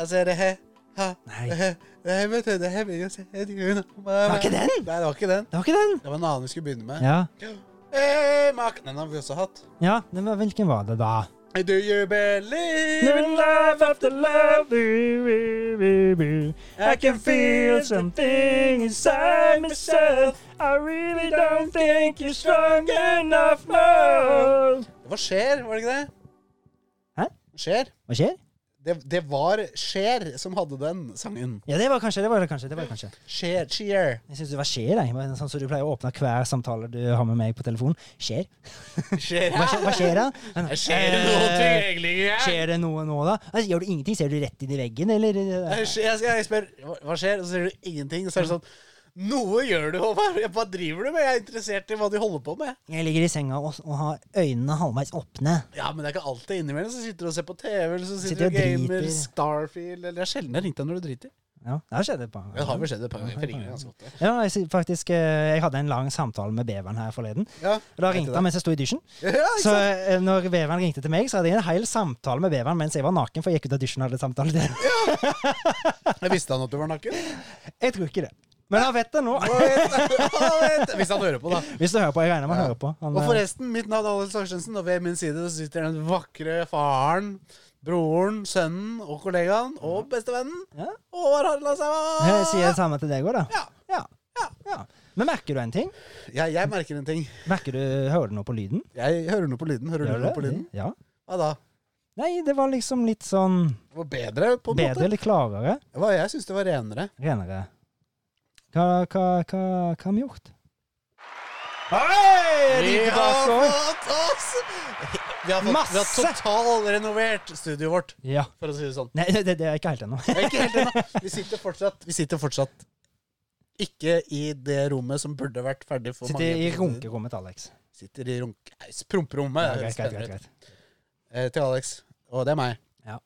Altså, det her ha, Nei. det her- det her, vet du, det her vil jeg se Det var var ikke den! Nei, det var ikke den. Det var ikke den! Det var en annen vi skulle begynne med. Ja. Hey, Mark. Den har vi også hatt. ja den var, hvilken var det, da? Do you believe Living life after love, boo, boo, boo, boo. I can feel something inside myself. I really don't think you're strong enough now. Det var Skjer, var det ikke det? Hæ? Skjer. Hva skjer? Det, det var Skjer som hadde den sangen. Ja, det var kanskje, det var kanskje, det var kanskje. Skjer, Cheer. Jeg synes det var skjer, jeg. Men Sånn som du pleier å åpne hver samtale du har med meg på telefonen. Skjer. Skjer. Hva skjer, hva skjer da? Skjer det noe ting egentlig? Skjer. Eh, Skjer det noe nå, da? Altså, gjør du ingenting? Ser du rett inn i veggen, eller? Jeg, Eh, jeg, jeg spør hva hva skjer, og så sier du ingenting. Så er det sånn Noe gjør du, Håvard. Hva driver du med? Jeg er interessert i hva de holder på med. Jeg ligger i senga og, og har øynene halvveis åpne. Ja, men det er ikke alltid innimellom. Så sitter du og ser på TV, eller så sitter, du Sitter og og gamer driter. Starfield Eller det er sjelden jeg har ringt deg når du driter. Ja, det har skjedd et par Det har vel skjedd et par ganger. for Jeg ringer deg ganske ofte. Ja, jeg, sy- faktisk, eh, jeg hadde en lang samtale med Beveren her forleden. Ja, Og da ringte han mens jeg sto i dusjen. Ja, ikke Så eh, når Beveren ringte til meg, så hadde jeg en hel samtale med Beveren mens jeg var naken, for jeg gikk ut av dusjen og hadde samtale med den. sant? Jeg visste han at du var naken? Jeg tror ikke det. Men han vet det nå. Han vet- han vet- Hvis han hører på, da. Hvis du hører på. Jeg regner med han hører på. Han, Og eh, forresten, mitt navn er Alex Torstensen, og ved min side så sitter den vakre faren, broren, sønnen og kollegaen og bestevennen Ja. Håvard Harla Sæva. jeg sier det samme til deg òg, da. Ja. Ja. Ja. Ja. Men merker du en ting? Ja, jeg merker en ting. Merker du, Hører du noe på lyden? Jeg hører noe på lyden. Hører du Gjør noe det? på lyden? Ja. Hva da? Nei, det var liksom litt sånn Det var bedre, på en bedre, litt klarere, måte. Hva, jeg syns det var renere. renere. Hva, hva, hva, hva har vi gjort? Vi like har bakover. fått oss Vi har, fått, vi har Masse! totalrenovert studioet vårt, Ja. for å si det sånn. Nei, det, det er ikke helt ennå. Det er Ikke helt ennå. Vi sitter fortsatt Vi sitter fortsatt ikke i det rommet som burde vært ferdig for Sitter mange i episoder. runkerommet, Alex. Sitter i runk... Nei, Promperommet. Ja, greit, høres greit, bedre greit, greit. ut. Eh, til Alex. Og det er meg.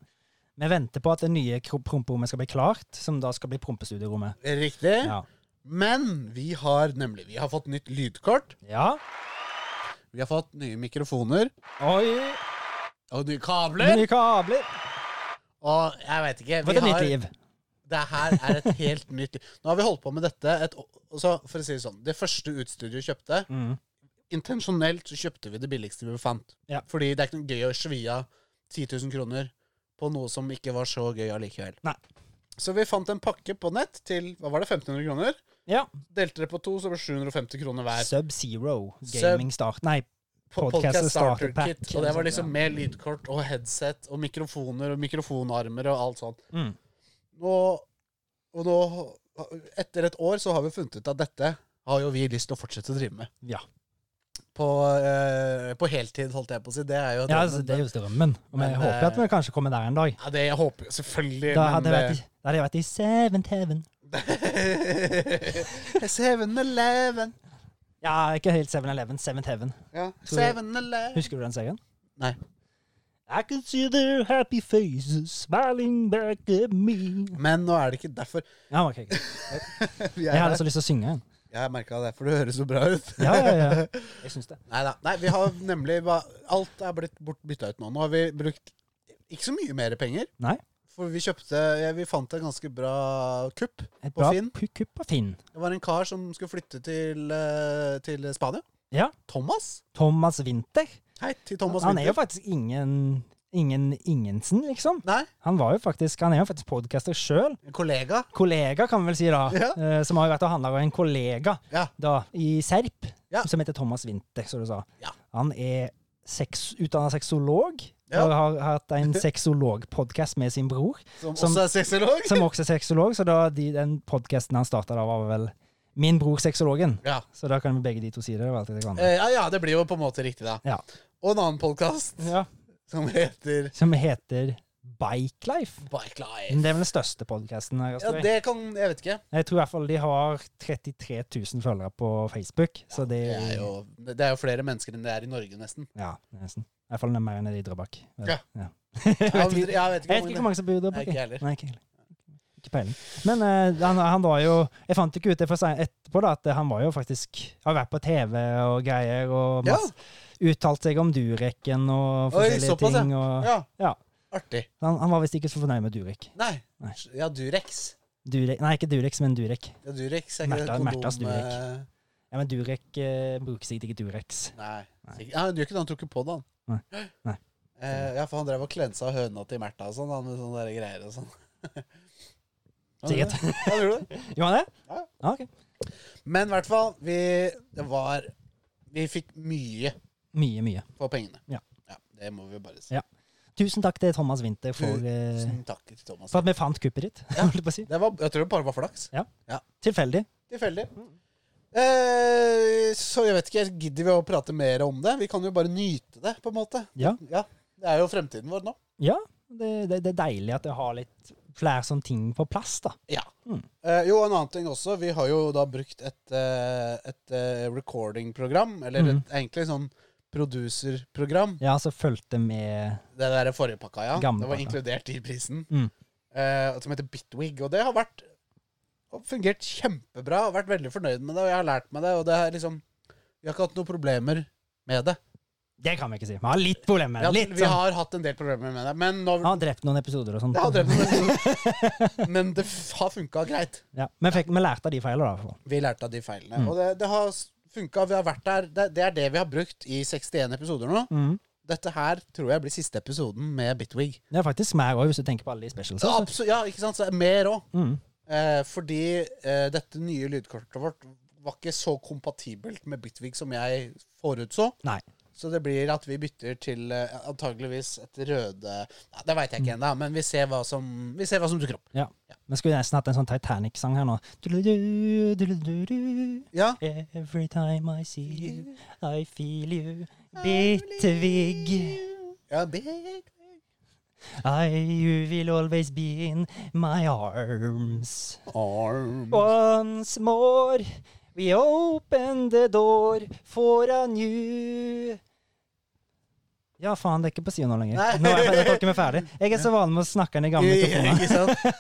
Vi venter på at det nye kro- promperommet skal bli klart, som da skal bli prompestudierommet. Riktig. Ja. Men vi har nemlig Vi har fått nytt lydkort. ja. Vi har fått nye mikrofoner. Oi! Og nye kabler. Nye kabler! Og jeg veit ikke For et nytt har- liv. Det her er et helt nytt liv. Nå har vi holdt på med dette et å- og så For å si det sånn. Det første utstudioet kjøpte Mm. Intensjonelt så kjøpte vi det billigste vi fant. Ja. Fordi det er ikke noe gøy å svi av 10 000 kroner på noe som ikke var så gøy allikevel. Nei. Så vi fant en pakke på nett til hva var det, 1500 kroner. Ja. Delte det på to, så ble det 750 kroner hver. Sub-Zero Sub- Gaming Start Nei, På Podcast Podcast Starter Starter Pack, Kit. eller Og det var sånt, liksom ja. med lydkort og headset og mikrofoner og mikrofonarmer og alt sånt. mm. Nå, og nå, etter et år, så har vi funnet ut at dette har jo vi lyst til å fortsette å drive med. ja. På, eh, på heltid, holdt jeg på å si. Det er jo ja drømmen. altså, det er jo drømmen. Og vi Men, håper at vi kanskje kommer der en dag. Ja, det jeg håper jeg selvfølgelig. Da hadde jeg men, vært i, da hadde jeg vært i Seventh Heaven. eh, 7-Eleven. Ja, ikke helt Seven Eleven, Seventh Heaven. Ja, Tror jeg- 7-Eleven. Husker du den serien? Nei. I can see their happy faces smiling back at me. Men nå er det ikke derfor. Ja, ok, greit. Vi Jeg er hadde her. så lyst til å synge den. Jeg har merka det, for du høres så bra ut. Ja, ja, ja. Jeg syns det. Neida. Nei vi har nemlig ba- Alt er blitt bort- bytta ut nå. Nå har vi brukt ikke så mye mer penger. Nei. For vi kjøpte ja, Vi fant en ganske bra kupp. Et På bra Finn? pu- kupp på Finn. Det var en kar som skulle flytte til, eh, til Spania. Ja. Thomas. Thomas Winther. Hei til Thomas Han er jo Winther. faktisk ingen Ingen Ingensen, liksom. Nei, Han var jo faktisk Han er jo faktisk podcaster sjøl. en kollega. Kollega, kan vi vel si da. Ja. Eh, som har vært og handla av en kollega Ja. da, i Serp, Ja. som heter Thomas Winther, som du sa. Ja. Han er sex, utdanna sexolog. Ja. Og har hatt en sexologpodkast med sin bror. Som, Som- også er sexolog. som også er sexolog, så da de, den podkasten han starta da, var vel Min bror sexologen. Ja. Så da kan vi begge de to si det. det var alltid det Eh, hverandre. ja, ja, det blir jo på en måte riktig, da. Ja. Og en annen podkast som heter Som heter Bike Life. Bike Life. Men Det er vel den største podkasten her. Ja, Astrid. det kan Jeg vet ikke. Jeg tror i hvert fall de har 33 000 følgere på Facebook. Så det, Det er jo, det er jo flere mennesker enn det er i Norge, nesten. Ja, nesten. I hvert fall det er mer enn det er i Drøbak. Vel, Ja. Ja, jeg vet men ikke, Jeg vet jeg vet ikke ikke hvor hvor mange mange som bor i Nei, Drøbak. ikke jeg. heller. Nei, ikke heller. Ikke peiling. Men eh, han, han var jo Jeg fant ikke ut det for seg etterpå, da, at eh, han var jo faktisk Har vært på TV og greier og Ja. masse, uttalt seg om Dureken og Oi, forskjellige såpass, ja. ting. Og, Ja. Ja. Artig. Han, han var visst ikke så fornøyd med Durek. Nei. Nei. Ja, Durex. Durek. Nei, ikke Durek, men Durek. Ja, Durex er ikke Märtha- det kondom... Märthas Durek. eh, Ja, men Durek eh, bruker sikkert ikke Durex. Nei. Nei. sikkert- Ja, han gjør ikke det, han tror ikke på det, han. Nei. Eh, ja, for han drev og klensa høna til Märtha og sånn, han med sånne der greier og sånn. Han gjorde Sikkert. det. Han gjorde det. Gjorde han det? Ja. Ah, ok. Men i hvert fall, vi det var Vi fikk mye Mye, mye. for pengene. Ja. Det må vi bare si. Ja. Tusen takk til Thomas Winther for, eh, Tusen takk til Thomas. for at vi fant kuppet ditt. holdt jeg på å si. Det var, jeg tror det bare var flaks. Tilfeldig. Tilfeldig. Eh, så jeg vet ikke, gidder vi å prate mer om det? Vi kan jo bare nyte det, på en måte. Ja. Ja, Det er jo fremtiden vår nå. ja det, det, det er deilig at jeg har litt flere sånne ting på plass, da. Ja. Mm. Eh, jo, en annen ting også. Vi har jo da brukt et, eh, et eh, recording-program, eller Mhm. et, egentlig sånn producer-program. Ja, så fulgte altså med Det der forrige pakka, ja. Gamle det var pakka. inkludert i prisen. Mm. Eh, som heter Bitwig. Og det har vært har fungert kjempebra. Jeg har vært veldig fornøyd med det, og jeg har lært meg det. Og det er liksom Vi har ikke hatt noen problemer med det. Det kan vi ikke si. Vi har litt problemer. Ja, litt vi sånn. har hatt en del problemer med det, men nå Han har drept noen episoder og sånn. Jeg har drevet med det. Men det f- har funka greit. Ja. Men fikk, vi lærte av de feilene, da. i hvert fall. Vi lærte av de feilene. Mm. Og det, det har funka. Vi har vært der. Det, det er det vi har brukt i 61 episoder nå. Mm. Dette her tror jeg blir siste episoden med Bitwig. Det er faktisk mer òg, hvis du tenker på alle de specials. Så, altså. absolutt, ja, ikke sant? Så mer òg. Mm. Eh, fordi eh, dette nye lydkortet vårt var ikke så kompatibelt med Bitwig som jeg forutså. Nei. Så det blir at vi bytter til eh, antageligvis et røde ja, Det veit jeg Mm. ikke ennå, men vi ser hva som, vi ser hva som dukker opp. Ja. Vi skulle nesten hatt en sånn Titanic-sang her nå. Du-du-du, du-du-du-du. Ja, Every time I see you, I feel you. Bittevig. ja Bitwig. I, you will always be in my arms. Arm. Once more, we open the door for a new Ja, faen, det er ikke på sida nå lenger. Nei. Nå er jeg ferdig, jeg tror ikke vi er ferdig. Jeg er så vanlig med å snakke den i gamle mikrofoner. Ikke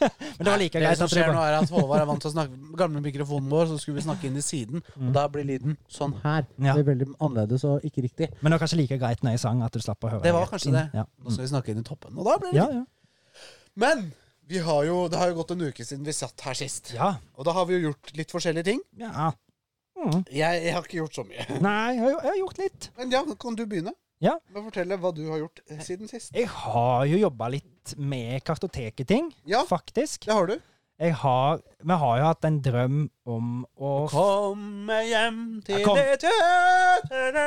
sant? Men det var like Det greit som at det skjer nå var er at Håvard er vant til å snakke med gamle mikrofonen vår, så skulle vi snakke inn i siden, og Mm. da blir lyden sånn her. Ja. Det er veldig annerledes og ikke riktig. Men det var kanskje like greit når jeg sang, at du slapp å høre Det var rett kanskje inn. det. Ja. Mm. Nå skal vi snakke inn i toppen, og da blir det Ja, ja. Men vi har jo, det har jo gått en uke siden vi satt her sist, ja. og da har vi jo gjort litt forskjellige ting. ja. Mm. Jeg, jeg har ikke gjort så mye. Nei, jeg har, jo- jeg har gjort litt. Men ja, kan du begynne Ja. med å fortelle hva du har gjort eh, siden sist? Jeg har jo jobba litt med kartoteketing, Ja, faktisk. det har du. Jeg har, vi har jo hatt en drøm om å Komme hjem Ja, kom. det tøtere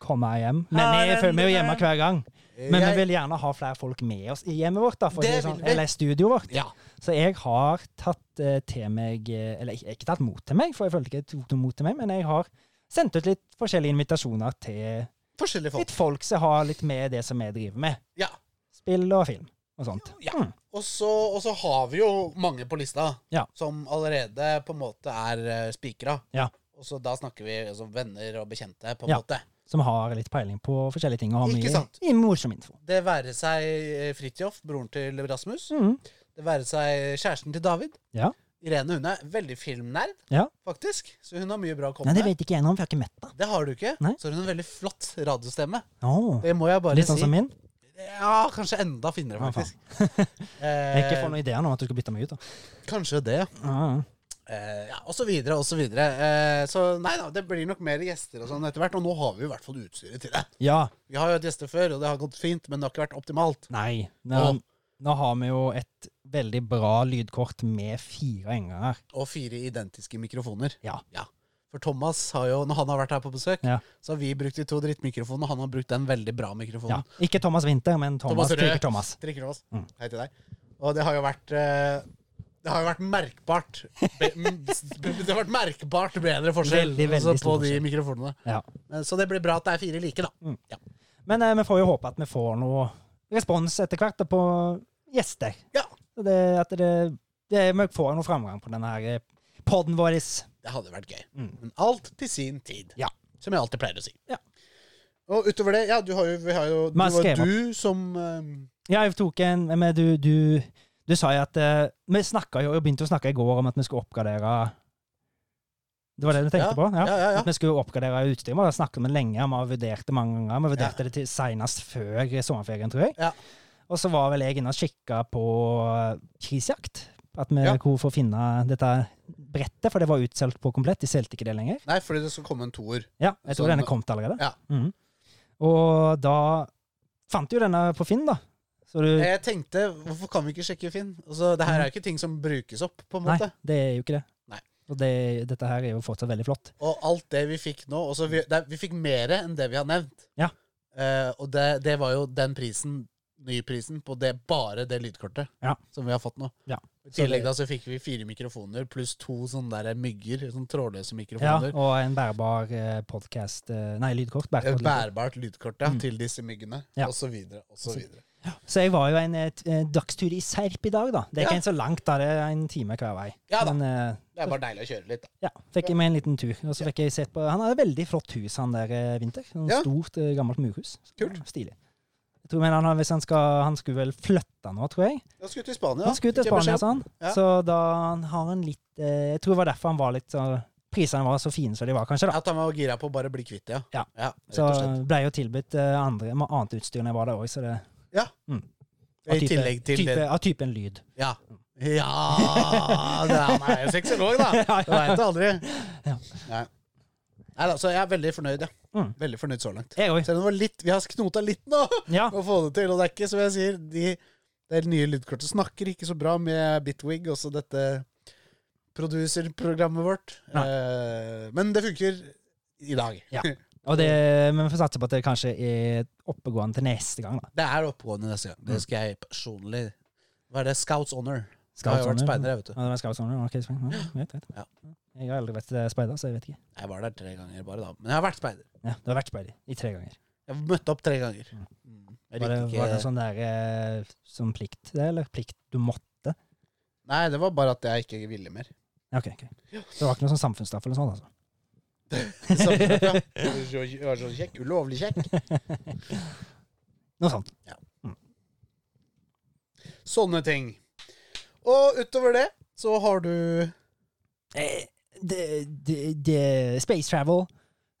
komme hjem. Men vi føler vi er jo hjemme hver gang. Men vi Jeg- vil gjerne ha flere folk med oss i hjemmet vårt, da, for å si Det det sånn, vil vi. eller i studioet vårt. Ja. Så jeg har tatt eh, til meg eh, Eller ikke, ikke tatt mot til meg, for jeg følte ikke jeg tok noe mot til meg, men jeg har sendt ut litt forskjellige invitasjoner til Forskjellige folk. litt folk som har litt med det som jeg driver med. Ja. Spill og film og sånt. Ja. Mm. Og så, og så har vi jo mange på lista Ja. som allerede på en måte er eh, spikra. Ja. Og så da snakker vi altså, venner og bekjente, på en Ja. måte. Som har litt peiling på forskjellige ting og har Ikke mye, sant? mye morsom info. Det være seg eh, Fridtjof, broren til Rasmus. Mm. Det være seg kjæresten til David. Ja. Irene hun er veldig filmnerd, Ja. faktisk. Så hun har mye bra å komme Nei, det med. vet ikke jeg noe om, for jeg har ikke mett det. Det har du ikke. Nei. Så har hun en veldig flott radiostemme. Åh, Det må jeg bare Litt sånn si. som min. Ja, kanskje enda finere, Ja, faen. faktisk. Jeg ikke eh, får noen ideer nå om at du skal bytte meg ut. da. kanskje det. Ah. Eh, ja, og så videre, og så videre. Eh, så nei da, det blir nok mer gjester og sånn etter hvert. Og nå har vi i hvert fall utstyret til det. Ja. Vi har jo hatt gjester før, og det har gått fint, men det har ikke vært optimalt. Nei. Nå, Åh. nå har vi jo et veldig bra lydkort med fire innganger. Og fire identiske mikrofoner. Ja. For Thomas har jo, når han har vært her på besøk, Ja. så har vi brukt de to drittmikrofonene, og han har brukt den veldig bra mikrofonen. ja. Ikke Thomas Winther, men Thomas, Thomas Røe. Tiger Thomas. Drikker Thomas. Mm. Hei til deg. Og det har jo vært eh, det har jo vært merkbart Be Det har vært merkbart bedre forskjell Veldig, veldig altså, på stor de forskjell. mikrofonene. Ja. Eh, Så det blir bra at det er fire like, da. Men eh, vi får jo håpe at vi får noe respons etter hvert da, på gjester. Ja. Så Det, at det, det, vi får noe framgang på denne her eh, podden vår. Det hadde vært gøy. Mm. Men alt til sin tid. Ja. Som jeg alltid pleier å si. Ja. Og utover det, ja, du har jo, vi har jo, det Men var skrev jo du som eh, Ja, jeg tok en men du, du, du sa jo at eh, Vi snakka jo, og begynte å snakke i går om at vi skulle oppgradere Det var det du tenkte Ja, på? Ja. ja, ja, ja. At vi skulle oppgradere utstyret. Vi har snakket om det lenge, vi har vurdert det mange ganger. Vi vurderte det til senest før sommerferien, tror jeg. Ja. Og så var vel jeg inne og kikka på prisjakt. At vi Ja. hvor får finne dette brettet, for det var utsolgt på komplett. De solgte ikke det lenger. Nei, fordi det skal komme en toer. Ja, jeg tror Sånn, denne kom til allerede. ja. Mhm. Og da fant du jo denne på Finn, da. Så du Jeg tenkte, hvorfor kan vi ikke sjekke Finn? Altså, det her er jo ikke ting som brukes opp, på en Nei, måte. det er jo ikke det. Nei. Og det, dette her er jo fortsatt veldig flott. Og alt det vi fikk nå også, vi, det, vi fikk mer enn det vi har nevnt. Ja. Eh, og det, det var jo den prisen, nyprisen, på det, bare det lydkortet Ja. som vi har fått nå. Ja. I tillegg da så fikk vi fire mikrofoner pluss to sånne der mygger, sånne trådløse Ja, mikrofoner. og en bærbar eh, podcast eh, Nei, lydkort. Et Bærbart lydkort. bærbart lydkort ja, Mm. til disse myggene, Ja. og så videre, og så videre. Så jeg var jo en, et, eh, dagstur i Serp i dag, da. Det er Ja. ikke en så langt, da. Det er en time hver vei. Ja da. Men eh, Det er bare deilig å kjøre litt, da. ja, fikk jeg med en liten tur. Og så fikk jeg sett på Han har et veldig flott hus, han der eh, Winter. Sånn Ja. Stort, eh, gammelt murhus. Kult. Ja, Stilig. Jeg tror, men han, har- hvis han, skal, han skulle vel flytte nå, tror jeg. Jeg skulle til Spania. Han skulle til fikk jeg beskjed Spania, om. sa han. Ja. Så da han har en litt eh, Jeg tror det var derfor han var litt så Prisene var så fine som de var, kanskje. da. At han var gira på å bare bli kvitt det, Ja. ja rett Så og slett. ble jo tilbudt eh, andre, med annet utstyr enn jeg var der òg, så det av I tillegg til type, det. Av typen lyd. Ja. Ja det, Han er jo sexolog, da. Ja, Du veit det aldri. Ja. Nei. Neida, så jeg er veldig fornøyd, ja. Mm. Veldig fornøyd så langt. Jeg òg. Selv om det var litt, vi har knota litt nå Ja. med å få det til, og det er ikke som jeg sier, de, det nye lydkortet snakker ikke så bra med Bitwig, også dette producerprogrammet vårt. Nei. Eh, men det funker i dag. Ja. Og det, men vi får satse på at det kanskje er oppegående til neste gang, da. Det er oppegående neste gang. Det skal jeg personlig Hva er det? Scouts honor. Jeg har jo vært Scoutsonner. speider, jeg, vet du. Ja, det var Scoutsonner. Ok, speider. Ja, greit, greit. Ja. Jeg har aldri vært eh, speider, så jeg vet ikke. Jeg var der tre ganger bare, da. Men jeg har vært speider. Ja, du har vært speider i tre ganger. Jeg møtte opp tre ganger. Mm. Mm. Jeg Var det, likte var det ikke sånn der eh, som plikt, det, eller plikt du måtte? Nei, det var bare at jeg ikke ville mer. Ja, Ok, ok. Så det var ikke noe sånn samfunnsstraff eller sånn, altså? Så, ja. Jeg var så kjekk. Ulovlig kjekk. Noe sånt. Sånne ting. Og utover det så har du Eh, Det, det, det, space travel.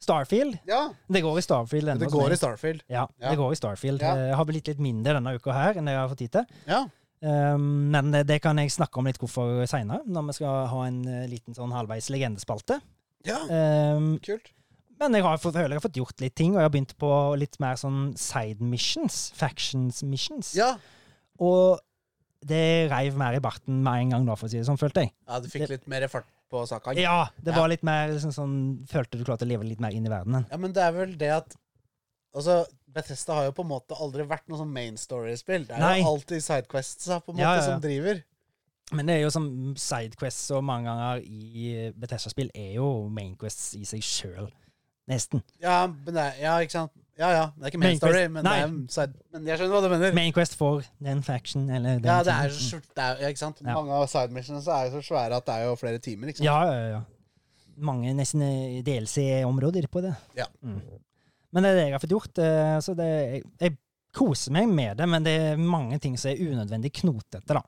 Starfield. Ja, Det går i Starfield ennå. det som går i jeg- Starfield. Ja, Ja. det går i Starfield. Ja. Jeg har blitt litt mindre denne uka her enn det jeg har fått tid til. Ja. Um, men det, det kan jeg snakke om litt hvorfor seinere, når vi skal ha en eh, liten sånn halvveis legendespalte. ja. Um, Kult. men jeg har, fått, føler jeg har fått gjort litt ting, og jeg har begynt på litt mer sånn side missions. Factions missions. Ja. Og det reiv mer i barten med en gang, da, for å si det sånn, følte jeg. ja, du fikk litt mer fart på saka. Ja, det Ja. var litt mer liksom, sånn Følte du klarte å leve litt mer inn i verdenen. Ja, men det er vel det at Altså, Bethesda har jo på en måte aldri vært noe sånn main story-spill. Det er Nei. jo alltid sidequests da, på en måte Ja, ja, ja. som driver. Men det er jo som sidequests og mange ganger i Bethesda-spill er jo mainquests i seg sjøl. Nesten. Ja, men det er, ja, ikke sant? Ja, ja. Det er ikke main Main story, quest. men, det Nei. er en side, men jeg skjønner hva du mener. Mainquest for den faction eller den Ja, det er tingen. så skjort, det er, ja, ikke sant? Ja. Mange av side missionene så er jo så svære at det er jo flere timer, ikke sant? Ja, ja, ja. Mange nesten eh, DLC-områder på det. Ja. Mm. Men det er det jeg har fått gjort. eh, Så det, jeg, jeg koser meg med det, men det er mange ting som er unødvendig knotete, da.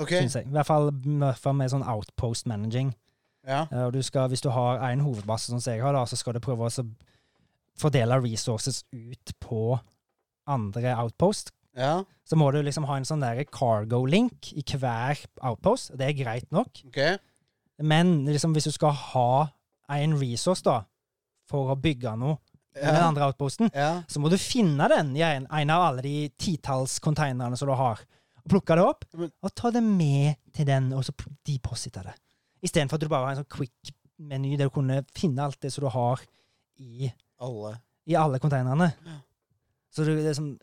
Ok, Synes jeg. I hvert fall, i hvert fall med sånn outpost managing. ja. Ja, og du skal, hvis du har en hovedbase, sånn som jeg har, da, så skal du prøve å så fordele resources ut på andre outpost. Ja, Så må du liksom ha en sånn der cargo link i hver outpost. Det er greit nok. ok. Men liksom, hvis du skal ha en resource da, for å bygge noe i den Ja, andre outposten, ja. så må du finne den i en, en av alle de titalls konteinerne som du har. Og plukke det opp, Men- og ta det med til den, og så p- deposite det. Istedenfor at du bare har en sånn quick-meny der du kunne finne alt det som du har i, Alle. i alle konteinerne. Ja. Så du, det er sånn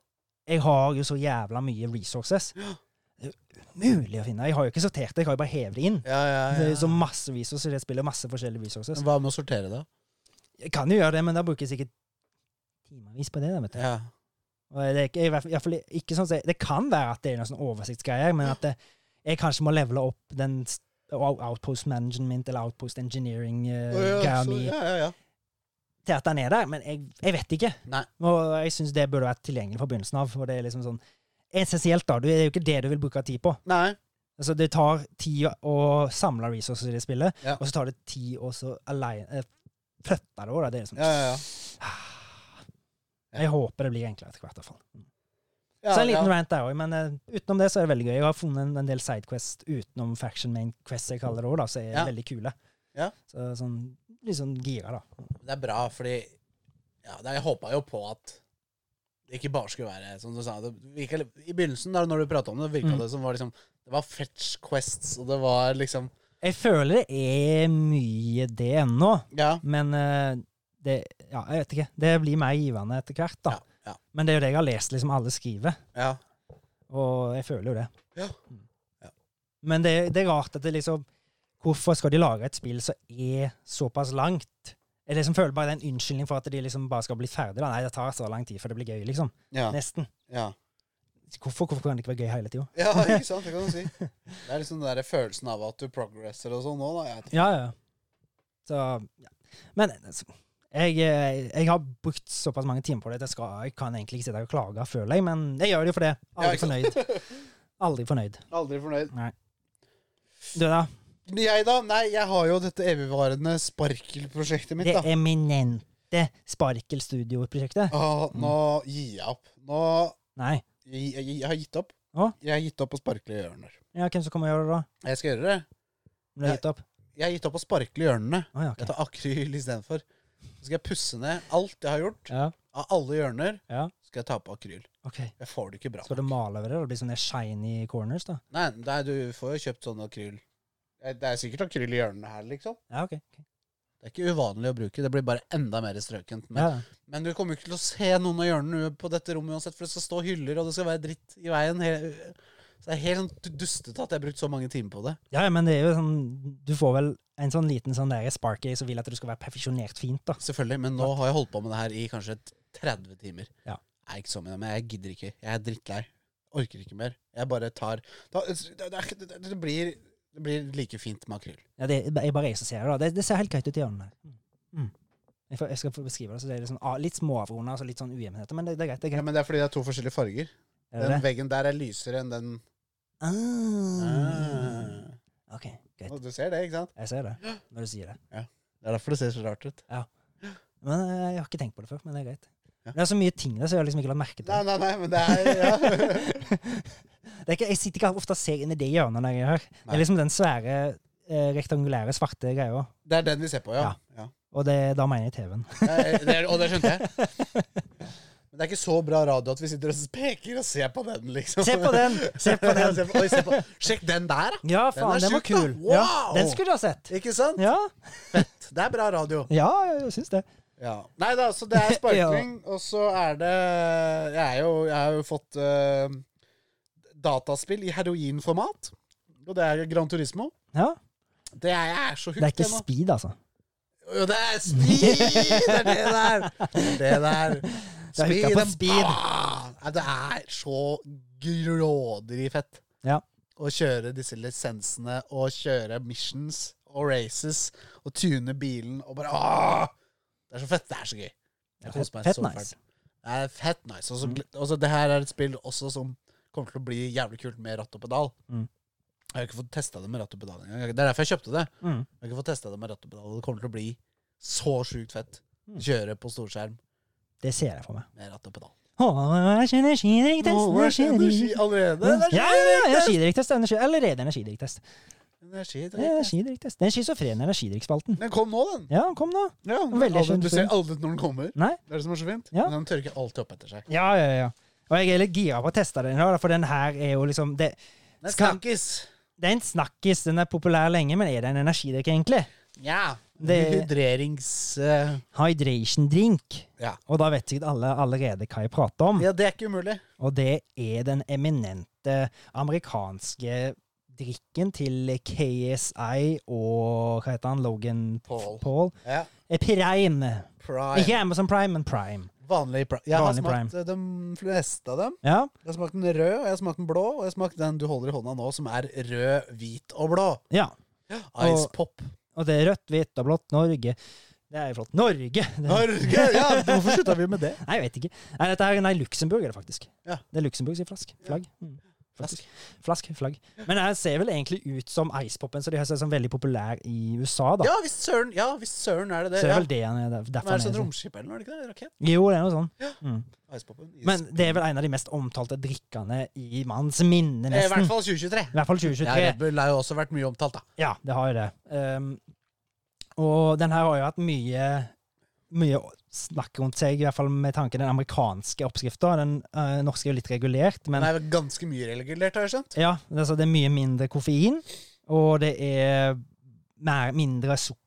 Jeg har jo så jævla mye resources. Det er jo umulig å finne. Jeg har jo ikke sortert det, jeg har jo bare hevet det inn. Ja, ja, Det er ja. jo så masse resources i det spillet, masse forskjellige resources. Men Hva med å sortere da? Jeg kan jo gjøre det, men da bruker jeg sikkert timevis på det. da, vet du. Ja. Og det, er ikke, i hvert fall- i hvert fall ikke sånn, som- det kan være at det er noen sånn oversiktsgreier, men at det, jeg kanskje må levele opp den s- out- outpost management eller outpost Eh, Å, ja, engineering-greia så- mi ja, ja, ja. til at den er der, men jeg, jeg vet ikke. Nei. Og jeg syns det burde vært tilgjengelig fra begynnelsen av. Og det er liksom sånn essensielt, da. Du, det er jo ikke det du vil bruke tid på. Nei. Altså, det tar tid å samle resources i det spillet, Ja. og så tar det tid å så aleine eh, flytte det òg, da. Det er liksom Ja, ja, ja. Ah. Jeg håper det blir enklere etter hvert, i hvert fall. Ja, så en liten ja. rant der òg, men eh, utenom det så er det veldig gøy. Jeg har funnet en, en del sidequest utenom faction main quest, jeg kaller det òg, da, som er Ja. veldig kule. Ja. Så sånn litt sånn gira, da. Det er bra, fordi ja, det- Jeg håpa jo på at det ikke bare skulle være som du sa. Det virka, litt- I begynnelsen, da, når du prata om det, virka Mm. det som var liksom Det var fetch quests, og det var liksom Jeg føler det er mye det ennå, Ja. men eh, det Ja, jeg vet ikke. Det blir mer givende etter hvert, da. Ja. ja, Men det er jo det jeg har lest liksom alle skriver, ja. og jeg føler jo det. Ja. Mm. Ja. Men det, det er rart at det liksom Hvorfor skal de lage et spill som er såpass langt? Jeg liksom føler bare det er en unnskyldning for at de liksom bare skal bli ferdig. Da. Nei, det tar så lang tid før det blir gøy, liksom. Ja. Nesten. ja. Hvorfor, hvorfor kan det ikke være gøy hele tida? ja, ikke sant? Det kan du si. Det er liksom den der følelsen av at du progresser og sånn nå, da. Jeg vet ikke. Ja, ja. Så ja. Men altså, jeg, eh, jeg har brukt såpass mange timer på det at jeg, skal, jeg kan egentlig ikke sitte her og klage, føler jeg, men jeg gjør det jo for det. Ja, Aldri ikke sant? fornøyd. Aldri fornøyd. Aldri fornøyd. Du, da? Jeg, da? Nei, jeg har jo dette evigvarende sparkelprosjektet mitt, Det da. eminente Sparkelstudio-prosjektet? Å, nå gir jeg opp. Nå Nei. jeg, jeg, jeg har gitt opp. Å? Jeg har gitt opp å sparkle i hjørner. Ja, hvem som kommer og gjør det, da? Jeg skal gjøre det. Om det er gitt opp? Jeg har gitt opp å sparkle i hjørnene. Å, ja, ok. Jeg tar akryl istedenfor. Så skal jeg pusse ned alt jeg har gjort. Ja, Av alle hjørner ja. skal jeg ta på akryl. Ok. Jeg får det ikke bra. Skal du male over det? og Det blir sånne shiny corners, da? Nei, nei, du får jo kjøpt sånn akryl. Eh, Det er sikkert akryl i hjørnene her, liksom. Ja, ok. ok. Det er ikke uvanlig å bruke. Det blir bare enda mer strøkent. Men, Ja. men du kommer jo ikke til å se noen av hjørnene på dette rommet uansett, for det skal stå hyller, og det skal være dritt i veien. Hele, så det er helt sånn dustete at jeg har brukt så mange timer på det. ja, ja, men det er jo sånn Du får vel en sånn liten sånn der sparky som vil at du skal være perfeksjonert fint, da. Selvfølgelig, men nå har jeg holdt på med det her i kanskje 30 timer. Ja. Jeg er ikke sånn med det, men jeg gidder ikke. Jeg er drittlei. Orker ikke mer. Jeg bare tar da, det, det, er ikke- det, det, blir, det blir like fint med akryl. Ja, det er bare jeg som ser det, da. Det, det ser helt greit ut i hjørnene. Mm. Jeg, får, jeg skal få beskrive det. så det er liksom, ah, Litt småavrunda, altså litt sånn ujevnheter, men det, det er greit. det er Ja, greit. men det er fordi det er to forskjellige farger. Er det Den det? veggen der er lysere enn den Ah. Ah. OK, greit. Og Du ser det, ikke sant? Jeg ser det når du sier det. Det er derfor det ser så rart ut. Men eh, Jeg har ikke tenkt på det før, men det er greit. Ja. Det er så mye ting der som jeg har liksom ikke lagt merke til. Nei, nei, nei, men det er ja. det er ikke, jeg sitter ikke ofte og ser inn i det hjørnet når jeg er her. Det Nei. er liksom den svære, eh, rektangulære, svarte greia. Det er den vi ser på, ja. ja. Og det, da mener jeg TV-en. Det er- det er- og det skjønte jeg. Men det er ikke så bra radio at vi sitter og peker og ser på den, liksom. Se på den! Se på Ja, den! se på- Oi, se på. Sjekk den der, da. Ja, faen, den, var sjuk, da. kul. Ja, Wow! den skulle du ha sett. Ikke sant? Ja, Det er bra radio. ja jeg syns det. Ja. Nei da, så det er sparkling, og så er det Jeg, er jo, jeg har jo fått eh, dataspill i heroinformat. Og det er Gran Turismo. Ja, Det er jeg er så Det er hooked ikke ennå. speed, altså. Jo, det er speed! Det er det der. Det der. Det er hooka på and speed. bah! Nei, Det er så grådig fett Ja. å kjøre disse lisensene og kjøre missions og races og tune bilen og bare ah! Det er så fett. Det er så gøy. Jeg koser meg Fett så nice. fælt. Mm. Det er fett nice. Og så gl- og så det her er et spill også som kommer til å bli jævlig kult med ratt og pedal. Mm. Jeg har ikke fått testa det med ratt og pedal engang. Det er derfor jeg kjøpte det. Mm. Jeg har ikke fått testa det med ratt og pedal. og Det kommer til å bli så sjukt fett. Mm. Kjøre på storskjerm Det ser jeg for meg. med ratt og pedal. Åh, jeg kjenner skidriktest, jeg kjenner- allerede? Ja, ja, ja, energidrikktest. energi- Allerede energidrikktest. Energidrikk. Energidrikktest. Den schizofrene energidrikksspalten. Den kom nå, den. Ja, kom nå. Ja, Veldig aldri, skjønt du ser film. aldri når den kommer. Nei? Det er det som er så fint. Ja. Men Den tørker alltid opp etter seg. Ja, ja, ja. Og jeg er litt gira på å teste den, da, for den her er jo liksom det, Den Skal- snakkes. det er en snakkis. Den er populær lenge, men er det en energidrikk, egentlig? Ja. Det- Hydrerings... eh, Hydration drink. Ja. Og da vet sikkert alle allerede hva jeg prater om. ja, det er ikke umulig. Og det er den eminente amerikanske drikken til KSI og hva heter han? Logan Paul. Paul. Ja. Eh, Prime. Prime. Ikke Amazon Prime, men Prime. Vanlig prime. Jeg har Vanlig smakt eh, de fleste av dem. Ja, Jeg har smakt den rød, og jeg har smakt den blå, og jeg har smakt den du holder i hånda nå, som er rød, hvit og blå. ja. Ice Og- pop. Og det er rødt, hvitt og blått Norge. Det er jo flott. Norge! Det, Norge! Ja, hvorfor slutta vi med det? nei, jeg vet ikke. Nei, dette her, nei, Luxembourg er det faktisk. Ja. Det er Luxembourg sitt flask. Flagg. Mm. faktisk. Flask, flagg. Men den ser vel egentlig ut som Icepopen, så de har sett som veldig populær i USA, da. Ja, visst søren, ja, visst søren er det det. Så det Ja. er vel det han er der- Men derfor er det han sånn er sånn. romskip eller noe? er det ikke det? Rakett? Jo, det er noe sånn. Ja. Mm. Icepopen? Is. Men det er vel en av de mest omtalte drikkene i manns minne, Eh, I hvert nesten. fall 2023. I hvert fall Ja, 2023. Red Bull har jo også vært mye omtalt, da. Ja, det har jo det. Ehm, og den her har jo hatt mye, mye snakk rundt seg, i hvert fall med tanke den amerikanske oppskrifta. Den eh, norske er jo litt regulert, Den men er jo ganske mye regulert, har jeg skjønt. ja, altså det er mye mindre koffein. Og det er mer, mindre sukker,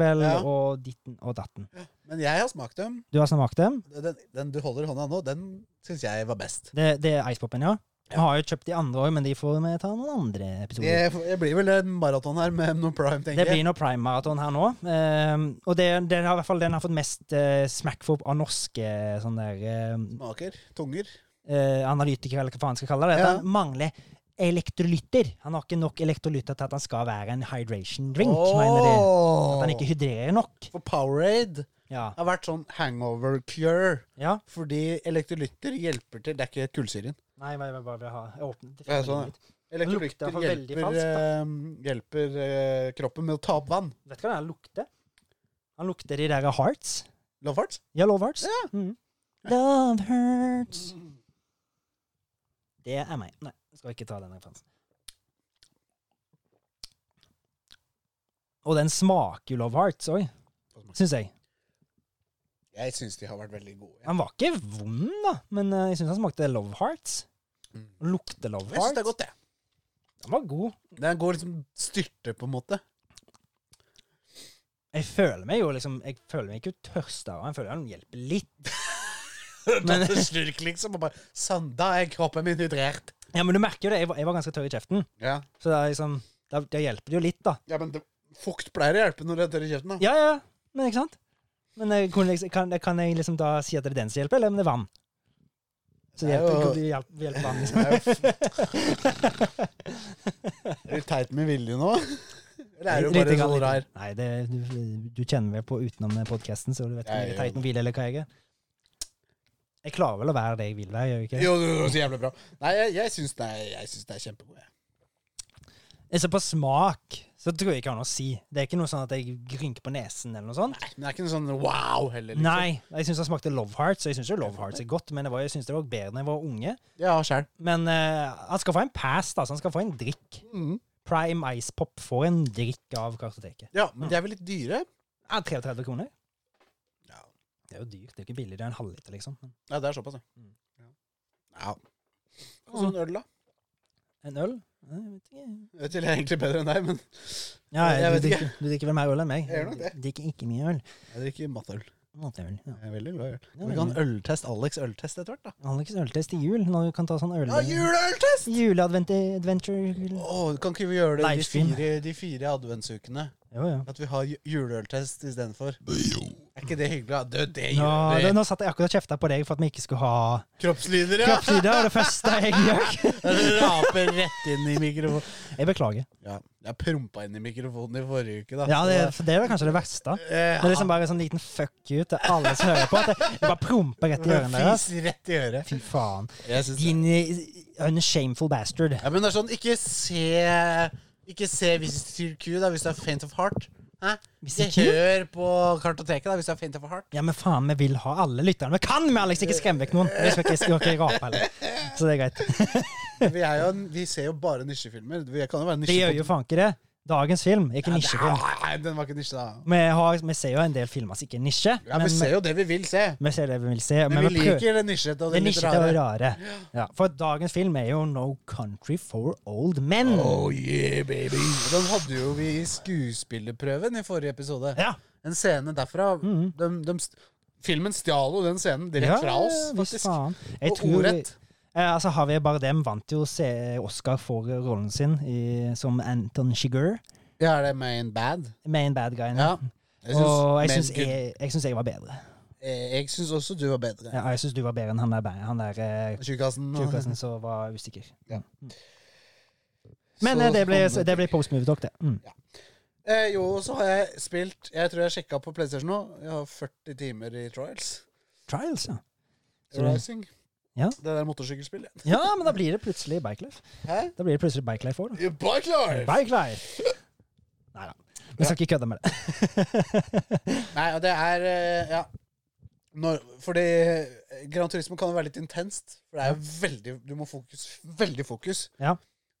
vel, Ja. og ditten og datten. Men jeg har smakt dem. Du har smakt dem? Den, den du holder i hånda nå, den syns jeg var best. Det, det er Icepopen, ja. Jeg har jo kjøpt de andre òg, men de får vi ta noen andre episoder. Jeg, jeg blir vel en maraton her med noe prime, Det tenker jeg. blir noe prime-maraton her nå. Ehm, og det, den, har, i hvert fall, den har fått mest eh, smack for av norske sånn der, eh, Smaker. Tunger. eh, analytikere, eller hva faen jeg skal kalle det. Ja. Han mangler elektrolytter. Han har ikke nok elektrolytter til at han skal være en hydration drink, mener de. At han ikke hydrerer nok. For Powerade Ja. har vært sånn hangover cure. ja. Fordi elektrolytter hjelper til Det er ikke kullsyren. Nei, jeg bare, bare ha jeg åpnet det. Ja, sånn, ja. lukter Elektrolytter for veldig hjelper, falskt, eh, hjelper eh, kroppen med å ta opp vann. Vet du hva den her lukter? Han lukter de der hearts. Lovfarts? Ja, love hearts. Mm. Love hurts. Det er meg. Nei, jeg skal ikke ta den referansen. Og den smaker jo Love Hearts òg, syns jeg. Jeg syns de har vært veldig gode. Den var ikke vond, da, men eh, jeg syns den smakte Love Hearts. Mm. Lukter Love Jeg syns det er Hearts. godt, det. Den var god. Den går liksom styrte, på en måte. Jeg føler meg jo liksom Jeg føler meg ikke tørstere. Jeg føler den hjelper litt. Men slurk, liksom. Og bare Sånn, da er kroppen min hydrert. Ja, men du merker jo det. Jeg var, jeg var ganske tørr i kjeften, Ja. så det er liksom Da, da hjelper det jo litt, da. ja, men det, fukt pleier å hjelpe når det er tørr i kjeften, da. Ja, ja, ja. Men ikke sant? Men eh, kunne liksom- kan, kan jeg liksom da si at det er den som hjelper, eller om det er vann? Så det Det er hjelper, jo- jo... hjelper, hjelper vann, liksom. Det er jo f- Er du teit med vilje nå? Eller er du Lite bare grann, sånn lite. rar? Nei, det, du, du kjenner meg på utenom podkasten, så du vet ikke om Jeg jeg er gjør teit mobil eller hva jeg er. Jeg klarer vel å være det jeg vil være, gjør jeg ikke det? Jo, det var så jævlig bra. Nei, jeg, jeg syns det er, jeg syns det er kjempegod. jeg. Altså, på smak så tror jeg ikke jeg har noe å si. Det er ikke noe sånn at jeg rynker på nesen eller noe sånt. Nei, men det er ikke noe sånn wow heller. Liksom. Nei, jeg syns det smakte Love Hearts, og jeg syns jo Love Hearts er godt, men det var, jeg syns det var bedre da jeg var unge. Ja, sjæl. Men eh, han skal få en pass, da, så han skal få en drikk. Mm. Prime Ice Pop får en drikk av kartoteket. Ja, men de er vel litt dyre? Ja, 33 kroner. Ja. Det er jo dyrt. Det er ikke billig. Det er en halvliter, liksom. Ja, det er såpass, ja. Mm. ja. Og så en øl, da. En øl? Nei, Jeg vet ikke. Jeg vet ikke, jeg er egentlig bedre enn deg, men Ja, Jeg du, vet ikke. drikker, du drikker vel mer øl enn meg? Jeg gjør nok det. Du drikker ikke mye øl. jeg drikker matøl. Matøl. Ja. Jeg er veldig glad i øl. Ja, Vi kan ha en øltest, Alex øltest etter hvert, da. Alex øltest til jul, når du kan ta sånn øl... Ja, juleøltest! Juleadventure Å, kan ikke vi gjøre det de Livestream. fire, de fire adventsukene? Jo, jo. At vi har ju- juleøltest istedenfor? Er ikke det hyggelig? da? Det, det Nå, gjør vi. det, nå satt jeg akkurat og kjefta på deg for at vi ikke skulle ha Kroppslyder, ja! kroppslyder. Det var det første jeg gjør. Raper rett inn i mikrofonen. Jeg beklager. Ja, jeg prompa inn i mikrofonen i forrige uke, da. Ja, det, Så, for det var kanskje det verste. eh, Det er liksom bare en sånn liten fuck you til alle som hører på. At jeg jeg bare promper rett i ørene deres. Fis rett i øret. Fy faen. Jeg synes det. Din eh, unshameful bastard. Ja, men det er sånn, ikke se Ikke se Visitor Q da, hvis du er faint of heart. Hæ? Visit Ikke Q? hør på kartoteket da, hvis du er faint of heart. Ja, men faen, vi vil ha alle lytterne. Vi kan vi, Alex! Ikke skremme vekk noen. Vi skal ikke, skal ikke rape heller. Så det er greit. Vi, er jo, en- vi ser jo bare nisjefilmer. Vi kan jo være Det gjør jo faen ikke det. Dagens film er ikke nisjefilm. Nei, den var ikke nisje, da. Vi, har, vi ser jo en del filmer som ikke er nisje, Ja, men Vi ser jo det vi vil se. vi ser det vi vil se. Men vi prøver- liker det nisjete og det det er litt nisjete og rare. rare. Ja, for dagens film er jo No Country for Old Men. Oh yeah, baby. Og Den hadde jo vi i skuespillerprøven i forrige episode. Ja. En scene derfra. Mhm. De, de, st- filmen stjal jo den scenen direkte fra oss, visst faktisk. faen. Jeg Og tror- ordrett. Eh, altså, Javier Bardem vant jo se- Oscar for rollen sin i, som Anton Chigurh. Ja, er det Main Bad? Main bad guy. Ja. og jeg Main syns Good jeg, jeg, syns jeg var bedre. Eh, Jeg syns også du var bedre. Ja, jeg syns du var bedre enn han der, han der eh, Tjukkasen. og- tjukkasen som var usikker. Ja. Mm. Men Så eh, det ble, kom det- det ble post movie talk, det. Mm. Eh, jo, og så har jeg spilt Jeg tror jeg sjekka på PlayStation nå. Jeg har 40 timer i Trials. Trials, ja. Så det- Rising. Ja. Det der motorsykkelspillet. Ja, men da blir det plutselig Bikelife. Hæ? Da blir det plutselig Bikelife òg, da. Bike life! Bikelife! Nei da. Vi skal ikke kødde med det. Nei, og det er eh, Ja. Når, fordi eh, Gran Turismo kan jo være litt intenst. For det er jo veldig Du må fokus. Veldig fokus. Ja.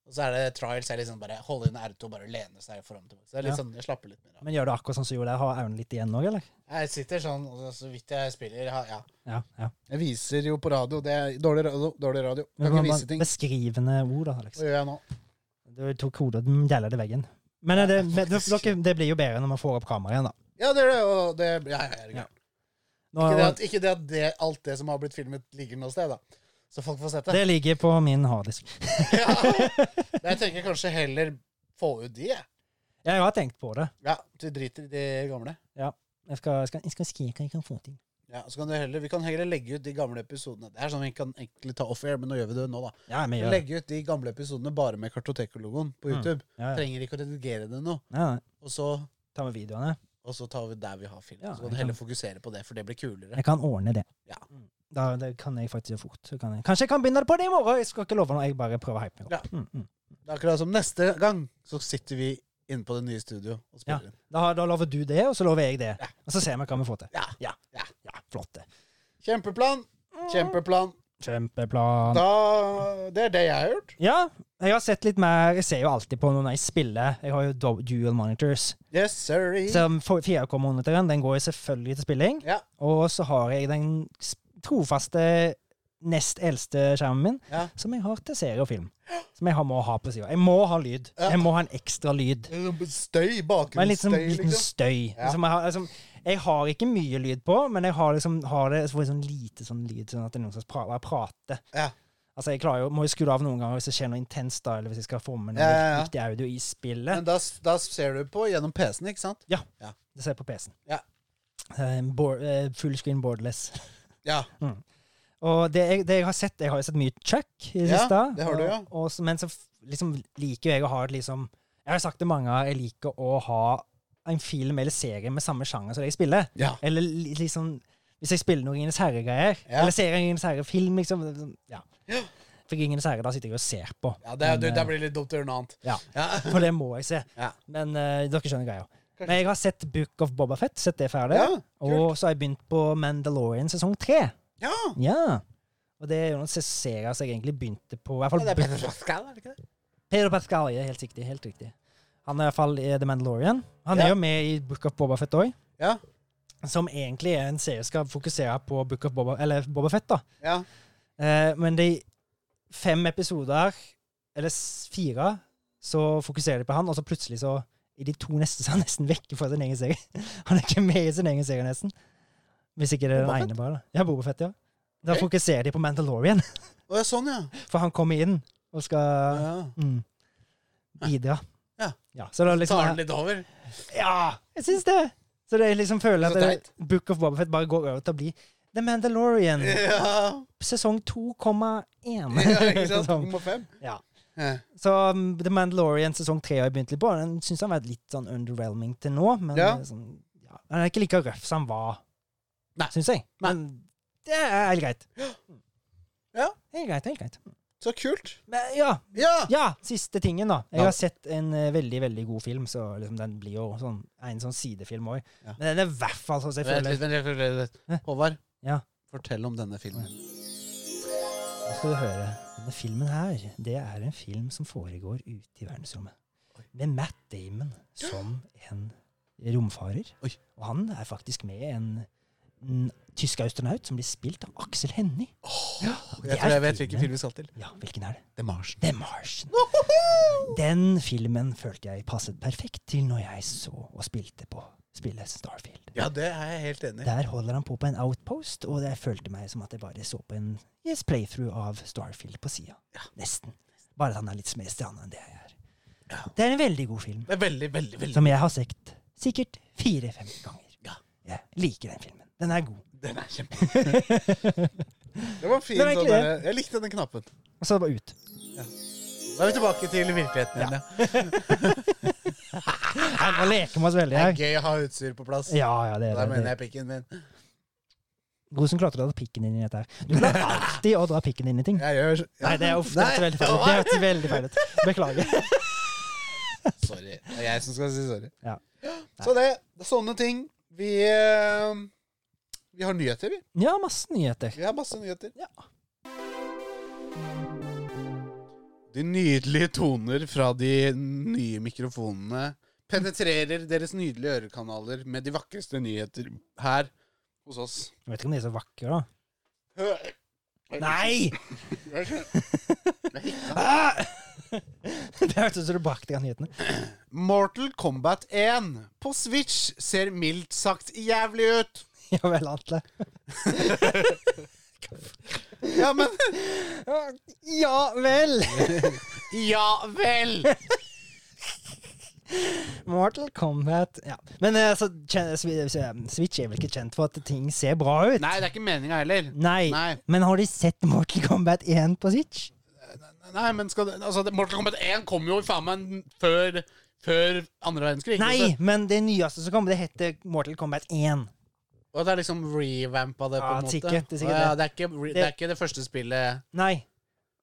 Og så er det trials. Er liksom bare holde inn R2 og bare lene seg foran tilbake. Så det er litt Ja. sånn, jeg slapper litt mer av. Men gjør du akkurat sånn som jeg gjorde jeg? Har øynene litt igjen òg, eller? Jeg sitter sånn, og så- så vidt jeg spiller ja, ja. Ja, ja. Jeg viser jo på radio. Det er dårlig radio. Dårlig radio. Kan ikke vise ting. Beskrivende ord, Hva da, liksom. Alex. gjør jeg nå? Du tok hodet og gjelder til veggen. Men eh, det, men dere, det blir jo bedre når man får opp kameraet igjen, da. Ja, det er det. Og det ja, ja, ja, Ja. ja. Nå, Ikke det at, ikke det at det, alt det som har blitt filmet, ligger noe sted, da. Så folk får sett det. det ligger på min harddisk. Ja. Men Jeg tenker kanskje heller få ut de, jeg. Jeg har tenkt på det. Ja, du driter i de gamle. Jeg skal, jeg skal, jeg skal skrike, jeg kan få ting. Ja, så kan du heller, Vi kan heller legge ut de gamle episodene. Det er sånn vi kan egentlig ta off air, men nå gjør vi det nå, da. Ja, men gjør det. Legge ut de gamle episodene bare med Kartoteket-logoen på Mm. YouTube. Ja, ja. Trenger ikke å redigere det nå. Ja, ja. Og så, Ta med videoene. og så tar vi der vi har film. Ja, så kan jeg du heller fokusere på det, for det blir kulere. Jeg kan ordne det. Mm. Ja. Da, det kan jeg faktisk gjøre fort. Så Kan jeg. Kanskje jeg kan begynne på det i morgen! Jeg skal ikke love noe, jeg bare prøver å hype meg opp. Mm, mm. Det er akkurat som neste gang, så sitter vi inne på det nye studio og Ja. spiller inn. Da, da lover du det, og så lover jeg det. Og så ser vi hva vi får til. Ja. Ja, Ja. ja flott det. Kjempeplan! Kjempeplan. Kjempeplan. Da, det er det jeg har gjort. Ja, jeg har sett litt mer Jeg ser jo alltid på når jeg spiller. Jeg har jo do- dual monitors. Yes, sorry. Så 4K-monitoren den går jo selvfølgelig til spilling. Ja. Og så har jeg den s- trofaste nest eldste skjermen min, Ja. som jeg har til serie og film. Som jeg har, må ha på sida. Jeg må ha lyd. Ja. Jeg må ha en ekstra lyd. Støy, Men liksom, bakgrunnsstøy, liten liksom. støy. Ja. Liksom, jeg, har, liksom, jeg har ikke mye lyd på, men jeg har, liksom, har det så får jeg sånn lite sånn lyd, sånn at det er noen som pra jeg prater. Ja. Altså, jeg klarer jo, må jo skru av noen ganger hvis det skjer noe intenst, da, eller hvis jeg skal få med noe Ja, ja, ja. viktig audio i spillet. Men da, da ser du på gjennom PC-en, ikke sant? Det ser jeg på PC-en. Ja. Eh, board, eh, full screen boardless. Ja. Og det jeg, det jeg har sett, jeg har jo sett mye Chuck i det Ja, siste. det har du, ja. og, og, så- Men så f- liksom, liker jo jeg å ha et liksom Jeg har sagt det mange ganger, jeg liker å ha en film eller serie med samme sjanger som det jeg spiller. Ja. Eller li- liksom Hvis jeg spiller noen Ringenes herre-greier, Ja. eller ser en Ringenes herre-film, liksom Ja. Ja. For Ringenes herre, da sitter jeg og ser på. Ja, det, er- Men, du, eh, det blir litt dumt å gjøre noe annet. Ja. Ja. For det må jeg se. Ja. Men eh, dere skjønner greia. Kanskje. Men jeg har sett Book of Boba Fett, sett det ferdig. Ja, og så har jeg begynt på Mandalorian sesong tre. Ja. Ja. Og det er jo noen serier som jeg egentlig begynte på. I hvert Ja, det er fall Pedro Pascal, er det ikke det? Pedro Pascal, ja, helt riktig. Helt riktig. Han er i hvert fall i The Mandalorian. Han Ja. er jo med i Book of Boba Fett òg, Ja. som egentlig er en serie som skal fokusere på Book of Boba, eller Boba Fett. da. Ja. Eh, men de fem episoder, eller s- fire, så fokuserer de på han, og så plutselig så I de to neste så er han nesten vekke fra sin egen serie. Han er ikke med i sin egen serie, nesten. Hvis ikke det er den Boba ene, Fett? bare. da. Ja, Boba Fett, ja. Da Ok. fokuserer de på Mandalorian, Å, ja, sånn, ja. for han kommer inn og skal ja. mm, bidra. Ja. Så det er Tar den liksom litt over? Ja, jeg syns det! Så det er liksom føler at Så det, Book of Boba Fett bare går over til å bli The Mandalorian, Ja. sesong 2,1. ja ikke sant? Sånn. Nummer fem? Ja. Ja. Så um, The Mandalorian sesong tre har jeg begynt litt på. Den syns han har vært litt sånn underwhelming til nå. Men Ja. eh, sånn, ja. han er ikke like røff som han var, Nei. syns jeg. Men det er helt greit. Ja. Helt greit, helt greit. Så kult. Men ja, Ja! ja, siste tingen, da. Jeg Ja. har sett en eh, veldig veldig god film, så liksom, den blir jo sånn, en sånn sidefilm òg. Ja. Men den er i hvert fall sånn som jeg Vent litt, føler. vent litt, vent litt. Hæ? Håvard, Ja. fortell om denne filmen. Nå skal du høre. Denne filmen her, det er en film som foregår ute i verdensrommet. Med Matt Damon som en romfarer. Oi. Og han er faktisk med en, en tysk astronaut som blir spilt av Aksel Hennie. Ja, og det Jeg tror er jeg vet hvilken film vi skal til. Ja, hvilken er det? The Martian. The Martian. Den filmen følte jeg passet perfekt til når jeg så og spilte på spillet Starfield. Ja, det er jeg helt enig i. Der holder han på på en outpost, og jeg følte meg som at jeg bare så på en yes, playthrough av Starfield på sida. Nesten. Bare at han er litt mer stranda enn det jeg er. Ja. Det er en veldig god film, Det er veldig, veldig, veldig som jeg har sett sikkert fire-fem ganger. Ja. Jeg liker den filmen. Den er god. Den er kjempe Det var en fin Den er sånn egentlig derre- Jeg likte den knappen. Og så bare ut. Da er vi tilbake til virkeligheten igjen. Ja. Jeg må leke med oss veldig Ah, Det er her. gøy å ha utstyr på plass. Ja, ja, det er Der det. mener det. jeg pikken min. Hvordan klarte du å dra pikken din i dette? her? Du klarer alltid å dra pikken din i ting. Jeg gjør ja, Nei, det er ofte det er Nei, veldig feil. ut. Det hørtes veldig feil ut. Beklager. Sorry. Det er jeg som skal si sorry. Ja. Så det, det er sånne ting. Vi, eh, vi har nyheter, vi. Ja, masse nyheter. Vi har masse nyheter. Ja. De nydelige toner fra de nye mikrofonene penetrerer deres nydelige ørekanaler med de vakreste nyheter her hos oss. Jeg vet ikke om de er så vakre, da. Nei! Nei! Ah! Det hørtes ut som du brakk deg av nyhetene. Mortal Kombat 1 på Switch ser mildt sagt jævlig ut. Ja vel, Atle. Ja, men Ja vel! Ja vel! Mortal Kombat. Ja. Men eh, så, kjen- Swi- Swi- Switch er vel ikke kjent for at ting ser bra ut? Nei, det er ikke meninga heller. Nei. Nei. Men har de sett Mortal Kombat 1 på Switch? Nei, men skal det, altså, det- Mortal Kombat 1 kom jo faen meg før, før andre verdenskrig. Altså, ikke Nei, sant? men det nyeste som kommer, det heter Mortal Kombat 1. Og det er liksom revampa det, på Ja, en måte. sikkert, det er sikkert Å, ja, det, er ikke, re- det er Det- ikke det første spillet Nei.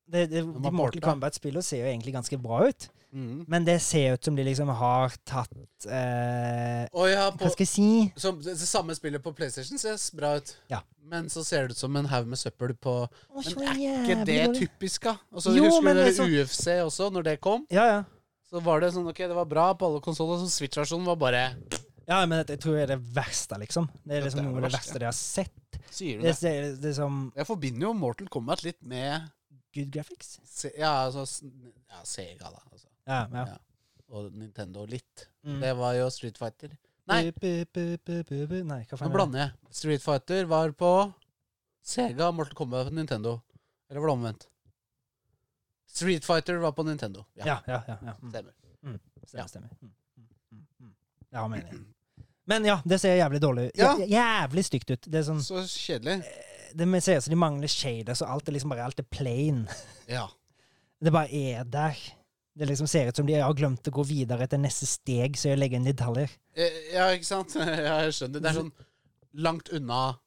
Det, det, var de porta. Mortal Kombat-spillene ser jo egentlig ganske bra ut, Mhm. men det ser ut som de liksom har tatt eh, Å ja, Hva på, skal jeg si? så, det, det samme spillet på PlayStation ser bra ut. Ja. Men så ser det ut som en haug med søppel på Å, så Men er ikke jævlig det dårlig. typisk, da? Altså, Jo, husker men du det liksom- UFC også, når det kom? Ja, ja. Så var det sånn, ok, det var bra på alle konsoller, så Switch-versjonen var bare Ja, men det- jeg tror det er det verste, liksom. Det er liksom det er noe det av det verste. verste de har sett. Sier du Det, det? det, det er som Jeg forbinder jo Mortal Kombat litt med good graphics. Se- Ja, altså s- ja, Sega, da. Altså. Ja, ja. Ja. Og Nintendo litt. Mm. Det var jo Street Fighter. Nei, Bu- bu- bu- bu- bu- Nei, Nå hva faen er det? blander jeg. Street Fighter var på Sega, Mortal Kombat på Nintendo. Eller var det omvendt? Street Fighter var på Nintendo. Ja, Ja, ja, ja. ja. Mm. stemmer. Stemmer, Ja. stemmer. Mm, mm, mm. Ja, mening. Men ja, det ser jævlig dårlig ut. Ja. Jæ- Jævlig stygt ut. Det er sånn Så kjedelig. det med- ser ut som altså, de mangler shaders, og alt er liksom bare alt er plain. Ja. Det bare er der. Det liksom ser ut som de har glemt å gå videre til neste steg, så jeg legger inn detaljer. Eh, Ja, ikke sant? Ja, jeg skjønner. Det er sånn langt unna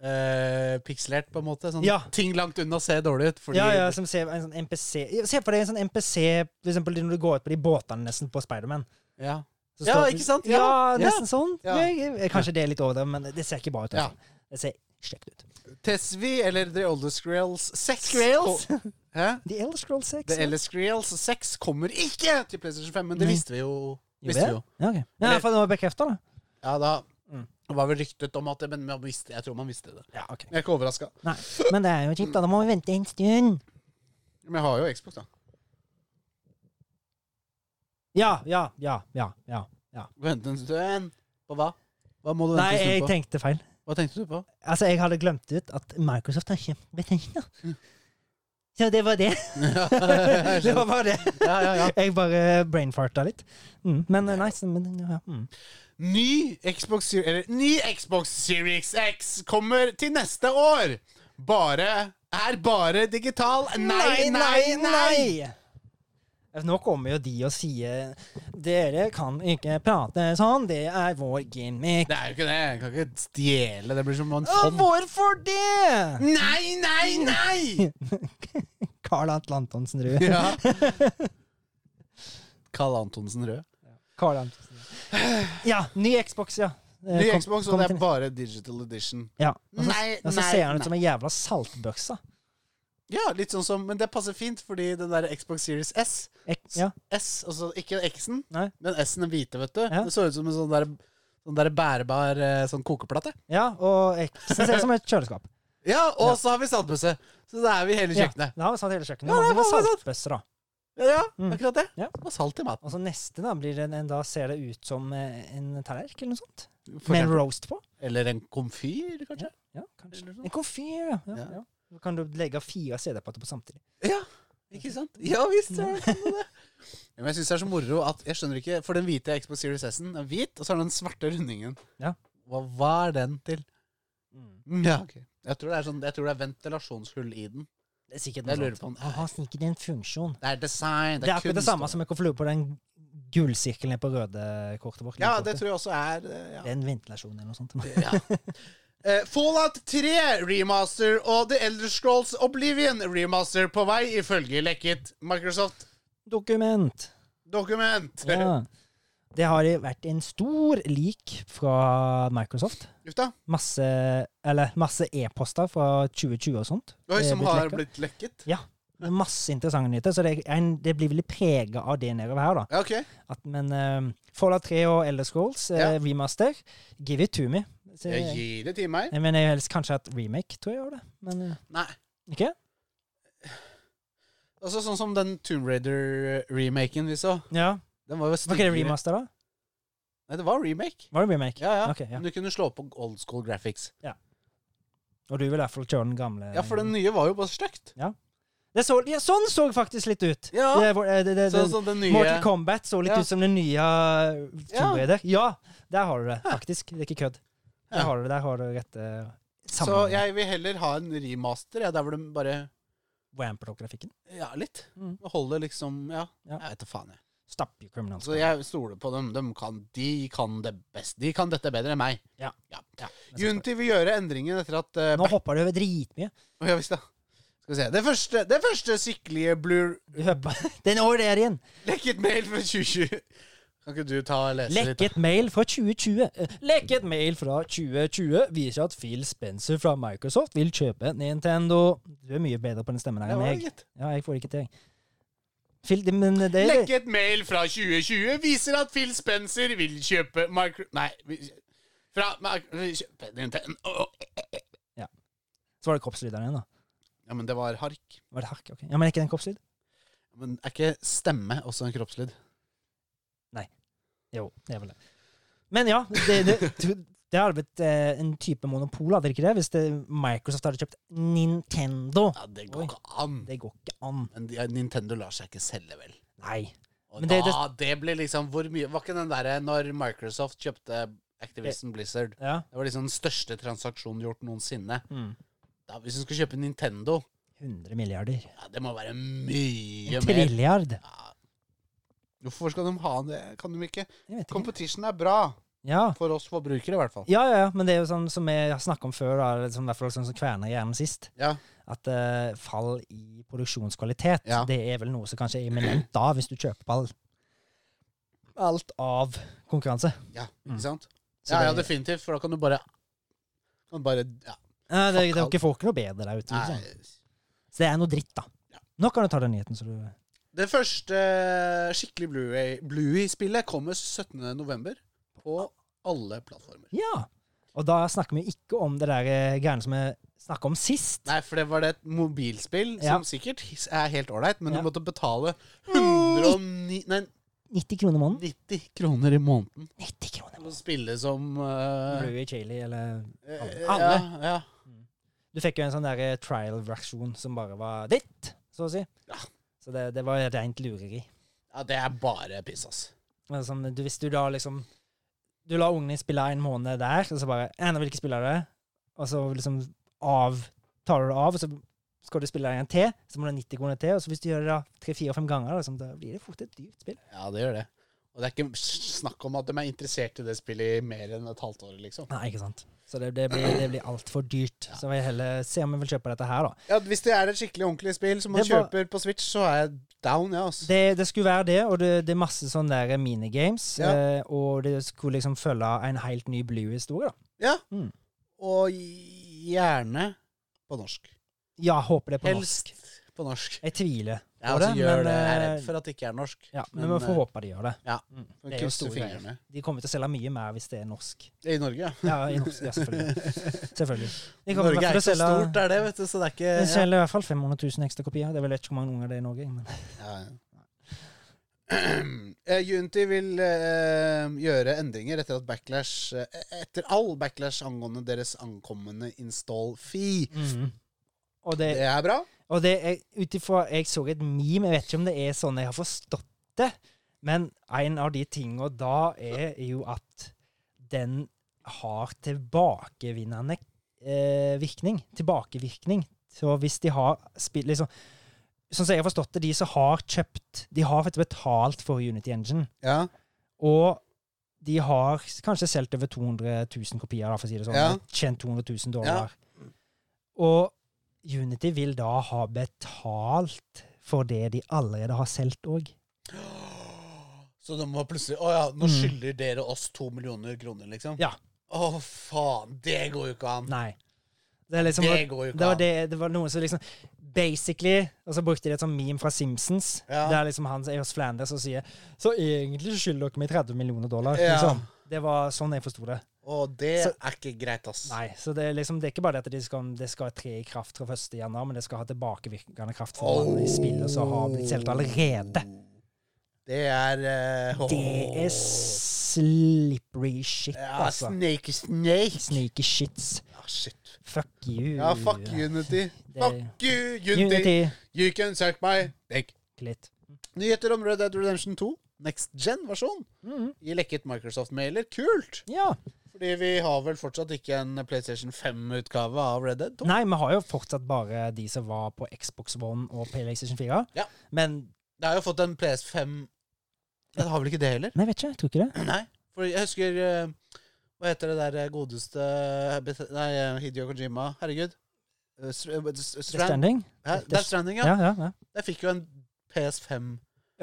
eh, pikselert, på en måte. Sånn, Ja. Ting langt unna ser dårlig ut. Fordi ja, ja, som ser en sånn NPC Ja, Se for deg en sånn NPC for eksempel når du går ut på de båtene nesten på Spiderman. Ja. Så Ja, står- ikke sant? Ja, Ja, ja. nesten sånn. Ja. Jeg- jeg- Kanskje det er litt overdrevet, men det ser ikke bra ut. i Ja. hvert fall. Det ser stygt ut. Tesvi, eller The Older Scrolls 6 Skrells? Ko- Hæ? The Elder Scrolls 6? The Elder Scrolls 6 kommer ikke til PlayStation 5, men det Nei. visste vi jo. Gjorde Visste vi det? jo. Ja, ok. ja, i hvert fall det var bekrefta, da. Ja, da Mm. Det var vel ryktet om at det, men man visste, jeg tror man visste det. Ja, ok. Jeg er ikke overraska. Nei, men det er jo kjipt, da. Da må vi vente en stund. Men jeg har jo Xbox, da. Ja, ja, ja, ja. ja. Vente en stund. På hva? Hva må du vente Nei, en jeg stund på? tenkte feil. Hva tenkte du på? Altså, jeg hadde glemt ut at Microsoft har kjøpt Bethesda. Mm. Så det var det. det var bare det. ja, ja, ja. Jeg bare brainfarta litt. Mm, men eh, nice. Men, ja, mm. Ny Xbox, Series- eller, ny Xbox Series X kommer til neste år. Bare Er bare digital. Nei, nei, nei! Eh, Nå kommer jo de og sier Dere kan ikke prate sånn, det er vår gimmick. Sånn. Det er jo ikke det. Jeg kan ikke stjele. Det blir som en Å, fond. hvorfor det?! Nei, nei, nei! Carl Atle Antonsen Rød. Ja. Karl Antonsen Rød. Carl Antonsen. Ja, ny Xbox, ja. Eh, Ny kom- Xbox, og kom det er til- bare digital edition. ja. Og så, Nei, og så nei, ser han nei. ut som en jævla saltbøkse. Ja, litt sånn som Men det passer fint, fordi den der Xbox Series S Ek- Ja. S, altså Ikke X-en, Nei. men S-en, den hvite, vet du. Ja. Det så ut som en sånn der, sånn der bærbar eh, sånn kokeplate. ja, og X-en ser ut som et kjøleskap. Ja, og så har vi saltbøsse. Så da er vi hele Ja, kjøkkenet. det har vi satt hele kjøkkenet. Ja, det er Ja, det faen meg sant. saltbøsser, da. Ja, ja Mm. akkurat det. Ja. Og salt i maten. Og så Altså, neste, da, blir det en, en, da ser det ut som eh, en tallerken eller noe sånt. For Med en eksempel. roast på. Eller en komfyr, kanskje. Ja, kanskje. Eller noe. En komfyr, ja. ja, Ja. ja. Så kan du legge fire CD-plater på samtidig. Ja, ikke sant? Ja visst. Ja. kan du det. Ja, men jeg syns det er så moro at Jeg skjønner ikke For den hvite Xbox Series S-en er hvit, og så har den den svarte rundingen. Ja. Hva, hva er den til? Mm. Ja, ok. Jeg tror, det er sånn, jeg tror det er ventilasjonshull i den. Det er sikkert Jeg noe lurer sånt. på om Han har sikkert en funksjon. Det er design, Det er akkurat det kunst. samme som jeg kan flue på den gullsirkelen nede på røde kortet vårt. Ja, det tror jeg også er eh, ja. Det er en ventilasjon eller noe sånt. ja. Eh, Fallout 3 remaster og The Elder Scrolls Oblivion remaster på vei, ifølge lekket Microsoft Dokument. dokument. Ja. Det har vært en stor lik fra Microsoft. Uff da. Masse eller masse e-poster fra 2020 og sånt. Oi, Det er som blitt har lekket. blitt lekket? Ja. Det er masse interessante nyheter, så det, er en, det blir veldig prega av det nedover her, da. Ja, OK. At, men eh, Fallout 3 og Elder Scrolls eh, Ja. remaster, give it to me. Så, Jeg jeg, gir det til meg. mener jeg helst kanskje at remake, tror jeg gjør det. Men eh, Nei. ikke? Altså Sånn som den Tomb Raider-remaken vi så. Ja. Den var jo Var ikke det styggere. remaster, da? Nei, det var remake. Var det remake? Ja, ja. Ok, ja. Men du kunne slå på old school graphics. Og du vil i hvert fall kjøre den gamle? Ja, for den nye var jo bare stygt. Det så, ja, sånn så faktisk litt ut! Ja. Det, var- eh, det, det, det, Sånn som den nye Mortal Kombat så litt Ja. ut som den nye eh, Ja. Tomb Raider. Ja. der har du det, faktisk. Det er ikke kødd. Der Ja. har du det. Der har du rette Så sammenhengen. jeg vil heller ha en remaster, ja, der hvor de bare Wamper opp grafikken. Ja, litt. Mm. Holder liksom Ja, Ja. jeg vet da faen, jeg. Stapp you criminals. Så jeg stoler på dem. De kan, de kan det best. De kan dette bedre enn meg. Ja. ja. Men så- Unity vil gjøre endringen etter at eh, Nå hopper du over dritmye. Å, Ja visst, da. Skal vi se. Det første, det første skikkelige blur Du hopper- Den over der igjen. Lekket mail fra 2020. Kan ikke du ta og lese litt? Lekket mail fra 2020. Eh, Lekket mail fra 2020 viser at Phil Spencer fra Microsoft vil kjøpe Nintendo. Du er mye bedre på den stemmen her Det enn var det, jeg. gitt. Ja, jeg får det ikke til. Phil, det- men det, det, Lekket mail fra 2020 viser at Phil Spencer vil kjøpe micro... Nei. vi- Fra Mic- kjøpe Nintendo. så var det kroppslydene igjen, da. Ja, men det var hark. Var det hark? Ok. Ja, men er ikke den kroppslyd? Men er ikke stemme også en kroppslyd? Jo, det er vel det. Men ja, det, det, det hadde blitt eh, en type monopol, hadde det ikke det? Hvis det, Microsoft hadde kjøpt Nintendo. Ja, det Oi. går ikke an. Det går ikke an. Men de- Nintendo lar seg ikke selge, vel. Nei. Og Men det, det- da, det ble liksom Hvor mye Var ikke den derre når Microsoft kjøpte Activision Blizzard? Ja. Det var liksom den største transaksjonen gjort noensinne. Mm. Da, hvis du skal kjøpe Nintendo 100 milliarder. ja, Det må være mye mer. En trilliard. Ja. Hvorfor skal de ha det? Kan de ikke? Jeg vet ikke. Competition er bra. Ja. For oss forbrukere, i hvert fall. Ja, ja, ja, men det er jo sånn som jeg har snakket om før, da, eller som, i hvert fall sånn som kverner hjernen sist, Ja. at eh, fall i produksjonskvalitet, Ja. det er vel noe som kanskje er imminent da, hvis du kjøper all, alt av konkurranse. ja Mm. ikke sant? Så Ja, det- ja, definitivt. For da kan du bare kan du bare ja, Ja, Eh, Fuck det, det er jo alt. ikke folk noe bedre der ute. Liksom. nei. Så det er noe dritt, da. Ja. Nå kan du ta den nyheten, så du Det første skikkelig Bluey- Bluey-spillet kommer 17.11. på alle plattformer. Ja. Og da snakker vi ikke om det der eh, greiene som vi snakka om sist. Nei, for det var det et mobilspill Ja. som sikkert er helt ålreit, men Ja. du måtte betale 109, nei, 90 kroner måneden. 90 kroner i måneden 90 kroner. for å spille som eh, Bluey Chili, eller eh, Alle. Ja, ja. Du fikk jo en sånn der eh, trial-versjon som bare var ditt, så å si. Ja. Så det, det var rent lureri. ja, det er bare piss, ass. Men sånn, du, hvis du da liksom Du lar ungene spille en måned der, og så bare «Eh, 'Nå vil jeg ikke spille det.' Og så liksom av, tar du det av, og så skal du spille det en til, så må du ha 90 kroner til. Og så hvis du gjør det da tre-fire-fem ganger, da, sånn, da blir det fort et dyrt spill. Ja, det gjør det. Og det er ikke snakk om at de er interessert i det spillet i mer enn et halvt år, liksom. Nei, ikke sant. Så det, det blir, det blir altfor dyrt. Så vil jeg heller se om jeg vil kjøpe dette her, da. Ja, Hvis det er et skikkelig ordentlig spill som man Det var- kjøper på Switch, så er jeg down, ja, ass. Det, det skulle være det, og det, det er masse sånne der minigames. Ja. Eh, og det skulle liksom følge en helt ny Blue-historie, da. Ja. Mm. Og gjerne på norsk. Ja, håper det på Helst norsk. på norsk. Jeg tviler. Ja, Var altså, det? gjør Men, det. Jeg er eh, redd for at det ikke er norsk. Ja, men, Men, vi får eh, håpe de gjør det. ja. Mm. Men Det er jo Krysse store greier. fingrene. De kommer til å selge mye mer hvis det er norsk. I Norge, ja. Ja, i norsk, ja selvfølgelig. selvfølgelig. De kommer i Norge hvert er fall ikke så til å selge- stort, er det, vet du, så det er ikke De ja. selger i hvert fall 500 000 ekstra kopier. Det er vel ikke hvor mange unger det er i Norge. Men. Ja, ja. Eh, Unity vil eh, gjøre endringer etter at backlash eh, Etter all backlash angående deres ankommende install fee. Og det, Det er bra. og det er ut ifra Jeg så et meme, jeg vet ikke om det er sånn jeg har forstått det, men en av de tinga da er jo at den har tilbakevinnende eh, virkning. Tilbakevirkning. Så hvis de har spilt liksom, Sånn som jeg har forstått det, de som har kjøpt De har faktisk betalt for Unity Engine. Ja. Og de har s- kanskje solgt over 200 000 kopier, da, for å si det sånn. Ja. Tjent 200 000 dollar. Og Unity vil da ha betalt for det de allerede har solgt òg. Så de var plutselig Å ja, nå Mm. skylder dere oss to millioner kroner, liksom? Ja. Å, faen. Det går jo ikke an. Nei. Det, er liksom, Det det, går jo ikke var an. det, det var noen som liksom Basically, og så brukte de et sånt meme fra Simpsons, Ja. der liksom han Eos Flanders som sier Så egentlig så skylder dere meg 30 millioner dollar. Ja. Liksom. Det var sånn jeg forsto det. Og det Så- er ikke greit, ass. Nei, så det er liksom Det er ikke bare det at de skal, det skal tre i kraft fra 1. januar, men det skal ha tilbakevirkende kraft for alle de spillene som har blitt solgt allerede. Det er eh, åh. Det er slippery shit, ja, altså. Snake is snake. Sneaky shits. Ah, shit. Fuck you. Ja, fuck Unity. Fuck you, Unity. Unity. You can suck my dick. Litt. Nyheter om Red Dead Redemption 2. Next gen-versjon. Mhm. I lekket Microsoft-mailer. Kult! Ja. Fordi vi har vel fortsatt ikke en PlayStation 5-utgave av Red Dead 2. Nei, vi har jo fortsatt bare de som var på Xbox One og PlayStation 4. Ja. Men Det har jo fått en PS5 Det har vel ikke det heller? Nei, jeg vet ikke. Jeg tror ikke det. Nei. For jeg husker eh, Hva heter det der eh, godeste Bet- Nei, eh, Hideo Kojima. Herregud. Eh, Str- eh, s- Death Strand. Stranding. Hæ? Death- Death Stranding, ja. Ja, ja. ja. Jeg fikk jo en PS5.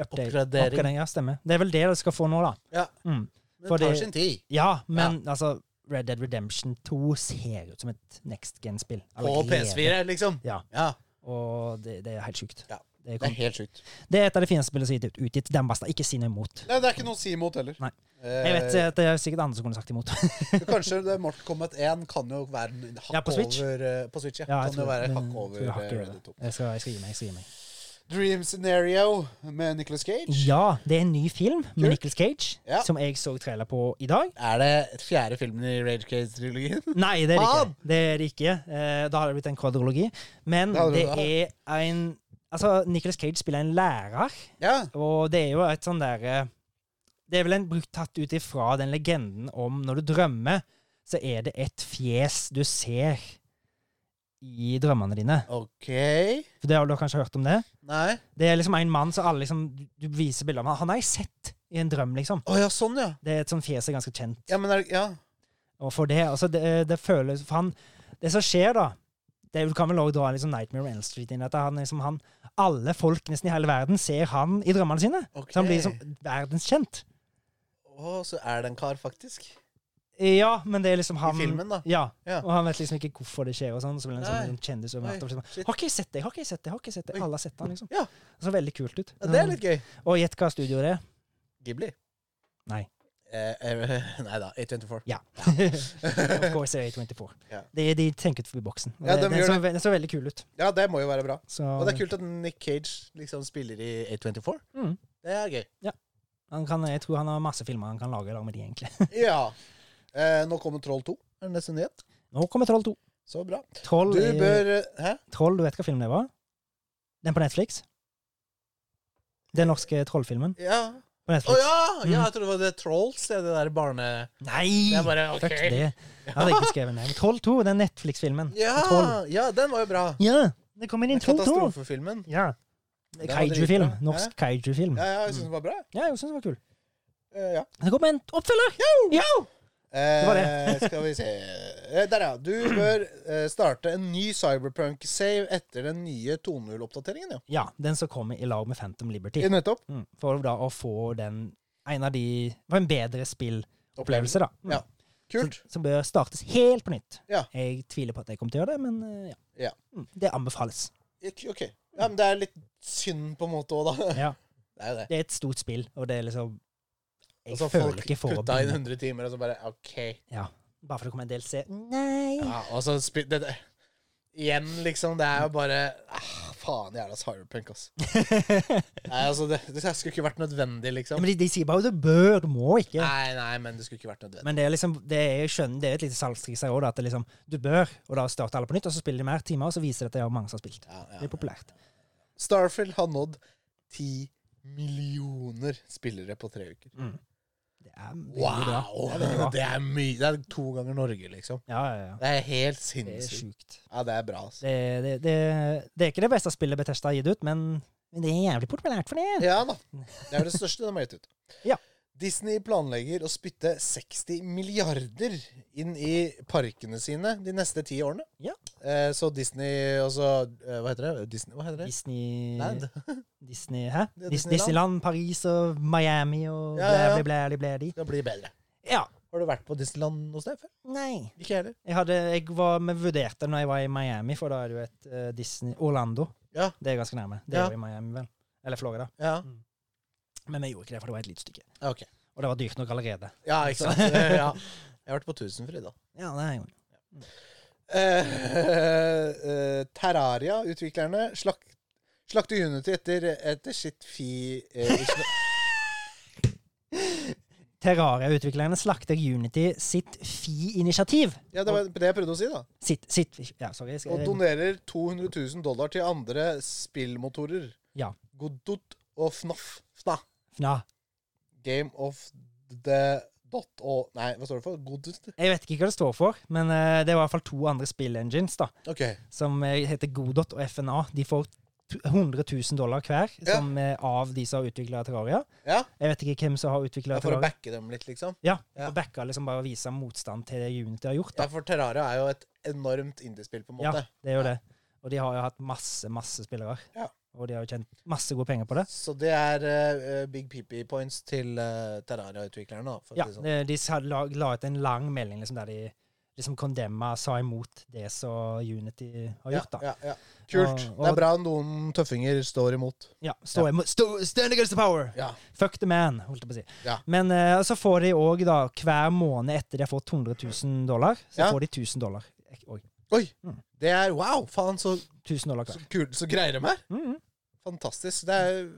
Update. Oppgradering. Oppgradering. Ja, stemmer. Det er vel det dere skal få nå, da. Ja. Mm. Men For det tar det- sin tid. Ja, men altså Red Dead Redemption 2 ser ut som et next gen-spill. På allerede. PS4, liksom. Ja. Ja. Og det, det er helt sjukt. Ja. Det, Det kom, er helt sjukt. det er et av de fineste spillene som er gitt ut- utgitt. Den basta ikke si noe imot. Nei, det er ikke noe å si imot heller. Nei. Eh, Jeg vet eh, at det er sikkert andre som kunne sagt imot. Kanskje det Mortal Kombat 1 kan jo være en hakk Ja, på Switch. over eh, På Switch, ja. Ja, jeg kan tror jo være det, en men hakk jeg over tror jeg hakker eh, over Red Dead 2. Jeg skal, jeg skal gi meg. Jeg skal gi meg. Dream Scenario med Nicolas Cage. Ja, det er en ny film med Kult. Nicolas Cage Ja. som jeg så trailer på i dag. Er det fjerde filmen i Rage Cage-trilogien? Nei, det er det Faen! ikke. Det er det ikke. Eh, da hadde det blitt en kvadrologi. Men Det hadde det det er en Altså, Nicolas Cage spiller en lærer, Ja. og det er jo et sånn derre Det er vel en brukt tatt ut ifra den legenden om når du drømmer, så er det et fjes du ser i drømmene dine. OK. For det har du kanskje hørt om det? Nei. Det er liksom en mann som alle liksom Du viser bilder av ham. Han har jeg sett i en drøm, liksom. Å ja, sånn, ja. Det er et sånt fjes som er ganske kjent. Ja, men er det Ja. Og for det, altså det, det føles for han, Det som skjer, da det er- Du kan vel også dra litt sånn Nightmare on Elm Street inn i dette. Han, er liksom, han, alle folk nesten i hele verden ser han i drømmene sine. Ok. Så han blir liksom verdenskjent. Å, så er det en kar, faktisk. Ja, men det er liksom han filmen, da? Ja, Ja. Og han vet liksom ikke hvorfor det skjer. og sånn, Så blir han sånn, Nei. en kjendis over Oi, natta. og Liksom, shit. har ikke jeg sett deg, har ikke jeg sett deg, har ikke jeg sett deg. Oi. Alle har sett han liksom. Ja. Det så veldig kult ut. Ja, Um, det er litt gøy. Og gjett hva studio det er. Ghibli. Nei. Eh, eh, nei da. A24. Ja. of course det er A24. Ja. De, de tenker ut forbi boksen. Og Ja, det, de den gjør så, den så veldig kul ut. Ja, det må jo være bra. Så, Og det er kult at Nick Cage liksom spiller i A24. Mm. Det er gøy. Han kan, jeg tror han har masse filmer han kan lage i lag med de, egentlig. Ja. Eh, nå kommer Troll 2. Er det neste nyhet? Nå kommer Troll 2. Så bra. Troll, Du er- bør eh, Hæ? Troll, du vet hva film det var? Den på Netflix? Den norske trollfilmen Ja. på Å Netflix? ja! ja! Jeg trodde det var det Trolls, det der barne... Nei! Det er bare OK. Fuck det. Jeg hadde ikke skrevet den. ned. Troll 2, den Netflix-filmen. Troll. Ja, ja, den var jo bra. Ja, det kommer inn Troll 2. Katastrofefilmen. Ja. Den var Kaiju-film. dritbra. Norsk kaiju-film. Ja, ja, jeg syns den var bra. Ja, jeg syns den var kul. Eh, ja. Det kommer en oppfølger! Ja! Eh, var skal vi se Eh, Der, ja. Du bør eh, starte en ny Cyberpunk-save etter den nye 2.0-oppdateringen, ja. Ja, den som kommer i lag med Phantom Liberty. I nettopp. Mm, for da å få den En av de For en bedre spillopplevelse, da. Mm. Ja. Kult. Som, som bør startes helt på nytt. Ja. Jeg tviler på at jeg kommer til å gjøre det, men eh, ja. Ja. Mm, Det anbefales. Ik- OK. Ja, men det er litt synd på en måte òg, da. Ja. Det er jo det. Det er et stort spill, og det er liksom Jeg Og så føler Altså, folk ikke for å putta inn begynne. 100 timer, og så bare OK. Ja. Bare for det kommer en DLC. Nei! Ja, og så spi- det, det. Igjen, liksom. Det er jo bare ah, Faen jævla cyberpunk, ass. Nei, altså, det, det skulle ikke vært nødvendig, Ja, liksom. men de, de sier bare du bør, du må ikke. Nei, nei, men det skulle ikke vært nødvendig. Men det er liksom, det er, jeg skjønner, det er et lite salgstriks her òg, at det liksom, du bør, og da starter alle på nytt, og så spiller de mer timer, og så viser det at det er mange som har spilt. Ja, ja. Det er populært. Starfield har nådd ti millioner spillere på tre uker. Det er veldig bra. Wow! Det er veldig bra. Det er mye. Det er to ganger Norge, liksom. Ja, ja, ja. Det er helt Det er sinnssykt. sjukt. Ja, det er bra, ass. Det, det, det, det er ikke det beste spillet Betesta har gitt ut, men men det er jævlig populært for det. Ja da. Det er det største de har gitt ut. Ja. Disney planlegger å spytte 60 milliarder inn i parkene sine de neste ti årene. Ja. Eh, så Disney altså, eh, Hva heter det? Disney, hva heter det? Disney Land. Disney, hæ? Ja, Dis- Disneyland. Disneyland, Paris og Miami og Ja, ja, ja. blæ, blæ, blæ, blæ, blæ. Det blir bedre. Ja. Har du vært på Disneyland noe sted før? Nei. Ikke jeg heller. Jeg, hadde, jeg var, vi vurderte når jeg var i Miami, for da er det jo et eh, Disney Orlando. Ja. Det er ganske nærme. Det Ja. er jo i Miami, vel. Eller Florida. Ja, Men vi gjorde ikke det, for det var et lite stykke. Ja, ok. Og det var dyrt nok allerede. Ja, ikke sant. Eh, ja. Jeg har vært på Tusenfryd, da. Ja, det er jo Eh, eh, Terraria-utviklerne slak slakter Unity etter, etter sitt fi... eh, i sl- Terraria-utviklerne slakter Unity sitt FI-initiativ. ja, det var det jeg prøvde å si, da. Sitt, sitt Ja, sorry. Skal Og jeg, donerer 200 000 dollar til andre spillmotorer. Ja. Godot og FNAF. FNA. Fna. Game of the dot og Nei, hva står det for? Godot? jeg vet ikke hva det står for, men eh, det var i hvert fall to andre spill-engines da, OK. som eh, heter Godot og FNA. De får t- 100 000 dollar hver Ja. som, eh, av de som har utvikla Terraria. Ja, Jeg vet ikke hvem som har utvikla ja For å Terraria. backe dem litt, liksom. Ja, Ja. Og backa liksom bare å vise motstand til det Unity har gjort. Ja, da. For Terraria er jo et enormt indiespill, på en Ja, måte. det er jo det. Og de har jo hatt masse, masse spillere. Ja. Og de har jo tjent masse gode penger på det. Så det er eh, big peepee points til eh, Terraria-utviklerne, da. For Ja, å si det sånn. de, de sa- la, la ut en lang melding liksom, der de liksom kondemma, sa imot det som Unity har gjort. da. Ja, ja, ja. Kult. Og- og- det er bra noen tøffinger står imot. Ja, stå, imot- stå, Stand against the power! Ja. Fuck the man, holdt jeg på å si. Ja. Men eh, så får de òg, da, hver måned etter de har fått 100 000 dollar, så Ja. får de 1000 dollar. Ek- Oi, Oi! Mm. Det er wow! Faen, så, 1000 dollar så hver. kult. Så greier de her. Mhm. Fantastisk. Det er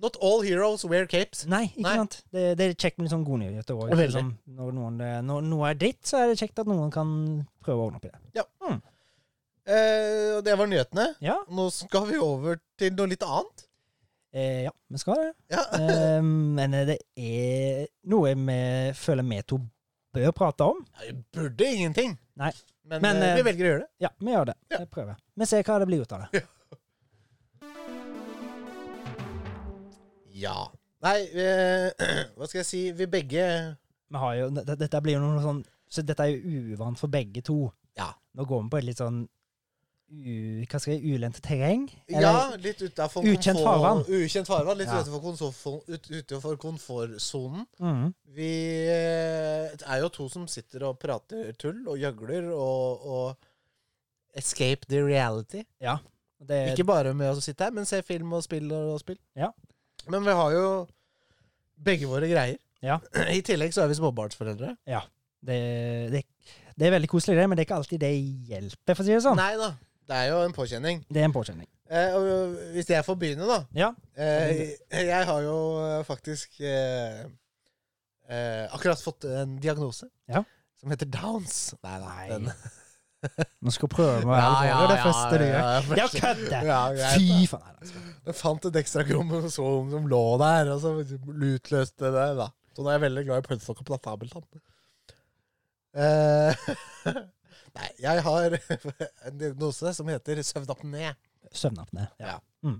Not all heroes wear capes. Nei, ikke Nei. sant? Det, det er kjekt med litt sånn godnyheter òg. Og veldig. Liksom, når, noen, eh, når noe er dritt, så er det kjekt at noen kan prøve å ordne opp i det. Eh, og det var nyhetene. Ja, Nå skal vi over til noe litt annet. eh, ja vi skal det. Ja. Eh, men eh, det er noe vi føler vi to bør prate om. Jeg burde ingenting. Nei. Men, Men, eh, eh, vi velger å gjøre det. Ja, vi gjør det. Ja. Jeg prøver. Vi ser hva det blir ut av det. Ja. Nei, vi, hva skal jeg si Vi begge Vi har jo, dette- dette blir jo noe sånn Så dette er jo uvant for begge to. Ja. Nå går vi på et litt sånn u, hva skal jeg, ulendt terreng. Eller- Ja, litt utafor Ukjent farvann. Ukjent farvann. Litt Ja. utenfor konfor- ut- utenfor komfortsonen. Mhm. Vi eh, er jo to som sitter og prater tull og gjøgler og, og Escape the reality. det, Ikke bare med å sitte her, men se film og spille og spill. Eh, Ja. Men vi har jo begge våre greier. Ja. I tillegg så er vi småbarnsforeldre. det, det, det er veldig koselig, det, men det er ikke alltid det hjelper, for å si det sånn. Nei da. Det er jo en påkjenning. Det er en påkjenning. Eh, og hvis jeg får begynne, da. Ja. Eh, jeg har jo eh, faktisk eh, eh, akkurat fått en diagnose Ja. som heter Downs. Nei, Nei. den- Nå skal jeg prøve å være alvorlig, det første du gjør. Ja, kødd det! Ja, greit. Fy faen. Nei, altså. Jeg fant et ekstra kromosom som lå der, og så utløste det, da. Så nå er jeg veldig glad i pølsekokk og platabeltann. Eh, nei, jeg har en diagnose som heter søvnapné. Søvnapné. Ja. Ja.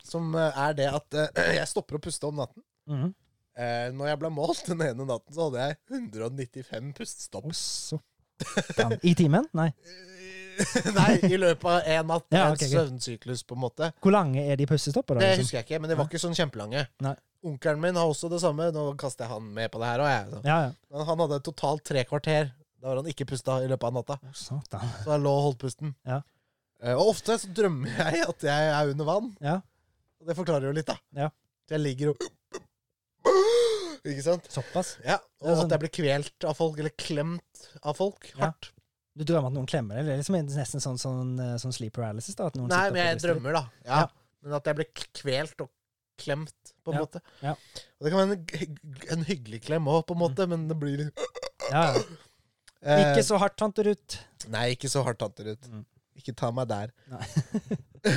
Som eh, er det at eh, jeg stopper å puste om natten. Mhm. Eh, når jeg ble målt den ene natten, så hadde jeg 195 pustestopp. Og så Faen. I timen? Nei. Eh, nei, i løpet av én natt. Ja, en ok, ok. søvnsyklus, på en måte. Hvor lange er de pustestoppene? Det da, liksom? husker jeg ikke, men det var ikke sånn kjempelange. Nei. Onkelen min har også det samme. Nå kaster jeg han med på det her òg, jeg. Ja, ja. Men han hadde totalt tre kvarter da var han ikke pusta i løpet av natta. Å, Satan. Så han lå og holdt pusten. Ja. Eh, Og ofte så drømmer jeg at jeg er under vann. Ja. Og det forklarer jo litt, da. Ja. Så jeg ligger og Ikke sant? Såpass. Ja. Ja, Og sånn. at jeg blir kvelt av folk, eller klemt av folk. Ja. Hardt. Du drømmer at noen klemmer deg? Det er liksom nesten sånn, sånn, eh, sånn sleep paralysis? da, at noen Nei, men sitter på jeg brystet ditt. drømmer, da. Ja. Ja. Men at jeg blir k- kvelt og klemt, på en Ja. måte. Ja. Og det kan være en, g- en hyggelig klem òg, på en måte, men det blir litt Ja, ja. Eh, Ikke så hardt, tante Ruth. Nei, ikke så hardt, tante Ruth. Mm. Ikke ta meg der. Nei.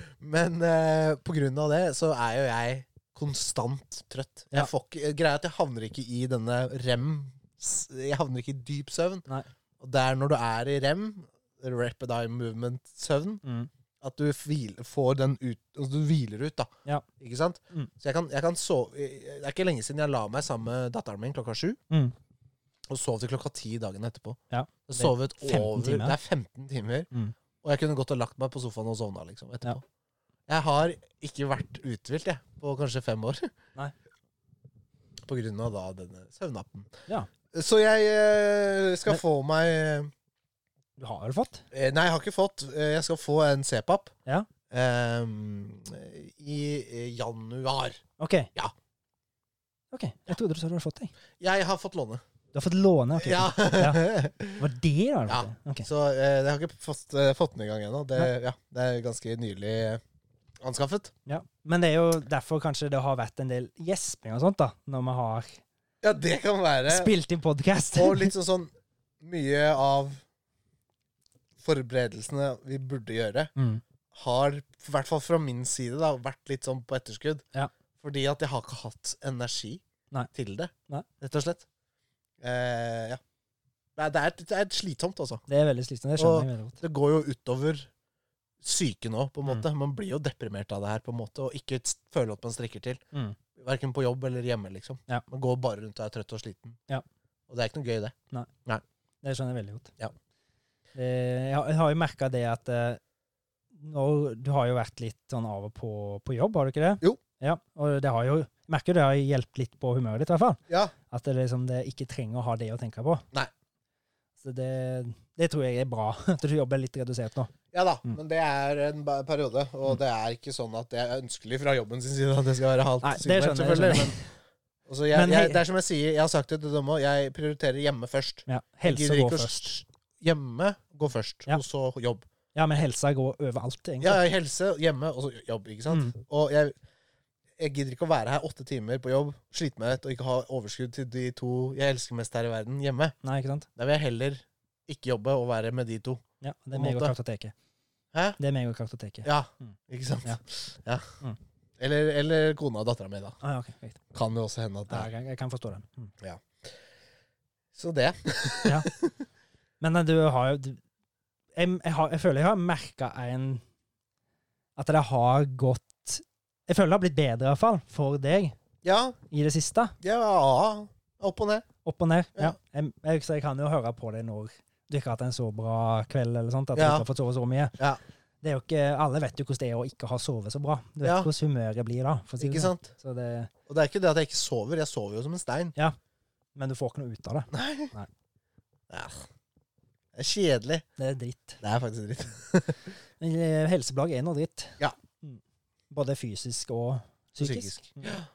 Men eh, på grunn av det så er jo jeg konstant trøtt. Ja. Jeg får ikke, greia er at jeg havner ikke i denne rem s- Jeg havner ikke i dyp søvn. Nei. Og det er når du er i rem, rapid eye movement-søvn, Mm. At du hvil, får den ut Altså du hviler ut, da. Ja. Ikke sant? Mm. Så jeg kan, jeg kan sove Det er ikke lenge siden jeg la meg sammen med datteren min klokka sju. Mm. Og sov til klokka ti dagen etterpå. Ja. Jeg sovet 15 over timer. Det er 15 timer. Mm. Og jeg kunne gått og lagt meg på sofaen og sovna liksom, etterpå. Jeg har ikke vært uthvilt jeg, på kanskje fem år. Nei. På grunn av da denne søvnappen. Ja. Så jeg eh, skal Men- få meg eh, Du har vel fått? Nei, jeg har ikke fått. Eh, Jeg skal få en C-pap. Ja. Ehm, I eh, januar. OK. Ja. Ok, Jeg trodde du sa du hadde fått det. Jeg har fått låne. Du har fått låne? ok. Ja. Var det det du hadde Ja. fått? det? Ok. Så eh, jeg har ikke fått, eh, fått den i gang ennå. Det, ja, det er ganske nylig eh, anskaffet. Ja. Men det er jo derfor kanskje det har vært en del gjesping og sånt, da, når vi har Ja, det kan være. spilt inn podkast. Og litt sånn sånn Mye av forberedelsene vi burde gjøre, mm. har, i hvert fall fra min side, da, vært litt sånn på etterskudd. Ja. Fordi at jeg har ikke hatt energi Nei. til det, Nei. rett og slett. Eh, ja. Det er, det er, det er slitsomt, altså. Det er veldig slitsomt. Det Og- skjønner jeg veldig godt. Det går jo utover syken òg, på en Mm. måte. Man blir jo deprimert av det her, på en måte, og ikke s- føler at man strekker til. Mm. Verken på jobb eller hjemme, liksom. Ja. Man går bare rundt og er trøtt og sliten. Ja. Og det er ikke noe gøy, det. Det skjønner jeg veldig godt. Ja. Eh, Jeg har, jeg har jo merka det at eh, når, Du har jo vært litt sånn av og på på jobb, har du ikke det? Jo. Ja, og det har jo, jeg merker jo det har hjulpet litt på humøret ditt, i hvert fall. Ja. At det liksom det ikke trenger å ha det å tenke på. Nei. Så det, det tror jeg er bra, at du jobber litt redusert nå. Ja da, Mm. men det er en ba- periode, og det er ikke sånn at det er ønskelig fra jobben sin side at det skal være halvt Nei, det sykmeldt, skjønner jeg, selvfølgelig, skjønner jeg. Men, altså, jeg, Men hei- jeg, det er som jeg sier, jeg har sagt det til dem òg, jeg prioriterer hjemme først. Ja, Jeg Helse gidder går ikke å først. s- Hjemme går først, Ja. og så jobb. Ja, men helsa går overalt, egentlig. Ja, helse, hjemme, og så jobb, ikke sant. Mm. Og jeg, jeg gidder ikke å være her åtte timer på jobb, slite meg ut og ikke ha overskudd til de to jeg elsker mest her i verden, hjemme. Nei, ikke sant? Da vil jeg heller ikke jobbe og være med de to. Ja, På det en er meg og måte. kartoteket. Hæ? Det er meg og kartoteket. Ja, Mm. ikke sant? Ja. Ja. Mm. Eller, eller kona og dattera mi, da. Ah, ja, ok, greit. Kan jo også hende at det Ja, er jeg, kan- jeg kan forstå den. Mm. Så det. Men eh, du har jo du- jeg, jeg, har, jeg føler jeg har merka en At det har gått Jeg føler det har blitt bedre, i hvert fall, for deg Ja, i det siste. ja. Opp og ned. Opp og ned. Ja. Ja. Jeg, jeg, så jeg kan jo høre på deg når du ikke har hatt en så bra kveld, eller sånt, at du Ja. ikke har fått sove så mye. Ja. Det er jo ikke, alle vet jo hvordan det er å ikke ha sovet så bra. Du vet Ja. hvordan humøret blir da. For å si det Ikke sånn. sant? Så det, Og det er ikke det at jeg ikke sover. Jeg sover jo som en stein. men du får ikke noe ut av det. Nei. Nei. Ja. Det er kjedelig. Det er dritt. Det er faktisk dritt. Men, eh, Helseplagg er noe dritt. Ja. Mm. Både fysisk og psykisk. Psykisk. Mm.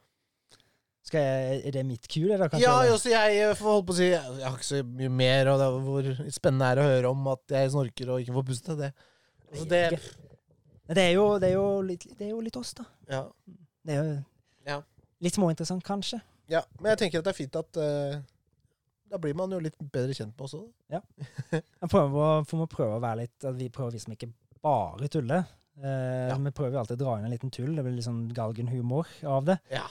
Skal jeg, er det mitt kul, eller? kanskje? Ja, jo, så jeg eh, får holde på å si Jeg har ikke så mye mer, og det er hvor spennende er å høre om at jeg snorker og ikke får puste. Det. Altså, det Ikke. Men Det er, jo, det, er jo litt, det er jo litt oss, da. ja. Det er jo Ja. litt småinteressant, kanskje. ja. Men jeg tenker at det er fint at eh, Da blir man jo litt bedre kjent med også. da. Jeg prøver å, for må prøve å være litt at Vi prøver liksom ikke bare tulle. Eh, Ja. Vi prøver jo alltid å dra inn en liten tull. Det blir litt sånn galgenhumor av det. Ja.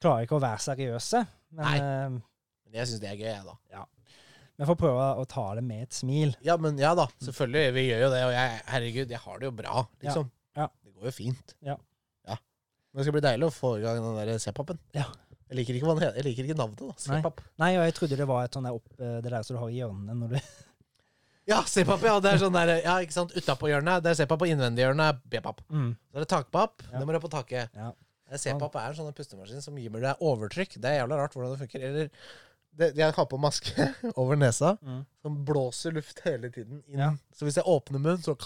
Klarer ikke å være seriøse, men eh, Men jeg syns det er gøy, jeg, da. vi får prøve å ta det med et smil. Ja, men ja da, selvfølgelig. Vi gjør jo det. Og jeg, herregud, jeg har det jo bra, liksom. Mm. Ja, ja. Det går jo fint. Ja. Ja. Men det skal bli deilig å få i gang den der C-pappen. Ja. Jeg liker ikke, hva den heter. jeg liker ikke navnet, da. Nei. C-pap. Nei, og jeg trodde det var et sånn der opp, eh, det der som du har i hjørnene når du Ja, C-pap, ja. Det er sånn der, ja, ikke sant. Utapå hjørnet. Det er C-pap, og innvendig hjørnet er B-pap. mm. Så er det takpap. Det Ja. må du ha på taket. Ja. Eh, C-pap er en sånn pustemaskin som gir deg overtrykk. Det er jævla rart hvordan det funker. Eller det, jeg har på maske over nesa, Mm. som blåser luft hele tiden inn. Ja. Så hvis jeg åpner munnen, så,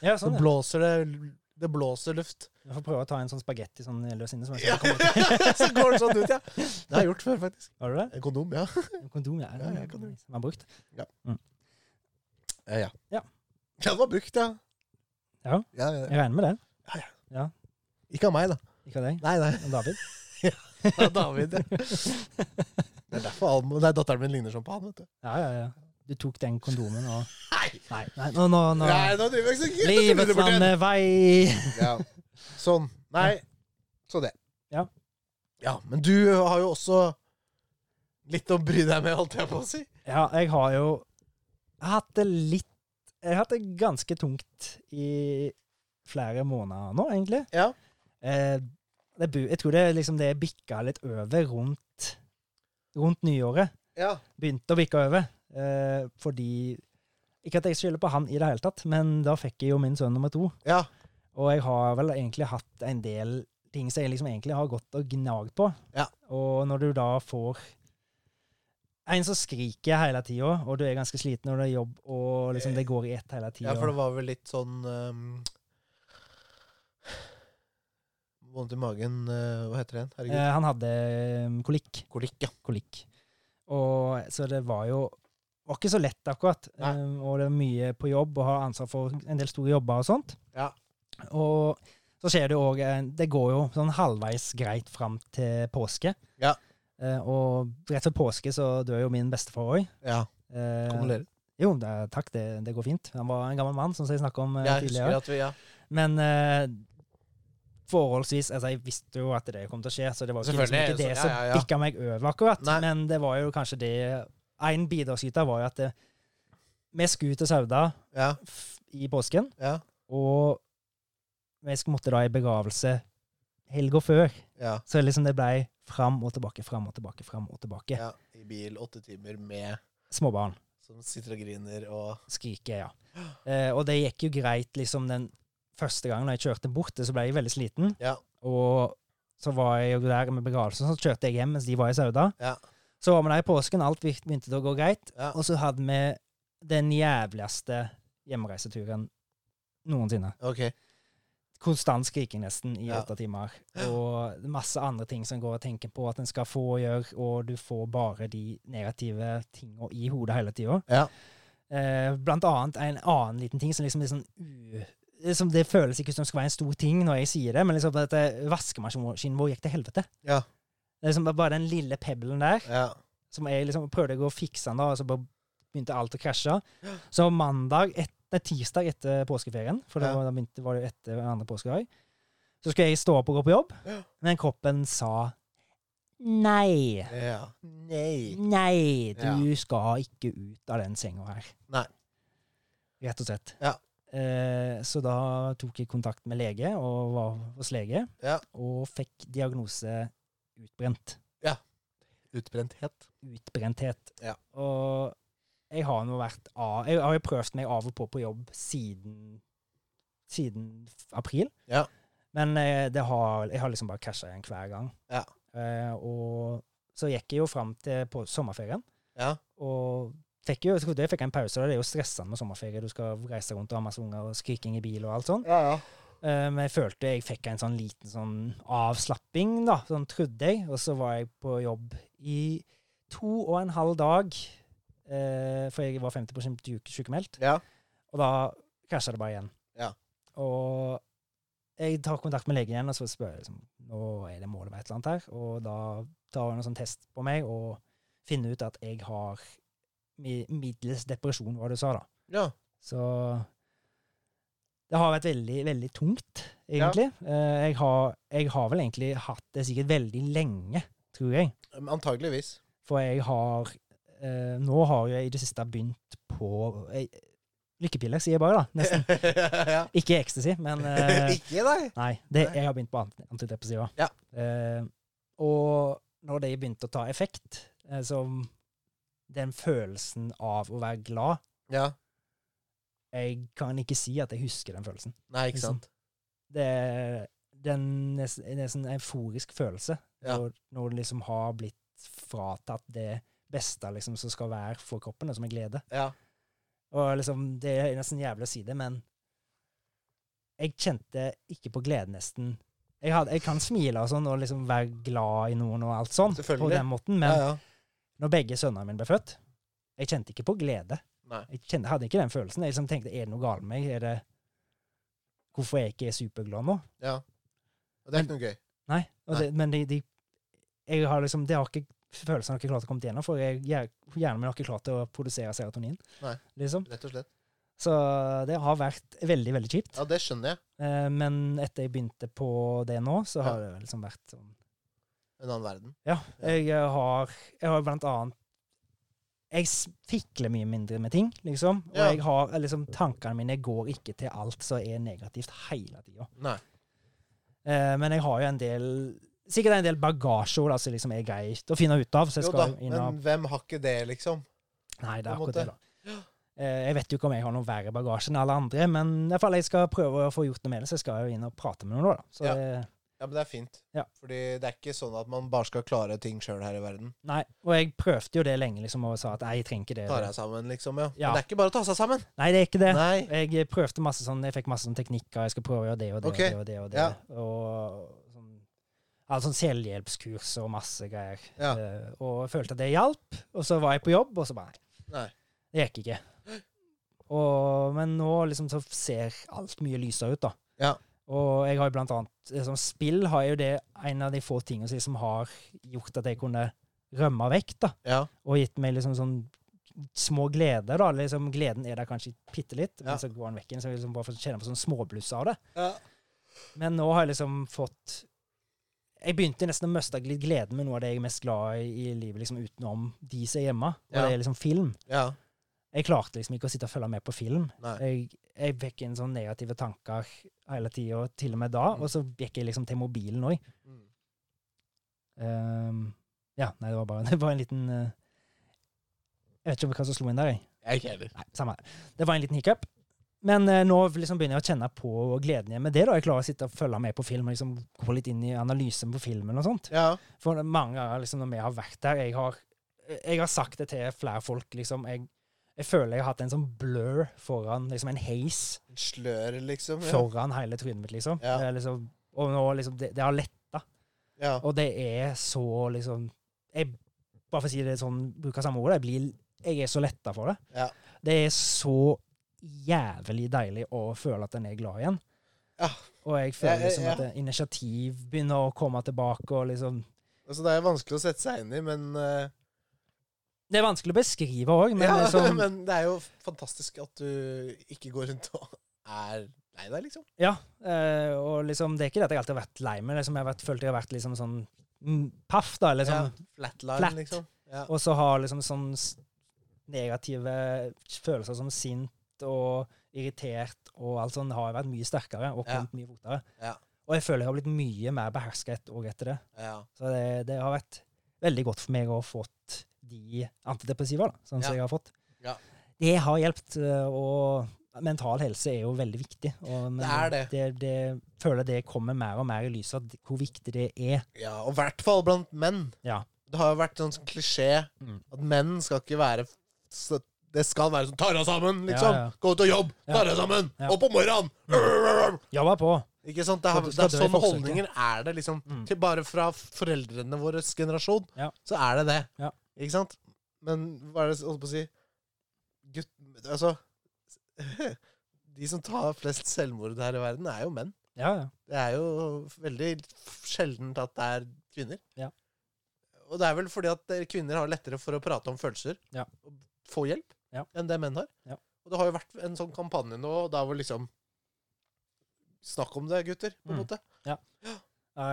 Ja, så sånn, ja. blåser det Det blåser luft. Jeg får prøve å ta en sånn spagetti sånn løs inne. Som jeg Ja. skal komme til. så går den sånn ut, ja. Det har jeg gjort før, faktisk. Har du det? Kondom, ja. Kondom, ja. Ja, ja, kondom. Som er brukt. Eh, Ja, ja. Ja. Ja, den var brukt, ja. Ja. Ja, ja, ja. Jeg regner med det. Ikke av meg, da. Ikke av deg. Nei, nei. Men Det er David. David, ja. Det er derfor Almo, nei, datteren min ligner sånn på han, vet du. Ja, ja, ja. Du tok den kondomen og Nei! Nei, nei, nå, nå, nå. Nei, nå driver jeg ikke så gitt, nå tuller du Livets bort igjen. landevei. Ja. Sånn. Nei. Så det. Ja. Ja, men du har jo også litt å bry deg med, holdt jeg på å si. Ja, jeg har jo hatt det litt Jeg har hatt det ganske tungt i flere måneder nå, egentlig. Ja. Eh, det, bu- jeg tror det, er liksom, det bikka litt over rundt, rundt nyåret. ja. Begynte å bikke over. Eh, fordi Ikke at jeg skylder på han i det hele tatt, men da fikk jeg jo min sønn nummer to. Ja. Og jeg har vel egentlig hatt en del ting som jeg liksom egentlig har gått og gnagd på. Ja. Og når du da får en som skriker hele tida, og du er ganske sliten når du er jobb, og liksom det går i ett hele tida. Ja, for det var vel litt sånn ehm, Vondt i magen eh, Hva heter det igjen? Herregud. Eh, han hadde eh, kolikk. Kolikk, ja. kolikk. Og, så det var jo var ikke så lett, akkurat. Nei. Eh, og det er mye på jobb, og har ansvar for en del store jobber og sånt. Ja. Og så skjer det jo òg Det går jo sånn halvveis greit fram til påske. Ja. Eh, og rett før påske så dør jo min bestefar òg. ja. Eh, Kondolerer. jo, det, er- takk, det, det går fint. Han var en gammel mann, som jeg snakka om eh, Jeg tidligere. husker at vi Ja. Men eh, forholdsvis Altså, jeg visste jo at det kom til å skje, så det var jo ikke, liksom Selvfølgelig, ikke det så- som ja, ja, ja. bikka meg over, akkurat. Nei. Men det var jo kanskje det En bidragsyter var jo at det, vi skulle til Sauda Ja. f- i påsken, Ja. og vi skulle måtte da i begravelse helga før. ja. Så liksom det blei fram og tilbake, fram og tilbake, fram og tilbake. Ja, I bil åtte timer med Småbarn. Som sitter og griner og skriker, ja. Eh, og det gikk jo greit liksom den første gangen da jeg kjørte bort, så ble jeg veldig sliten. Ja. Og så var jeg jo der med begravelsen, så kjørte jeg hjem mens de var i Sauda. Ja. Så var vi der i påsken, alt vir- begynte å gå greit. Ja. Og så hadde vi den jævligste hjemreiseturen noensinne. OK. Konstant skriking nesten i Ja. åtte timer. Og masse andre ting som går og tenker på at en skal få og gjøre, og du får bare de negative tinga i hodet hele tida. Ja. Eh, blant annet en annen liten ting som liksom er sånn u... Liksom det føles ikke som det skal være en stor ting når jeg sier det, men liksom at eh, vaskemaskinen vår gikk til helvete. Ja. Det er liksom bare den lille pebbelen der, Ja. som jeg liksom prøvde å gå og fikse den da, og så bare begynte alt å krasje. Så mandag, et, nei, tirsdag etter påskeferien, for det Ja. var, da begynte, var det jo etter andre påskedag, så skulle jeg stå opp og gå på jobb, Ja. men kroppen sa nei. ja. Nei. Nei, du Ja. skal ikke ut av den senga her. Nei. Rett og slett. Ja. Eh, så da tok jeg kontakt med lege, og var hos lege, Ja. og fikk diagnose utbrent. Utbrenthet. Utbrenthet. Ja. Og jeg har nå vært av Jeg har jo prøvd meg av og på på jobb siden, siden f- april. Ja. Men eh, det har, jeg har liksom bare krasja igjen hver gang. Ja. Eh, og så gikk jeg jo fram til på sommerferien. Ja. Og fikk jo, det fikk jeg en pause. og Det er jo stressende med sommerferie. Du skal reise rundt og ha masse unger og skriking i bil og alt sånn. Ja, ja. Eh, Men jeg følte jeg fikk en sånn liten sånn avslapping, da. Sånn trodde jeg. Og så var jeg på jobb i to og en halv dag. eh, For jeg var 50 syke- sykemeldt. Ja. Og da krasja det bare igjen. Ja. Og jeg tar kontakt med legen igjen og så spør jeg liksom, nå er det målet med et eller annet her. Og da tar han en sånn test på meg og finner ut at jeg har mi- middels depresjon, hva du sa da. Ja. Så det har vært veldig, veldig tungt, egentlig. Eh, Jeg, har, jeg har vel egentlig hatt det sikkert veldig lenge, tror jeg. Men Antageligvis. For jeg har eh, Nå har jeg i det siste begynt på jeg, Lykkepiller, sier jeg bare, da. Nesten. ja. Ikke ecstasy, men eh, Ikke deg. Nei. Det, Nei. jeg har begynt på ant- antidepressiva. Ja. Eh, og når de begynte å ta effekt, eh, så den følelsen av å være glad Ja. Jeg kan ikke si at jeg husker den følelsen. Nei, ikke sant. liksom. Det er den nes- en nesten euforisk følelse Ja. når, når du liksom har blitt fratatt det beste liksom, som skal være for kroppen, det som er glede. Ja. Og liksom, Det er nesten jævlig å si det, men jeg kjente ikke på glede nesten. Jeg, hadde, jeg kan smile og sånn, og liksom være glad i noen og alt sånn, på Selvfølgelig. den måten, men Ja, ja. når begge sønnene mine ble født, jeg kjente ikke på glede. Nei. Jeg kjente, hadde ikke den følelsen. Jeg liksom tenkte, er det noe galt med meg? Er det, hvorfor er jeg ikke superglad nå? Ja. Og det er ikke noe gøy. Nei, og det, men de, de jeg har liksom, det har ikke, følelsen har ikke klart å komme igjennom, for jeg, hjer- hjernen min har ikke klart å produsere serotonin. Nei. Liksom. Rett og slett. Så det har vært veldig, veldig kjipt. Ja, det skjønner jeg. Eh, men etter jeg begynte på det nå, så har Ja. det liksom vært sånn eh, En annen verden. Ja, Ja. jeg har, jeg har blant annet jeg s- fikler mye mindre med ting, liksom. Og Ja. jeg har, liksom, tankene mine går ikke til alt som er negativt hele tida. Nei. Eh, men jeg har jo en del Sikkert en del bagasje også, da, som liksom er greit å finne ut av. Så jeg Jo skal da, jo inn og men hvem har ikke det, liksom? Nei, på det en er akkurat måte. det. da. Eh, Jeg vet jo ikke om jeg har noe verre bagasje enn alle andre, men i hvert fall jeg skal prøve å få gjort noe med det, så jeg skal jo inn og prate med noen. da. Så Ja. eh, Ja, men det er fint. Ja. Fordi det er ikke sånn at man bare skal klare ting sjøl her i verden. nei, Og jeg prøvde jo det lenge liksom, og sa at nei, jeg trenger ikke det. Ta deg sammen, liksom. Ja. Ja. Men det er ikke bare å ta seg sammen. Nei, det er ikke det. Nei. Jeg prøvde masse sånn, jeg fikk masse sånn teknikker, jeg skal prøve å gjøre det og det Ok. og det og det. Ja. Og, det. og sånn, altså sånn selvhjelpskurs og masse greier. Ja. Eh, og jeg følte at det hjalp, og så var jeg på jobb, og så bare Nei. Det gikk ikke. Og, men nå liksom så ser alt mye lysere ut, da. Ja. Og jeg har jo blant annet liksom, Spill har jo det en av de få tingene som liksom har gjort at jeg kunne rømme vekk, da. Ja. Og gitt meg liksom sånn små gleder, da. Liksom, gleden er der kanskje bitte litt, Ja. men så går den vekk igjen. Så jeg liksom bare får kjenne på sånn småbluss av det. ja. Men nå har jeg liksom fått Jeg begynte nesten å miste litt gleden med noe av det jeg er mest glad i i livet, liksom utenom de som er hjemme. Og Ja. det er liksom film. ja. Jeg klarte liksom ikke å sitte og følge med på film. Nei. Jeg, jeg fikk inn sånne negative tanker hele tida, til og med da. Mm. Og så gikk jeg liksom til mobilen òg. Mm. Ehm, ja, nei, det var bare det var en liten eh, Jeg vet ikke hva som slo inn der, jeg. Jeg er ikke heller. Nei, samme her. Det var en liten hiccup. Men eh, nå liksom begynner jeg å kjenne på gleden igjen med det. da. Jeg klarer å sitte og følge med på film og liksom gå litt inn i analysen på filmen og sånt. Ja. For mange ganger liksom, når vi har vært der jeg har, jeg har sagt det til flere folk, liksom. Jeg, jeg føler jeg har hatt en sånn blur foran, liksom en heis Slør, liksom. Ja. foran hele trynet mitt, liksom. Ja. Det er liksom og nå liksom det, det har letta. ja. Og det er så liksom jeg, Bare for å si det sånn, bruker samme ord, jeg, blir, jeg er så letta for det. Ja. Det er så jævlig deilig å føle at en er glad igjen. Ja. Og jeg føler Ja, ja, liksom ja. at det- initiativ begynner å komme tilbake, og liksom Altså, det er vanskelig å sette seg inn i, men eh, Det er vanskelig å beskrive òg, men ja, liksom men det er jo fantastisk at du ikke går rundt og er lei deg, liksom. Ja, eh, og liksom Det er ikke det at jeg alltid har vært lei meg, liksom, jeg har vært, følt jeg har vært liksom sånn mm, paff, da, eller sånn ja, flatline, flat. liksom. Ja. Og så har liksom sånn s- negative følelser som sint og irritert og alt sånt har vært mye sterkere og Ja. kommet mye fortere. Ja. Og jeg føler jeg har blitt mye mer beherska et år etter det. Ja. Så det, det har vært veldig godt for meg å ha fått de antidepressiva, da, sånn Ja. som jeg har fått. Ja. Det har hjulpet, eh, og mental helse er jo veldig viktig. Og, men Det er det. Det, det føler jeg det kommer mer og mer i lyset av hvor viktig det er. ja, og i hvert fall blant menn. Ja. Det har jo vært sånn klisjé Mm. at menn skal ikke være så Det skal være sånn Ta deg sammen, liksom! Ja, ja. Gå ut og jobb! Ta Ja. deg sammen! Ja. Opp om morgenen! Rrrrrrr! Jobba på! Ikke sant? Det, har, det Skal- skal er dø i sånne forsøket. holdninger er det, liksom. Mm. Til bare fra foreldrene våres generasjon, Ja. så er det det. Ja. Ikke sant? Men hva er det jeg holdt på å si Gutt, Altså De som tar flest selvmord her i verden, er jo menn. Ja, ja. Det er jo veldig sjeldent at det er kvinner. Ja. Og det er vel fordi at eh, kvinner har lettere for å prate om følelser Ja. og få hjelp Ja. enn det menn har. Ja. Og det har jo vært en sånn kampanje nå da hvor liksom Snakk om det, gutter, på en Mm. måte. Ja,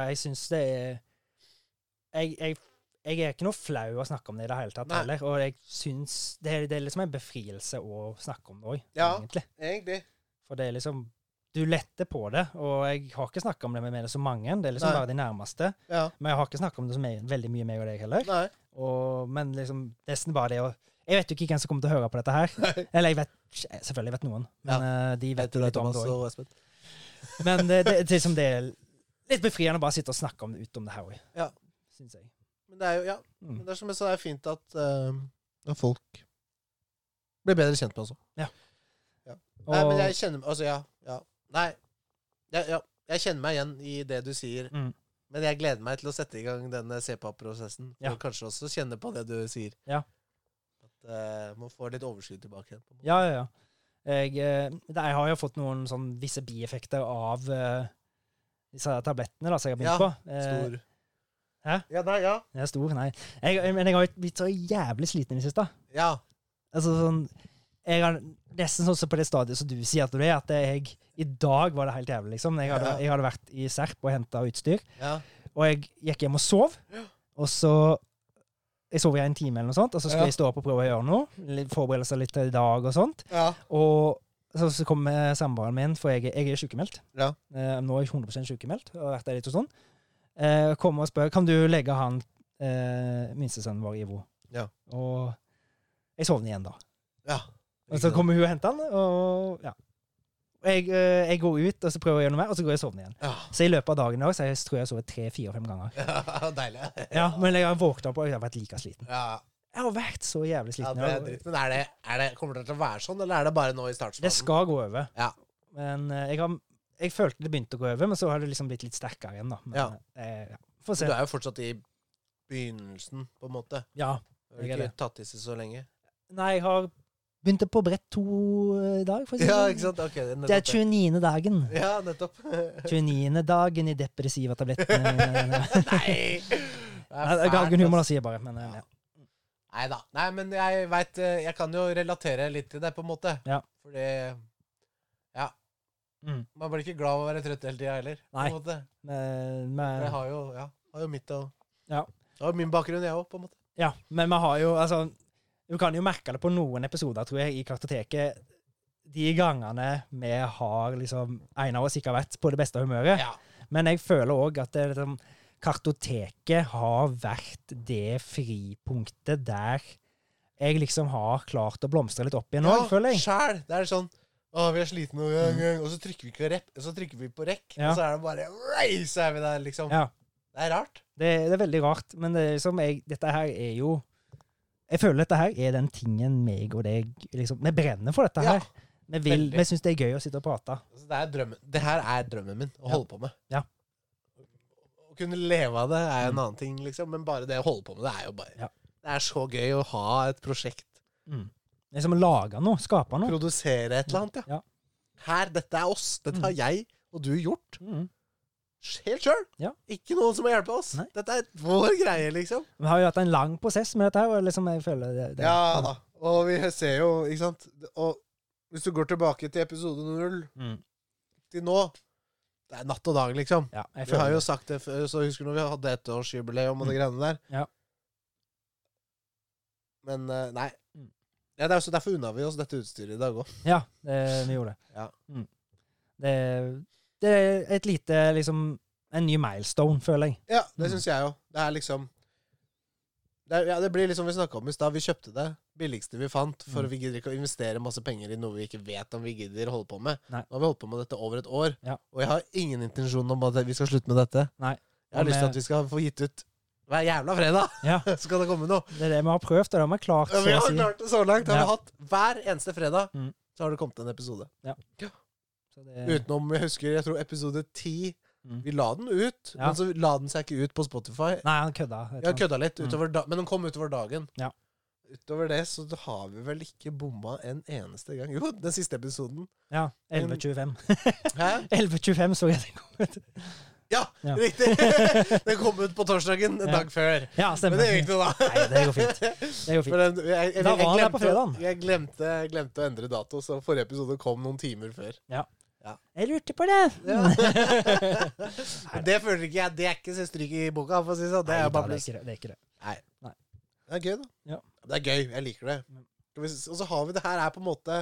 jeg syns det er jeg, jeg, jeg er ikke noe flau å snakke om det i det hele tatt Nei. heller. Og jeg syns det, er- det er liksom en befrielse å snakke om det òg, Ja. egentlig. Egentlig. For det er liksom Du letter på det, og jeg har ikke snakka om det med, med det så mange. Det er liksom Nei. bare de nærmeste. Ja. Men jeg har ikke snakka om det så me- veldig mye meg og deg heller. Nei. Og, men liksom nesten bare det å Jeg vet jo ikke hvem som kommer til å høre på dette her. Eller jeg vet selvfølgelig jeg vet noen, men eh, de vet jo litt om det òg. og Espen? Men det, det, det, er liksom, det er litt befriende å bare sitte og snakke om, ut om det her òg, Ja. syns jeg. Men det er jo, ja. Mm. Men det er som jeg sa, det er fint at, eh, at folk blir bedre kjent med oss også. Nei, men jeg kjenner Altså, ja. ja. Nei. Jeg, ja. jeg kjenner meg igjen i det du sier. Mm. Men jeg gleder meg til å sette i gang eh, denne CPAP-prosessen. Ja. Og kanskje også kjenne på det du sier. Ja. At eh, man får litt overskudd tilbake igjen. på en måte. Ja, ja, ja. Jeg, eh, det, jeg har jo fått noen sånn visse bieffekter av eh, disse tablettene da, som jeg har begynt Ja, på. Eh, Stor. hæ? Ja, nei, ja. Jeg er stor, nei. Jeg, jeg- men jeg har jo blitt så jævlig sliten i det siste. Ja. Altså sånn Jeg er nesten sånn som på det stadiet som du sier at du er, at jeg I dag var det helt jævlig, liksom. Jeg hadde, Ja. jeg hadde vært i Serp og henta utstyr, ja. og jeg gikk hjem og sov, og så Jeg sov i en time, eller noe sånt, og så skulle Ja. jeg stå opp og prøve å gjøre noe. litt- Forberede seg litt til i dag og sånt. Ja. Og så, så kom eh, samboeren min, for jeg, er- jeg er sykemeldt. Ja. Eh, nå er jeg 100 sykemeldt, og har vært der litt og sånn. Eh, kom og spør, kan du legge han eh, minstesønnen vår Ivo? Ja. Og jeg sovner igjen da. Ja. Og så kommer hun og henter han, og ja. Og jeg, eh, jeg går ut, og så prøver jeg å gjøre noe mer, og så går jeg og sovner igjen. Ja. Så i løpet av dagen i dag, så har jeg tror jeg har sovet tre-fire-fem ganger. ja. Deilig. Ja, men jeg har våknet opp, og jeg har vært like sliten. Ja. Jeg har vært så jævlig ja, sliten. det er og- dritt. Men er det, er det, kommer det til å være sånn, eller er det bare nå i startfasen? Det skal gå over. Ja. Men eh, jeg, har, jeg følte det begynte å gå over, men så har det liksom blitt litt sterkere igjen, da. Men, Ja. eh, ja. Få Du se. er jo fortsatt i begynnelsen, på en måte. Ja. Du har Jeg er ikke det. tatt i seg så lenge. Nei, jeg har Begynte på brett to eh, i dag, for å si Ja, sånn. ikke sant? Ok, det er Det er nettopp det. 29. dagen. Ja, nettopp. 29. dagen i depressiva tablettene. Nei! Nei, det er fælt, altså. Galgen humor, ass. da, sier jeg bare. Men, eh, Ja. ja. Nei da. Nei, men jeg veit Jeg kan jo relatere litt til det, på en måte. Ja. Fordi Ja. Mm. Man blir ikke glad av å være trøtt hele tida heller. På Nei. en måte. Men, For Jeg men, har jo, ja, har jo mitt og Ja. Jeg har min bakgrunn, jeg òg, på en måte. ja, men vi har jo altså Du kan jo merke det på noen episoder, tror jeg, i Kartoteket. De gangene vi har liksom En av oss ikke har vært på det beste humøret. Ja. Men jeg føler òg at det, er liksom, kartoteket har vært det fripunktet der jeg liksom har klart å blomstre litt opp igjen òg, føler jeg. Sjæl. Det er sånn Å, vi er slitne, og, og så trykker vi ikke rep, og så trykker vi på rekk, Mm. Ja. og så er det bare «Oi», Så er vi der, liksom. Ja, Det er rart. det, det er veldig rart, men det er liksom jeg, dette her er jo Jeg føler dette her er den tingen meg og deg liksom Vi brenner for dette Ja, her. Vi, vil- veldig. vi syns det er gøy å sitte og prate. Altså, det, er drømmen. det her er drømmen min, å Ja. holde på med. Ja. Å kunne leve av det er jo en annen ting, liksom, men bare det å holde på med det er jo bare Ja. Det er så gøy å ha et prosjekt. Mm. Liksom lage noe, skape noe. Produsere et eller annet, ja. Ja. Her, dette er oss. Dette har jeg og du gjort. Mm. Helt sjøl. Ja. Ikke noen som må hjelpe oss. Nei. Dette er vår greie, liksom. Vi har jo hatt en lang prosess med dette her, og liksom jeg føler det, det Ja da. Og vi ser jo, ikke sant Og hvis du går tilbake til episode null Mm. til nå Det er natt og dag, liksom. Ja, jeg Vi har føler jo det. sagt det før, så husker du når vi hadde ettårsjubileum og de greiene der? Ja. Men eh, nei. Mm. Ja, det er også derfor unna vi oss dette utstyret i dag òg. Ja, det, vi gjorde det. Ja. Mm. det. Det er et lite liksom En ny milestone, føler jeg. Ja, det Mm. syns jeg òg. Det er liksom det, er, ja, det blir liksom vi snakka om i stad. Vi kjøpte det billigste vi fant, for Mm. vi gidder ikke å investere masse penger i noe vi ikke vet om vi gidder holde på med. Nei. Nå har vi holdt på med dette over et år, Ja. og jeg har ingen intensjon om at vi skal slutte med dette. Nei. Jeg har Og lyst til med- at vi skal få gitt ut hver jævla fredag, Ja, så kan det komme noe. Det er det vi har prøvd, og det har vi klart. Ja, Så vi å har si. klart det så langt. Har Ja. vi hatt Hver eneste fredag Mm. så har det kommet en episode. Så det, Utenom, jeg husker, jeg tror episode ti. Mm. Vi la den ut, Ja. men så la den seg ikke ut på Spotify. Nei, han kødda. vet du. Jeg har kødda litt, Mm. utover da, men den kom utover dagen. Ja. Utover det så har vi vel ikke bomma en eneste gang. Jo, den siste episoden. Ja, 11.25. Hæ? 11.25 så jeg det kom ut. Ja, Ja. riktig! den kom ut på torsdagen en Ja. dag før. Ja, Men stemmer. det gikk noe, da. Nei, det går fint. Det For går fint. den, jeg, jeg, jeg, Da var den der glemte, på fredagen. jeg glemte, jeg glemte å endre dato, så forrige episode kom noen timer før. Jeg lurte på det! Men det føler ikke jeg Det er ikke så stryk i boka, for å si det sånn. Det Nei, er da, jo bare det er pluss. ikke det. det, er ikke det. Det er gøy, da. Ja. Mm. Det er gøy. Jeg liker det. Skal vi s- Og så har vi det her er på en måte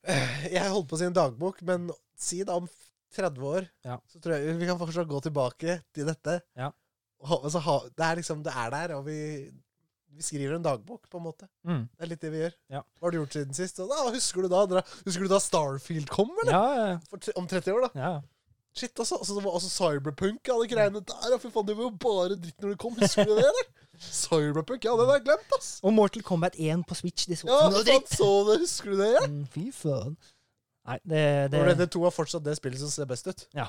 Eh, Jeg holdt på å si en dagbok, men si da om f- 30 år, Ja. så tror jeg vi kan fortsatt gå tilbake til dette. Ja. Og ha, og så ha, det er liksom Det er der, og vi, vi skriver en dagbok, på en måte. Mm. Det er litt det vi gjør. Ja. Hva har du gjort siden sist? Og da, husker du da, dra- husker du da Starfield kom, eller? Ja, For, tre- om 30 år, da. ja. Shit, altså. altså det var også Cyberpunk, alle greiene der. Og fy faen, det var jo bare dritt når det kom. Husker du det, eller? Cyberpunk, ja, den har jeg glemt, ass. Og Mortal Kombat 1 på Switch. Det så Ja, ut som noe faen, dritt! så det, husker du det? Ja? Mm, Fy faen. Nei, det, det Det... Red Dead 2 er fortsatt det spillet som ser best ut. Ja.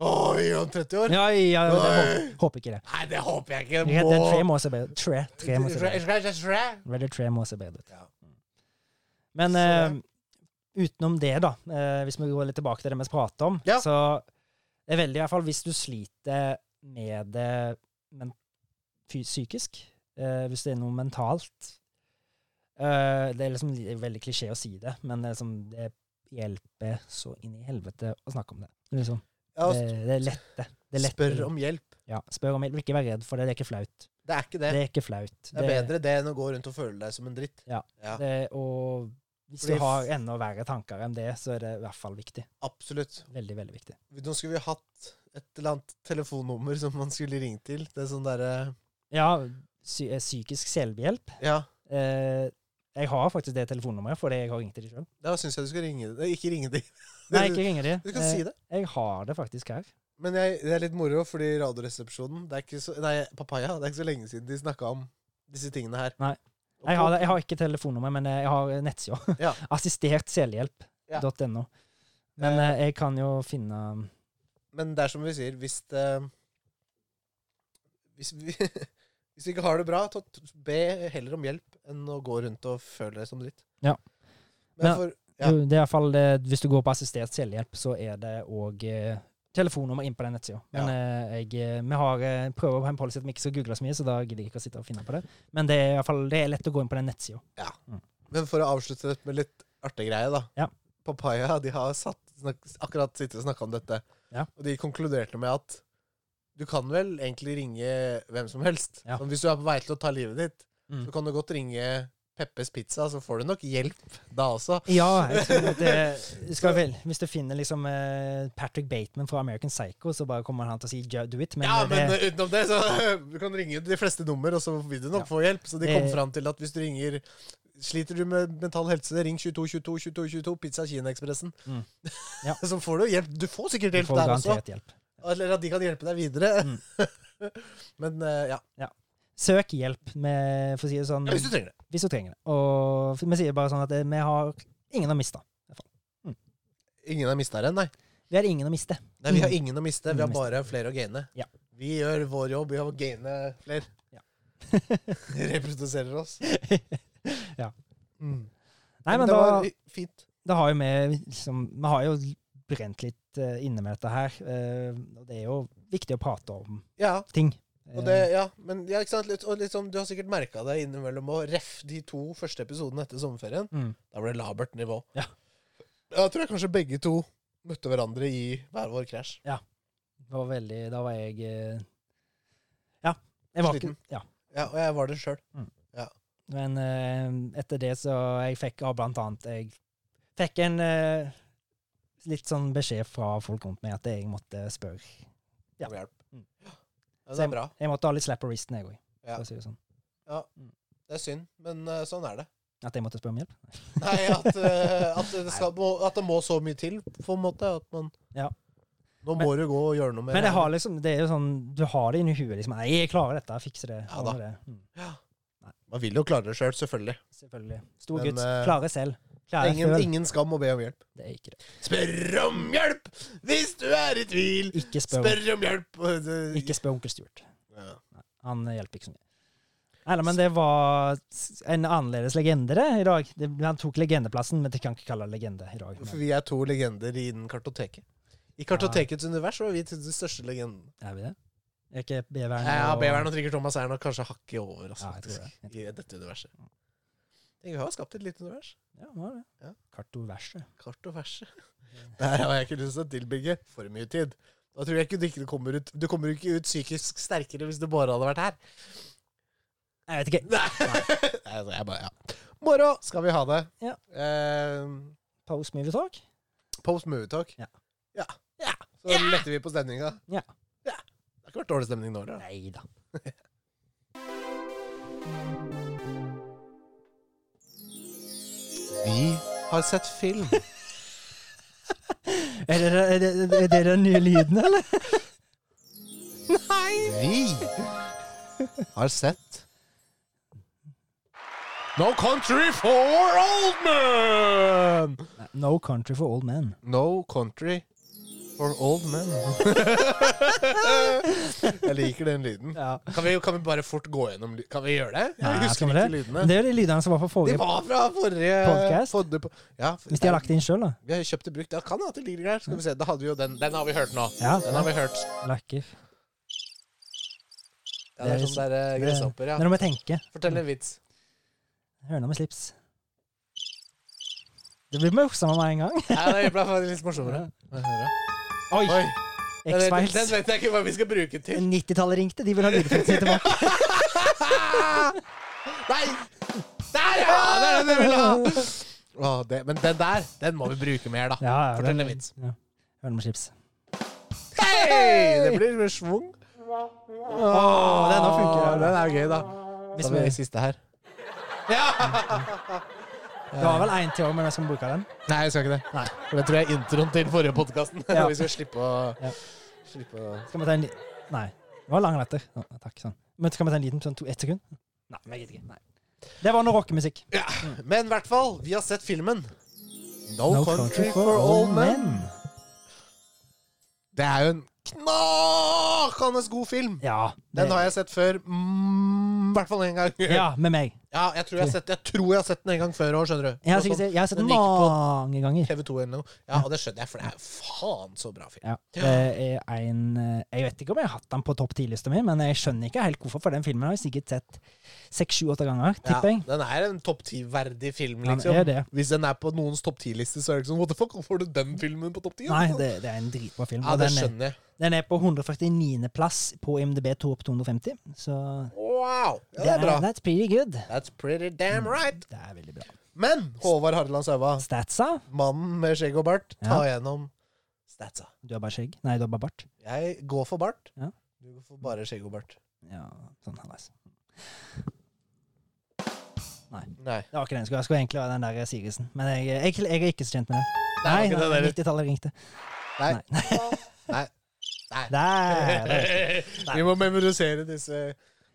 Oi, om 30 år? Ja, ja, det, Oi. håper, håper ikke det. Nei, det håper jeg ikke. Red Dead 3 må se bedre Tre, tre må se bedre. Må... Red Dead 3 må se bedre ut. Ja. Men Så det- eh, utenom det, da, eh, hvis vi går litt tilbake til det vi pratet om, Ja. så det er veldig i hvert fall hvis du sliter med det men, fy- psykisk, eh, hvis det er noe mentalt eh, Det er liksom li- veldig klisjé å si det, men det, er liksom, det hjelper så inn i helvete å snakke om det. Det er Liksom, Ja, det, det er lette. Det er lette. spør om hjelp. Ja, spør om hjelp. Ikke vær redd for det. Det er ikke flaut. Det er ikke det. Det er ikke flaut. Det er bedre det enn å gå rundt og føle deg som en dritt. Ja. ja det- og hvis Fordi du f- har enda verre tanker enn det, så er det i hvert fall viktig. absolutt. Veldig, veldig viktig. Nå skulle vi hatt et eller annet telefonnummer som man skulle ringe til. Det er sånn derre Ja, psy eh, psykisk selvhjelp. Ja, Eh, jeg har faktisk det telefonnummeret, fordi jeg har ringt til de sjøl. da syns jeg du skal ringe Nei, Ikke ringe de. Nei, ikke ringer de. Du kan Eh, si det. Jeg har det faktisk her. Men jeg, det er litt moro, fordi Radioresepsjonen det er ikke så, Nei, Papaya. Det er ikke så lenge siden de snakka om disse tingene her. Nei. Og Jeg har, på- det, jeg har ikke telefonnummer, men eh, jeg har nettsida. Ja. Eh, Assistertselhjelp.no. Men eh, jeg kan jo finne Men det er som vi sier, hvis det Hvis vi, hvis vi ikke har det bra, ta, be heller om hjelp enn å gå rundt og føle deg som dritt. Ja. Men Men- for, Ja. jo, Det er i hvert fall, eh, Hvis du går på assistert selvhjelp, så er det òg eh, telefonnummer inn på den nettsida. Men eh, jeg, eh, vi har eh, prøver å ha en policy at vi ikke skal google så mye, så da gidder jeg ikke å sitte og finne på det. Men det er, i hvert fall, det er lett å gå inn på den nettsida. men for å avslutte dette med litt artig greie, da. Ja. Papaya de har satt, snak, akkurat sittet og snakka om dette, Ja. og de konkluderte med at du kan vel egentlig ringe hvem som helst. Ja. Men Hvis du er på vei til å ta livet ditt, Mm. så kan du godt ringe Peppes Pizza, så får du nok hjelp da også. Ja, jeg tror at det skal vel. Hvis du finner liksom eh, Patrick Bateman fra American Psycho, så bare kommer han til å si "Ju- do it. Men, ja, det- men eh, utenom det, så du kan ringe de fleste nummer, og så vil du nok Ja. få hjelp. Så de Det- kom fram til at hvis du ringer Sliter du med mental helse, ring 22 22 22 22 Pizza Kinaekspressen. Mm. Ja. så får du hjelp. Du får sikkert du hjelp får der også. garantert hjelp. Eller at de kan hjelpe deg videre. Mm. men eh, ja. Søk hjelp, med, for å si det sånn, ja, hvis du trenger det. hvis du trenger det. Og vi sier bare sånn at eh, vi har ingen å miste. Ingen har mista den, nei. Vi har ingen å miste. nei. Vi har ingen å miste, vi Mm. Ingen å har bare flere å gaine. Ja. Vi gjør vår jobb i å gaine flere. Ja. Reproduserer oss. Ja. Mm. Nei, men men det da, var fint. da har jo vi liksom Vi har jo brent litt eh, inne med dette her. eh, Og det er jo viktig å prate om Ja. ting. Og det, Eh. ja, men ja, ikke sant? Litt, og liksom, du har sikkert merka det innimellom å ref de to første episodene etter sommerferien. Eh, mm. Da ble det labert nivå. Ja. Da tror jeg kanskje begge to møtte hverandre i hver vår krasj. Det var veldig Da var jeg eh, Ja. Jeg var ikke Sliten. Ja. Ja, og jeg var det sjøl. Men eh, etter det så Jeg fikk av blant annet Jeg fikk en eh, litt sånn beskjed fra folk rundt meg at jeg måtte spørre. Ja. om Hjelp. Mm. Ja, det er bra. Jeg måtte ha litt slap på wristen, jeg òg. Ja. for å si det Sånn. Det er synd, men eh, sånn er det. At jeg måtte spørre om hjelp. Nei, at, eh, at, det skal, må, at det må så mye til, på en måte. At man Ja. Nå må du gå og gjøre noe med Men det jeg har liksom, det er jo sånn, du har det inni huet. liksom, Nei, jeg klarer dette, jeg fikser det. Ja da. ordner det. Mm. Man vil jo klare det sjøl, selv, selvfølgelig. Selvfølgelig. Stor Men, gutt. eh, Klare selv. Klare Ingen, selv. ingen skam å be om hjelp. Det er ikke det. Spør om hjelp hvis du er i tvil! Ikke spør, Spør om hjelp! og det- ikke spør onkel Stuart. Ja. Han hjelper ikke så mye. Nei, nei, men det var en annerledes legende det, i dag. Det, han tok legendeplassen, men det kan ikke kalle det legende i dag. For Men, vi er to legender innen kartoteket. I kartotekets univers så er vi til den største legenden. er vi det? Er ikke Beveren Ja, og- Beveren og Trigger Thomas er nok kanskje hakket over oss, Ja, jeg tror faktisk, det. Jeg i dette universet. Jeg har skapt et lite univers. Ja, det var det. Ja. Kartoverset. Kart og verset. Der har jeg ikke lyst til å tilbringe for mye tid. Da tror jeg ikke du ikke kommer ut Du kommer jo ikke ut psykisk sterkere hvis du bare hadde vært her. Nei, Jeg vet ikke. Nei, altså, jeg bare, ja. Moro skal vi ha det. Ja. Eh, Post movie talk? post movie talk. Ja. ja. Ja. Så letter vi på stemninga. Ja. ja. Det har ikke vært dårlig stemning nå, eller? Nei da. Vi har sett film. Er det, er, det, er det den nye lyden, eller? Vi har sett No Country for Old Men! No Country for Old Men. No country for old men. jeg liker den lyden. Ja. Kan vi, kan vi bare fort gå gjennom ly- Kan vi gjøre det? Jeg Nei, husker skal vi ikke det? lydene. Det er jo de lydene som var på De forrige var fra forrige Podcast? podde- po- Ja, for- Hvis de har lagt det inn sjøl, da. Vi har kjøpt det brukt. Ja, kan ha at det ligger der. Skal vi se. Da hadde vi jo den. Den har vi hørt nå. Ja, Den har vi hørt. lakker. Ja, det er sånn der eh, gresshopper, Det ja. er noe med å tenke. Fortell en vits. Høna med slips. Det blir morsommere med en gang. Nei, det ble faktisk litt morsommere. Hva hører jeg? Oi! Oi, Den vet, X-Files. den vet jeg ikke hva vi skal bruke til. 90-tallet ringte, de vil ha lydeffektene tilbake. Ah! Nei! Der, ja! Det er den jeg vil ha! Å, det, men den der, den må vi bruke mer, da. Ja, ja, Fortell det- en vits. Ja. Ørnemaskips. Hei! Det blir schwung. Å, den nå funker. Den er jo gøy, da. Hvis Da blir vi- det siste her. Ja! Det var vel én til òg, men jeg skal bruke den. Nei, jeg skal ikke det. Nei. For det tror jeg er introen til forrige podkasten. Ja. Vi skal slippe å Ja. Slippe å Skal vi ta en li... Nei. Det var lang latter. Ja, takk. Sånn. Men skal vi ta en liten sånn to, ett sekund? Nei, men jeg gidder ikke. Nei. Det var noe rockemusikk. Men i hvert fall, vi har sett filmen. No, Country, for All Men. Det er jo en knakende god film. Ja. Den har jeg sett før. Mm, I hvert fall én gang. Ja, med meg. Ja, jeg tror jeg, har sett, jeg tror jeg har sett den en gang før òg, skjønner du. Jeg har, Og sikkert, sånn sett- jeg har sett Den den gikk på- mange ganger. TV2 eller noe. Ja, og det skjønner jeg, for det er faen så bra film. Ja, det er en, eh, jeg vet ikke om jeg har hatt den på topp 10-lista mi, men jeg skjønner ikke helt hvorfor, for den filmen har jeg sikkert sett seks, sju, åtte ganger, Ja, tipper jeg. den er en topp ti-verdig film, Den liksom. er det. Hvis den er på noens topp ti-liste, så er det ikke sånn What the fuck, hvorfor har du den filmen på topp ti? Nei, det, det er en dritbra film. ja, og det den, er, skjønner jeg. den er på 149. plass på IMDb Topp 250, så Wow! Ja, det er bra. That's pretty good. That's pretty damn right. Det er veldig bra. Men Håvard Hardeland Saua, Statsa? mannen med skjegg og bart, ta gjennom statsa. Du har bare skjegg? Nei, du har bare bart. Jeg går for bart. Ja. Du går for bare skjegg og bart. Ja, sånn halvveis. Nei. Det var ikke den jeg skulle ha. Jeg skulle egentlig være den der Sigersen. Men jeg, jeg, jeg er ikke så kjent med den. Det Nei, var ikke nei det der. 90-tallet ringte. Nei. Nei. Nei. Der, der. Vi må memorisere disse,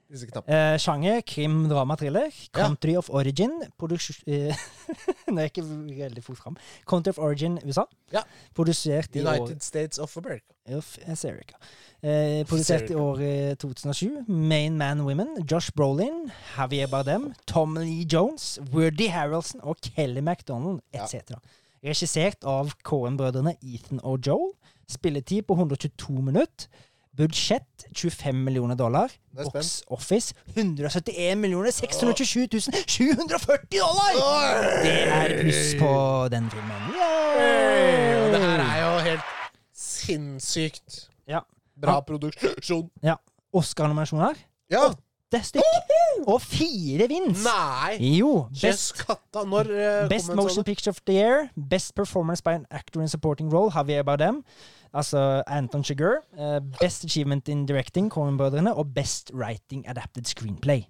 disse knappene. Eh, sjanger krim, drama, thriller. Ja. Country of origin produksjon... Eh, Nå er jeg ikke veldig fort fram. Country of origin USA. Ja. Produsert i år United States of America. Uff, jeg ser ikke. Eh, produsert i eh, året 2007. Main Man Women, Josh Brolin, Javier Bardem, Tom Lee Jones, Woody Harrelson og Kelly MacDonald etc. Regissert av Cohen-brødrene Ethan og Joel. Spilletid på 122 minutter. Budsjett 25 millioner dollar. Det er Box office 171 627 740 dollar! Det er pluss på den filmen. Hey, Og det Yay! her er jo helt sinnssykt Ja. bra produksjon. ja. Oscar-nominasjoner. Ja! åtte stykk. Og fire vins. Nei! Jo. Best, Kjøss katta! Når eh, best kom den Motion sånn? Picture of the Year. Best Performance by an Actor in Supporting Role. Javier Bardem. Altså Anton Chigurh. eh, best Achievement in Directing, Cohen-brødrene. Og Best Writing Adapted Screenplay.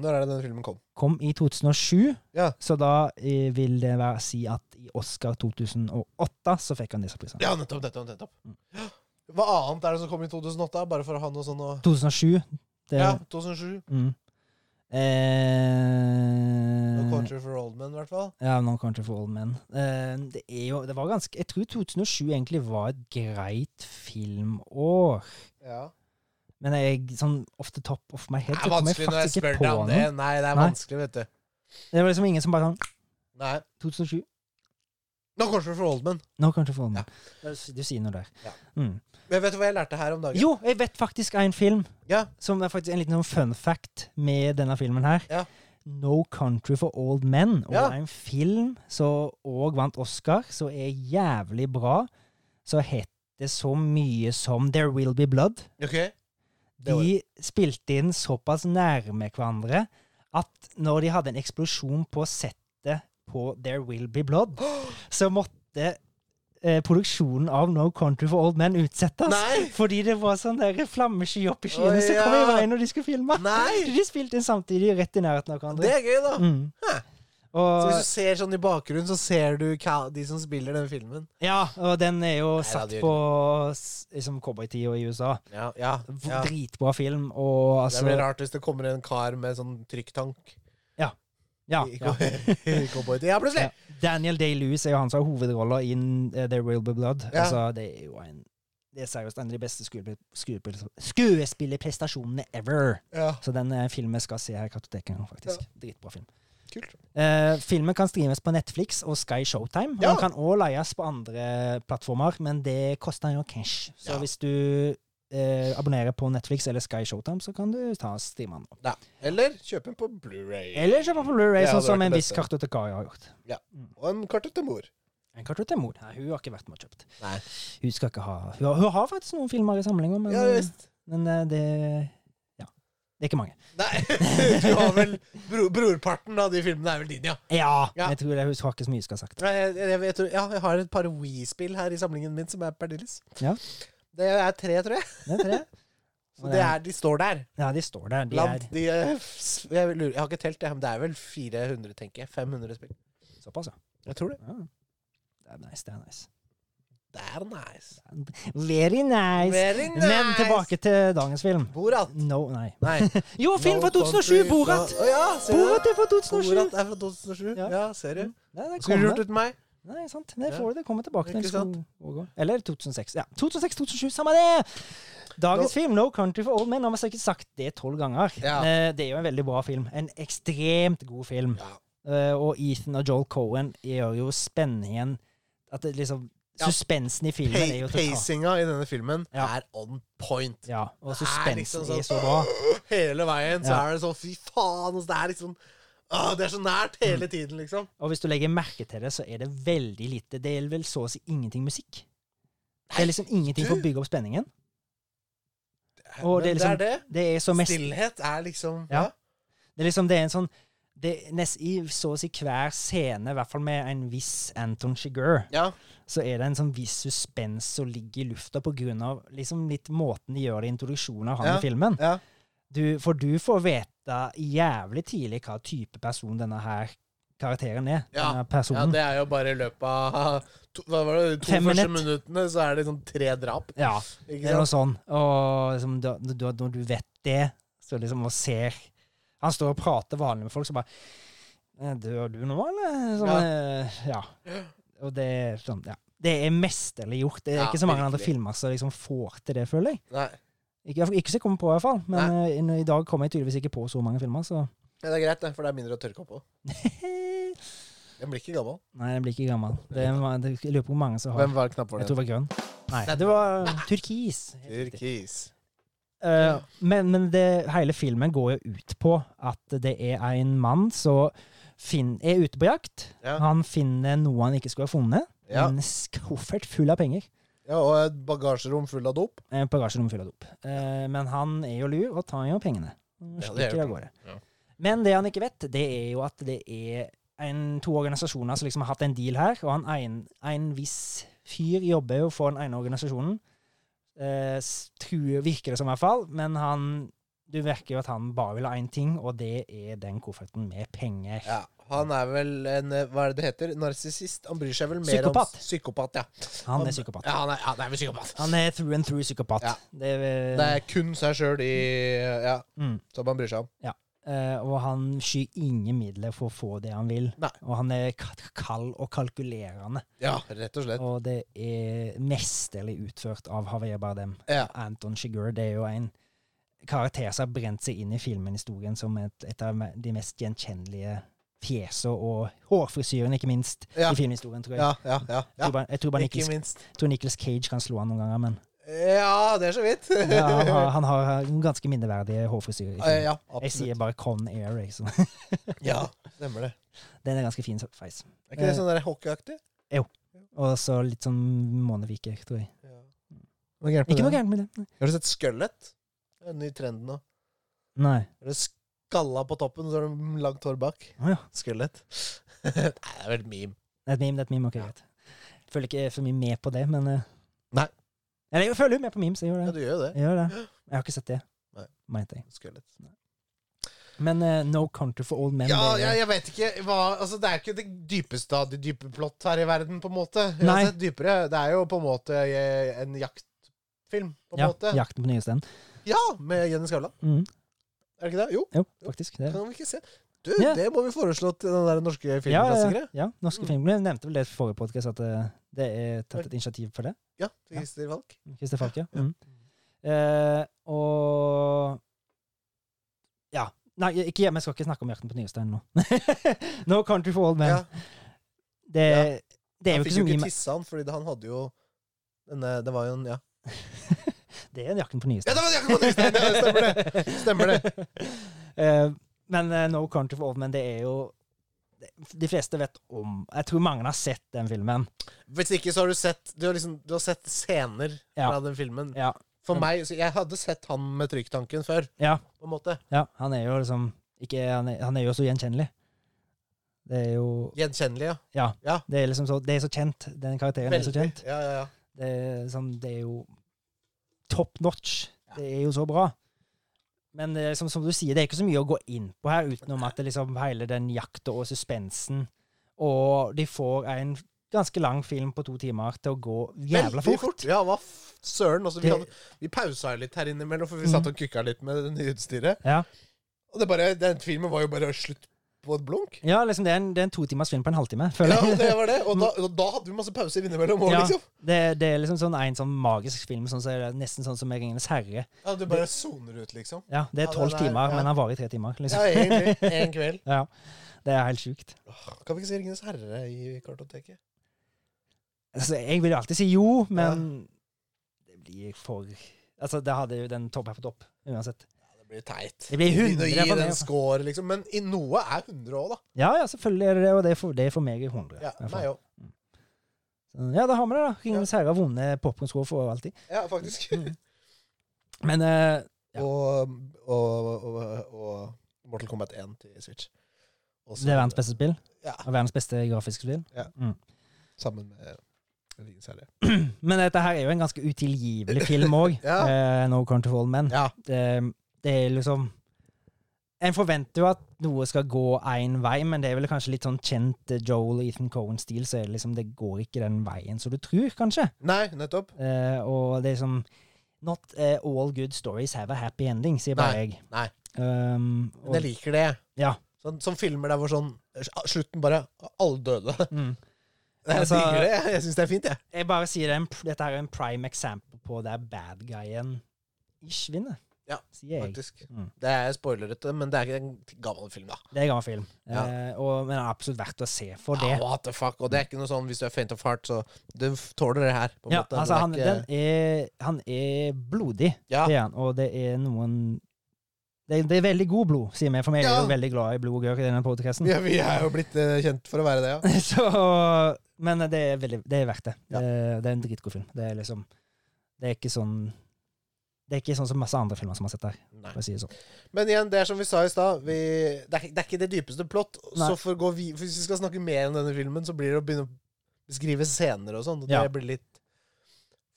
Når er det den filmen kom? Kom i 2007, Ja. så da eh, vil det være å si at i Oscar 2008 så fikk han disse prisene. Ja, nettopp, nettopp, nettopp. Mm. Hva annet er det som kom i 2008? Bare for å ha noe sånn å 2007 det, Ja, 2007. mm. No eh, Country for Old Men, i hvert fall. Ja, No Country for Old Men. Eh, det er jo Det var ganske Jeg tror 2007 egentlig var et greit filmår. Ja. Men jeg sånn off the top of my head Det så er kommer vanskelig jeg når jeg faktisk ikke spør på deg om noe. det. Det. Nei, det er Nei. vanskelig, vet du. var liksom ingen som bare sånn Nei. 2007. Nå kanskje for Oldman. No Country for Old Men. Du sier noe der. Ja. Mm. Men vet du hva jeg lærte her om dagen? Jo, jeg vet faktisk en film Ja. som er faktisk en liten sånn fun fact med denne filmen her. Ja. No Country for Old Men. Og Ja. en film som òg vant Oscar, som er jævlig bra. Så het det så mye som There Will Be Blood. Ok. Det var- De spilte inn såpass nærme hverandre at når de hadde en eksplosjon på settet på There Will Be Blood, så måtte eh, produksjonen av No Country for Old Men utsettes. Nei! Fordi det var sånn der flammesky opp i Å, skyene som kom i ja. veien når de skulle filme. Nei! De spilte inn samtidig rett i nærheten Det av hverandre. er gøy, da. Mm. Hæ. Så Og, hvis du ser sånn i bakgrunnen, så ser du hva- de som spiller den filmen. ja, og den er jo Nei, satt det er på s- liksom cowboytida i USA. Ja, ja, V- ja. Dritbra film, og Det altså blir rart hvis det kommer en kar med sånn trykktank. Ja, I- ja. i cowboy- Ja, plutselig! Ja. Daniel Day-Lewis er jo han som har hovedrolla i eh, The Real Be Blood. Ja. Altså, det er jo en Det er seriøst en av de beste skuespill- skuespill- skuespillerprestasjonene ever. Ja. Så den eh, filmen skal se her i Kartoteket, faktisk. Dritbra film. Kult. Eh, filmen kan streames på Netflix og Sky Showtime. Ja. Den kan òg leies på andre plattformer, men det koster jo cash. Så Ja. hvis du eh, abonnerer på Netflix eller Sky Showtime, så kan du ta streamene. Ja. Eller kjøp den på Blu-ray Eller kjøpe på Blu-ray, Ja, det sånn hadde som vært en det viss beste. kartotekar har gjort. Og en kartet til mor. En kartrutt er mor. Nei, hun har ikke vært med og kjøpt. Nei. Hun skal ikke ha Hun har, hun har faktisk noen filmer i samlinga, men, Ja visst. men eh, det Ja. Det er ikke mange. Nei, du har vel bro, Brorparten av de filmene er vel din, ja. Ja! Ja. Jeg tror det, hun har ikke så mye hun skal ha sagt. Nei, Jeg, jeg, jeg, tror, ja, jeg har et par Wii-spill her i samlingen min som er Perdilles. Ja. Det er tre, tror jeg. Det er tre. Så det er, de står der. Ja, de står der. De Blant er de eh, s- jeg, lurer, jeg har ikke telt, det, men det er vel 400, tenker jeg. 500 spill. såpass, ja. Jeg tror det. ja. Det er nice, det er nice. Det er nice. Very nice. Very nice. Men tilbake til dagens film. Borat. No, nei. Nei. Jo, film fra 2007! Borat! Å, ja, ser du Borat det? er fra 2007! altså. Borat er fra 2007. Ja. Ja, ser du. Nei, Skulle det du kommer. gjort uten meg? Nei, sant. Ja. Det får det komme tilbake til. Ikke sant? Skulle gå. Eller 2006. Ja, 2006-2007, samme det! Dagens film, No Country for Old Men, har vi sikkert sagt det tolv ganger. Ja. Eh, Det er jo en veldig bra film. En ekstremt god film. Ja. Eh, Og Ethan og Joel Cohen gjør jo spenningen At det liksom Ja. Suspensen i filmen er jo Pa- total. Pacinga i denne filmen Ja. er on point. Ja, og Det er liksom suspensen sånn- er så bra. Hele veien så Ja. er det sånn Fy faen! altså, Det er liksom Åh, Det er så nært Mm. hele tiden, liksom. Og hvis du legger merke til det, så er det veldig lite Det er vel så å si ingenting musikk. Det er liksom ingenting for å du- bygge opp spenningen. Og det er Men liksom- det. Det er så mest Stillhet er liksom Ja. Det er liksom det er en sånn det, er nest, I så å si hver scene, i hvert fall med en viss Anton Chigurh, ja. så er det en sånn viss suspens som ligger i lufta på grunn av liksom litt måten de gjør det i introduksjonen av han Ja, i filmen. ja. Du, for du får vite jævlig tidlig hva type person denne her karakteren er. Ja, Denne ja, personen. det er jo bare i løpet av to, hva var det, to Fem første minutt. minuttene, så er det sånn tre drap. Ja, Ikke det er noe sant? sånn. Og liksom, da, da, når du vet det, så liksom og ser Han står og prater vanlig med folk, så bare «Eh, Dør du nå, eller? Sånn, eh, ja. Og det er sånn, ja. Det er mesterlig gjort. Det er Ja, ikke så mange andre virkelig. filmer som liksom får til det, føler jeg. Nei. Ikke, ikke så jeg kommer på, i hvert fall. Men eh, i dag kommer jeg tydeligvis ikke på så mange filmer, så Ja, det er greit, det, for det er mindre å tørke opp på. Nei, Den blir ikke gammel. den blir ikke gammel. Det er, ma- det, jeg lurer på hvor mange som har Hvem var knapp for Jeg tror den? det var grønn. Nei, Nei. det var turkis. Helt riktig. Turkis. Eh, men men det, hele filmen går jo ut på at det er en mann som finn, er ute på jakt. Ja. Han finner noe han ikke skulle ha funnet. Ja. En koffert full av penger. ja, og et bagasjerom full av dop. Eh, Bagasjerommet fullt av dop. Eh, men han er jo lur og tar jo pengene. Og Ja, det stikker gjør av gårde. Ja. Men det han ikke vet, det er jo at det er en, to organisasjoner som liksom har hatt en deal her, og han en, en viss fyr jobber jo for den ene organisasjonen. Eh, s- tror, virker det som i hvert fall, men han du virker jo at han bare vil ha én ting, og det er den kofferten med penger. Ja, han er vel en eh, Hva er det det heter? Narsissist? Han bryr seg vel mer Psykopat. om Psykopat. ja. Han er psykopat. Ja, han er, ja, han er vel psykopat. Han er through and through psykopat. Ja. Det er, Det er kun seg sjøl i Ja, Mm. som han bryr seg om. Eh, og han skyr ingen midler for å få det han vil. Nei. Og han er k- kald og kalkulerende. Ja, rett og slett. Og det er mesterlig utført av Javier Bardem. Ja. Anton Chigurh det er jo en karakter som har brent seg inn i filmhistorien som et, et av me- de mest gjenkjennelige fjesene og hårfrisyren, ikke minst, Ja. i filmhistorien, tror jeg. Ja, ja, ja. Jeg tror ja. bare- Jeg tror bare Ikke Nicolas- minst. jeg tror Nicolas Cage kan slå han noen ganger, men Ja, det er så vidt. ja, han, har, han har ganske minneverdige hårfrisyrer. i filmen. ja, jeg sier absolutt. bare Con Air, liksom. Ja, stemmer det. Den er ganske fin så- face. Er ikke det Eh. sånn der hockeyaktig? Og så litt sånn måneviker, tror jeg. Ja. Hva er gærent Ikke noe med det? gærent med det. Har du sett Skøllet? Det er en ny trend nå. Nei. Er det skalla på toppen, så har du langt hår bak. Å ja. Skøllet. Nei, det er vel et meme. Det er et meme, det er et meme. Ok, Ja. greit. Følger ikke for mye med på det, men eh, Nei. Eller jeg følger jo med på memes, jeg gjør Ja, det. du gjør jo det. Jeg gjør det. Jeg har ikke sett det. Nei. Mente jeg. Skøllet. Men eh, No Country for Old Men Ja, det er- jeg, jeg vet ikke hva Altså, det er jo ikke det dypeste av de dype plott her i verden, på en måte. Nei. Uansett dypere. Det er jo på en måte eh, en jaktfilm, på en ja, måte. Jakten på nye steder. Ja, med Jenny Skavlan. Mm. Er det ikke det? Jo, Jo, faktisk. Det. er- kan vi ikke se. Du, Ja. det må vi foreslå til den der norske Ja, ja, filmklassikere. ja, ja, norske Mm. filmer. Jeg nevnte vel det i forrige podkast, at eh, det er tatt et initiativ for det. Ja, til Christer Falk. Christer Falke. Mm. Eh, og Ja. Nei, ikke, jeg skal ikke snakke om Jakten på Nyrestein nå. no Country for Old Men. Ja, Det, Ja. det er han jo fikk ikke så jo mye ikke med tissa han, fordi han hadde jo denne, Det var jo en Ja, Det er en Jakten på ja Nyrestein. det var Jakob Nystad! Ja, stemmer det. Stemmer det. Eh, men eh, No Country for Old Men, det er jo de fleste vet om Jeg tror mange har sett den filmen. Hvis ikke, så har du sett Du har, liksom, du har sett scener Ja. fra den filmen. Ja. For meg, så Jeg hadde sett han med trykktanken før, ja, på en måte. ja han er jo liksom ikke, han, er, han er jo så gjenkjennelig. Det er jo Gjenkjennelig, ja. det er liksom så, det er så kjent. Den karakteren er så kjent. Ja, ja, ja. Det er, sånn, det er jo top notch. Det er jo så bra. Men det er, som, som du sier, det er ikke så mye å gå inn på her, utenom at det liksom hele den jakta og suspensen Og de får en ganske lang film på to timer til å gå jævla Veldig fort. Ja, hva f- søren. Altså, vi, Det- hadde, vi pausa jo litt her innimellom, for vi Mhm. satt og kukka litt med det nye utstyret. Ja. Og det bare, den filmen var jo bare slutt på et blunk. Ja, liksom det er en, det er en to timers film på en halvtime. Føler Ja, jeg. det var det. Og da, og da hadde vi masse pauser innimellom òg, Ja. liksom. Det, det er liksom sånn en sånn magisk film, sånn som er nesten sånn som Ringenes herre. Ja, du bare soner ut, liksom. Ja, Det Ja, er tolv den er- timer, ja. men han varer i tre timer. Ja, Liksom. egentlig. En kveld. Ja, Det er helt sjukt. Åh, Kan vi ikke si Ringenes herre i kartoteket? Altså, jeg vil jo alltid si jo, men det blir for Altså, det hadde jo den topp her på topp, uansett. Det blir teit. Det blir Begynne å 100 for gi meg, den altså. score, liksom. Men i noe er 100 òg, da. Ja, ja, selvfølgelig er det det, og det er for, det er for meg i 100. i Ja, hvert fall. meg òg. Så, ja, da har vi det, da. Ringenes herre har vunnet popkornskål for alltid. Ja, faktisk. Mm. Men eh, Ja. Og, og, og, og Mortal Kombat 1 til Switch. Også, det er verdens beste spill, Ja, og verdens beste grafiske spill. sammen med Ringenes herre. Men dette her er jo en ganske utilgivelig film òg. Ja. eh, no Country for Old Men. Ja. Det, det er liksom En forventer jo at noe skal gå én vei, men det er vel kanskje litt sånn kjent eh, Joel og Ethan Cohen-stil, så er det liksom det går ikke den veien som du tror, kanskje. Nei, nettopp. Eh, og det er liksom Not eh, all good stories have a happy ending, sier bare jeg. nei. Um, og, Men jeg liker det. Ja. Sånn, som filmer der hvor sånn Slutten bare Alle døde. mm. Jeg Altså- digger det. Jeg syns det er fint, jeg. Jeg bare sier det, er en pr- dette her er en prime example på der bad guyen ish vinner, Ja, sier jeg. Faktisk. Mm. Det er spoilerete, men det er ikke en gammel film, da. Det er gammel film, Ja. eh, og, men absolutt verdt å se for det. Ja, Ah, what the fuck? Og det er ikke noe sånn hvis du er faint of heart, så du f- tåler det her. På en Ja, måte. altså, Det er han, ikke- den er, han er blodig, Ja. det er han, og det er noen det, det er veldig god blod, sier vi, for vi er Ja. jo veldig glad i blod og gørr i denne podcasten. ja, vi er jo blitt eh, kjent for å være det, ja. Så, men det er, veldig, det er verdt det. Ja. det. Det er en dritgod film. Det er liksom Det er ikke sånn Det er ikke sånn som masse andre filmer som har sett der, Nei. for å si det sånn. Men igjen, det er som vi sa i stad, vi, det, er ikke- det er ikke det dypeste plott. Nei. Så for å gå vi, for Hvis vi skal snakke mer om denne filmen, så blir det å begynne å beskrive scener og sånn. og Det Ja. blir litt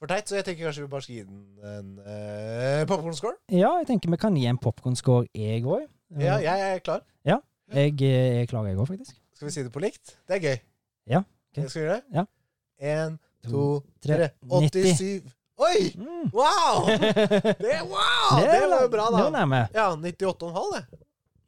for teit, så jeg tenker kanskje vi bare skal gi den en uh, popkorn-score. Ja, jeg tenker vi kan gi en popkornscore, jeg òg. Ja, jeg er klar. Jeg eh, er klar, jeg òg, faktisk. Skal vi si det på likt? Det er gøy. Ja, ok. Skal vi gjøre det? Ja. En, to, tre, tre. 90. 87. Oi! Mm. Wow! Det, wow! det var jo bra, Det var da. nærme. Ja, 98,5, det.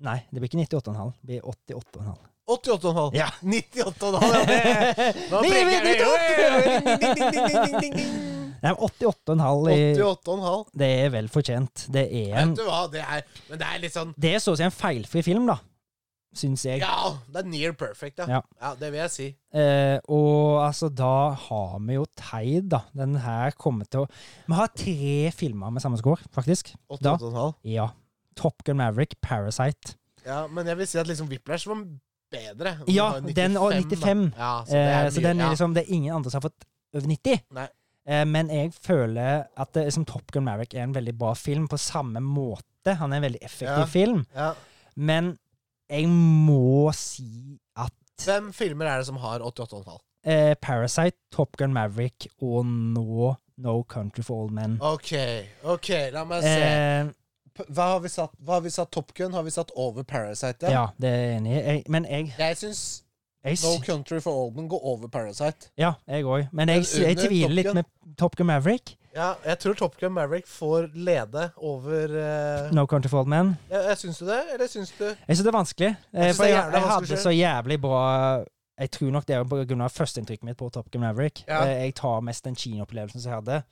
Nei, det blir ikke 98,5. Det blir 88,5. 88,5. Ja. 98,5 ja, det- Nå Livet preker ditt jeg det! Nei, men 88,5 i- 88,5. Det er vel fortjent. Det er en Vet du hva, det er Men det er litt sånn Det er så å si en feilfri film, da. Syns jeg. Ja, det er near perfect, ja. Ja. ja det vil jeg si. Eh, og altså, da har vi jo Teid, da. Den her kommer til å Vi har tre filmer med samme score, faktisk. Da. 88,5. Ja. Top Gun Maverick, Parasite. Ja, men jeg vil si at liksom Whiplash var bedre. Ja, var den og 95. da. Ja, så Altså, det Eh, er, så mye- den ja. er liksom Det er ingen andre som har fått over 90. Nei. Eh, men jeg føler at det, liksom, Top Gun Maverick er en veldig bra film på samme måte. Han er en veldig effektiv Ja. film. ja. Men jeg må si at Hvem filmer er det som har 88,5? eh, Parasite, Top Gun Maverick og nå No Country for Old Men. OK, ok, la meg se. Eh, P- Hva har vi satt? Hva har vi satt Top Gun? Har vi satt over Parasite? ja? ja, det er jeg enig i. Jeg- Men jeg, Jeg syns jeg, No sy- Country for Oldman går over Parasite. Ja, jeg òg. Men jeg, sy- jeg under Top tviler litt Gun? med Top Gun Maverick. Ja, jeg tror Top Gun Maverick får lede over eh, No Country for Old Men. jeg, jeg Syns du det, eller syns du Jeg syns det er vanskelig. eh, synes For det er jeg, jævlig jeg hadde vanskelig så jævlig bra Jeg tror nok det er på grunn av førsteinntrykket mitt på Top Gun Maverick. Ja. Eh, Jeg tar mest den kinoopplevelsen som jeg hadde,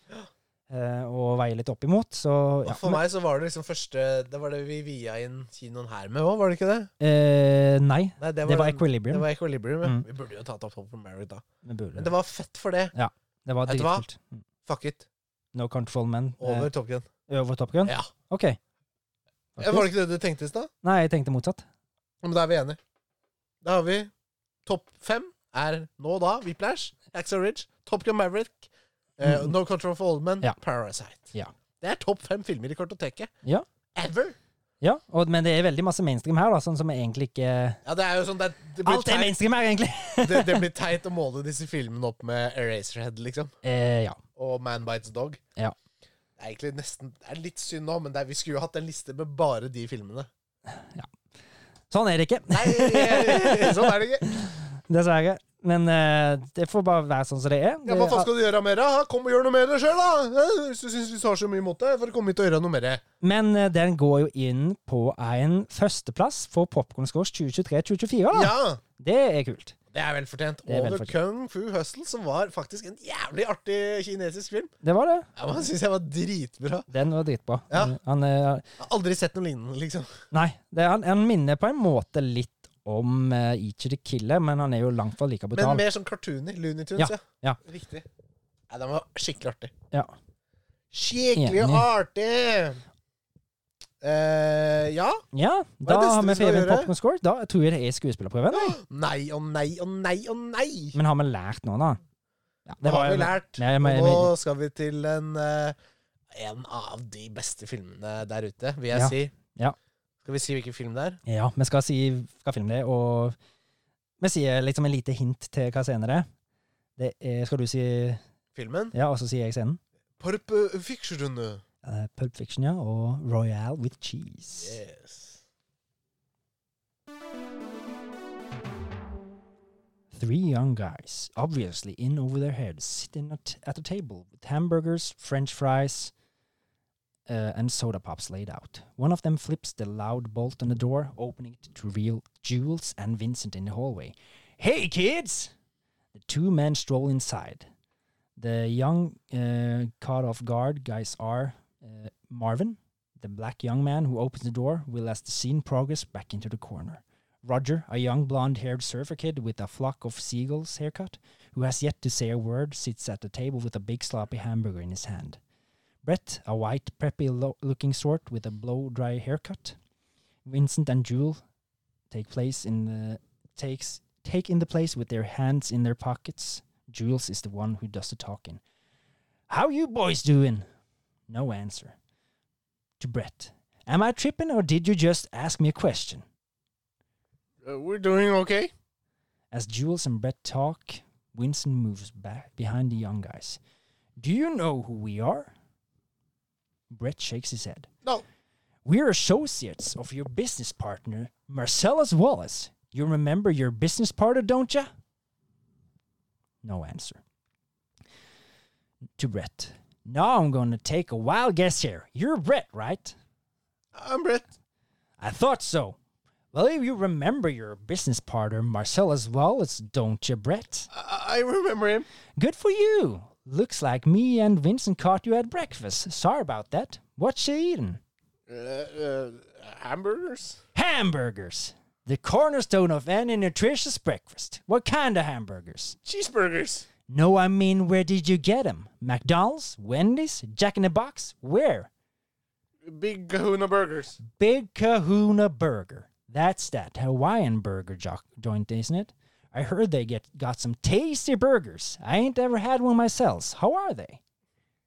eh, og veier litt opp imot. Så ja. For meg så var det liksom første Det var det vi via inn kinoen her med òg, var det ikke det? Eh, nei, Nei, det var den- Det Equilibrium. var Equilibrium, ja. Mm. Vi burde jo tatt opp Top Gun Maverick da. Det var, Men det var fett for det. det var Vet du hva? dritkult. Mm. Fuck it. No Country for Old Men. eh, Over Top Gun. Over Top Gun? Ja. OK. Var det ikke det du tenkte i stad? Nei, jeg tenkte motsatt. Men da er vi enige. Da har vi topp fem er nå da Whiplash, Axel Ridge, Top Gun Maverick, eh, Mm. No Control for Old Men, Ja. Parasite. Ja. Det er topp fem filmer i kartoteket. Ja. Ever! Ja, og, men det er veldig masse mainstream her, da, sånn som vi egentlig ikke Ja, det er jo sånn det, det, blir Alt er teit, mainstream her, egentlig! det, det blir teit å måle disse filmene opp med Eraserhead, liksom. Eh, ja. Og Man Bites Dog. Ja. Det er egentlig nesten det er litt synd nå, men det er, vi skulle jo hatt en liste med bare de filmene. Sånn er det ikke, Nei, sånn er det ikke. dessverre. Men eh, det får bare være sånn som det er. Ja, Hva faen skal du gjøre mer? da? Kom og gjør noe med det sjøl, da! Hvis du syns vi tar så mye mot deg, for å komme hit og gjøre noe mer. Men eh, den går jo inn på en førsteplass for Popcorn Scores 2023-2024. da. Ja! Det er kult. Det er velfortjent. Ah. Det er Og The velfortjent. Kung Fu Hustle, som var faktisk en jævlig artig kinesisk film. Det var det. Ja, man synes jeg var dritbra. Den var dritbra. Ja. Han, eh, Jeg har aldri sett noe lignende, liksom. nei, det, han, han minner på en måte litt om uh, Each the Killer, men han er jo langt fra like Men brutal. mer sånn cartoony. Looney Tunes, ja. ja. Riktig. Ja, den var skikkelig artig. Ja. Skikkelig Enig. artig! Eh, ja. Ja, er da det neste har vi skal vi skrevet gjøre? Popcorn Score. Da tror jeg det er skuespillerprøven. jeg. Nei og nei og nei og nei! Men har vi lært noe, da? Ja, Det har vi lært. Nei, men- og nå skal vi til en, eh, en av de beste filmene der ute, vil jeg Ja. si. Ja. Skal vi si hvilken film det er? Ja, vi skal si hva film det er, og vi sier liksom en lite hint til hva scenen det er. Det er skal du si Filmen? Ja, og så sier jeg scenen. Pulp Fiction. Eh, Pulp Fiction, ja, og Royal with Cheese. Yes. Three young guys, obviously in over their heads, sitting at, at a table with hamburgers, french fries, uh, and soda pops laid out. One of them flips the loud bolt on the door, opening it to reveal Jules and Vincent in the hallway. Hey, kids! The two men stroll inside. The young, uh, caught off guard guys are uh, Marvin, the black young man who opens the door, will, as the scene progresses, back into the corner. Roger, a young blonde haired surfer kid with a flock of seagulls haircut, who has yet to say a word, sits at the table with a big sloppy hamburger in his hand. Brett, a white, preppy lo- looking sort with a blow dry haircut. Vincent and Jewel take place in the takes take in the place with their hands in their pockets. Jules is the one who does the talking. How you boys doing? No answer. To Brett. Am I tripping or did you just ask me a question? Uh, we're doing okay. As Jules and Brett talk, Winston moves back behind the young guys. Do you know who we are? Brett shakes his head. No. We're associates of your business partner, Marcellus Wallace. You remember your business partner, don't ya? No answer. To Brett. Now I'm gonna take a wild guess here. You're Brett, right? I'm Brett. I thought so. Well, if you remember your business partner, Marcellus Wallace, don't ya, Brett? I, I remember him. Good for you. Looks like me and Vincent caught you at breakfast. Sorry about that. What's you eating? Uh, uh, hamburgers? Hamburgers. The cornerstone of any nutritious breakfast. What kind of hamburgers? Cheeseburgers. No, I mean, where did you get 'em? McDonald's? Wendy's? Jack in the Box? Where? Big kahuna burgers. Big Kahuna Burger. That's that Hawaiian burger jo- joint, isn't it? I heard they get got some tasty burgers. I ain't ever had one myself. How are they?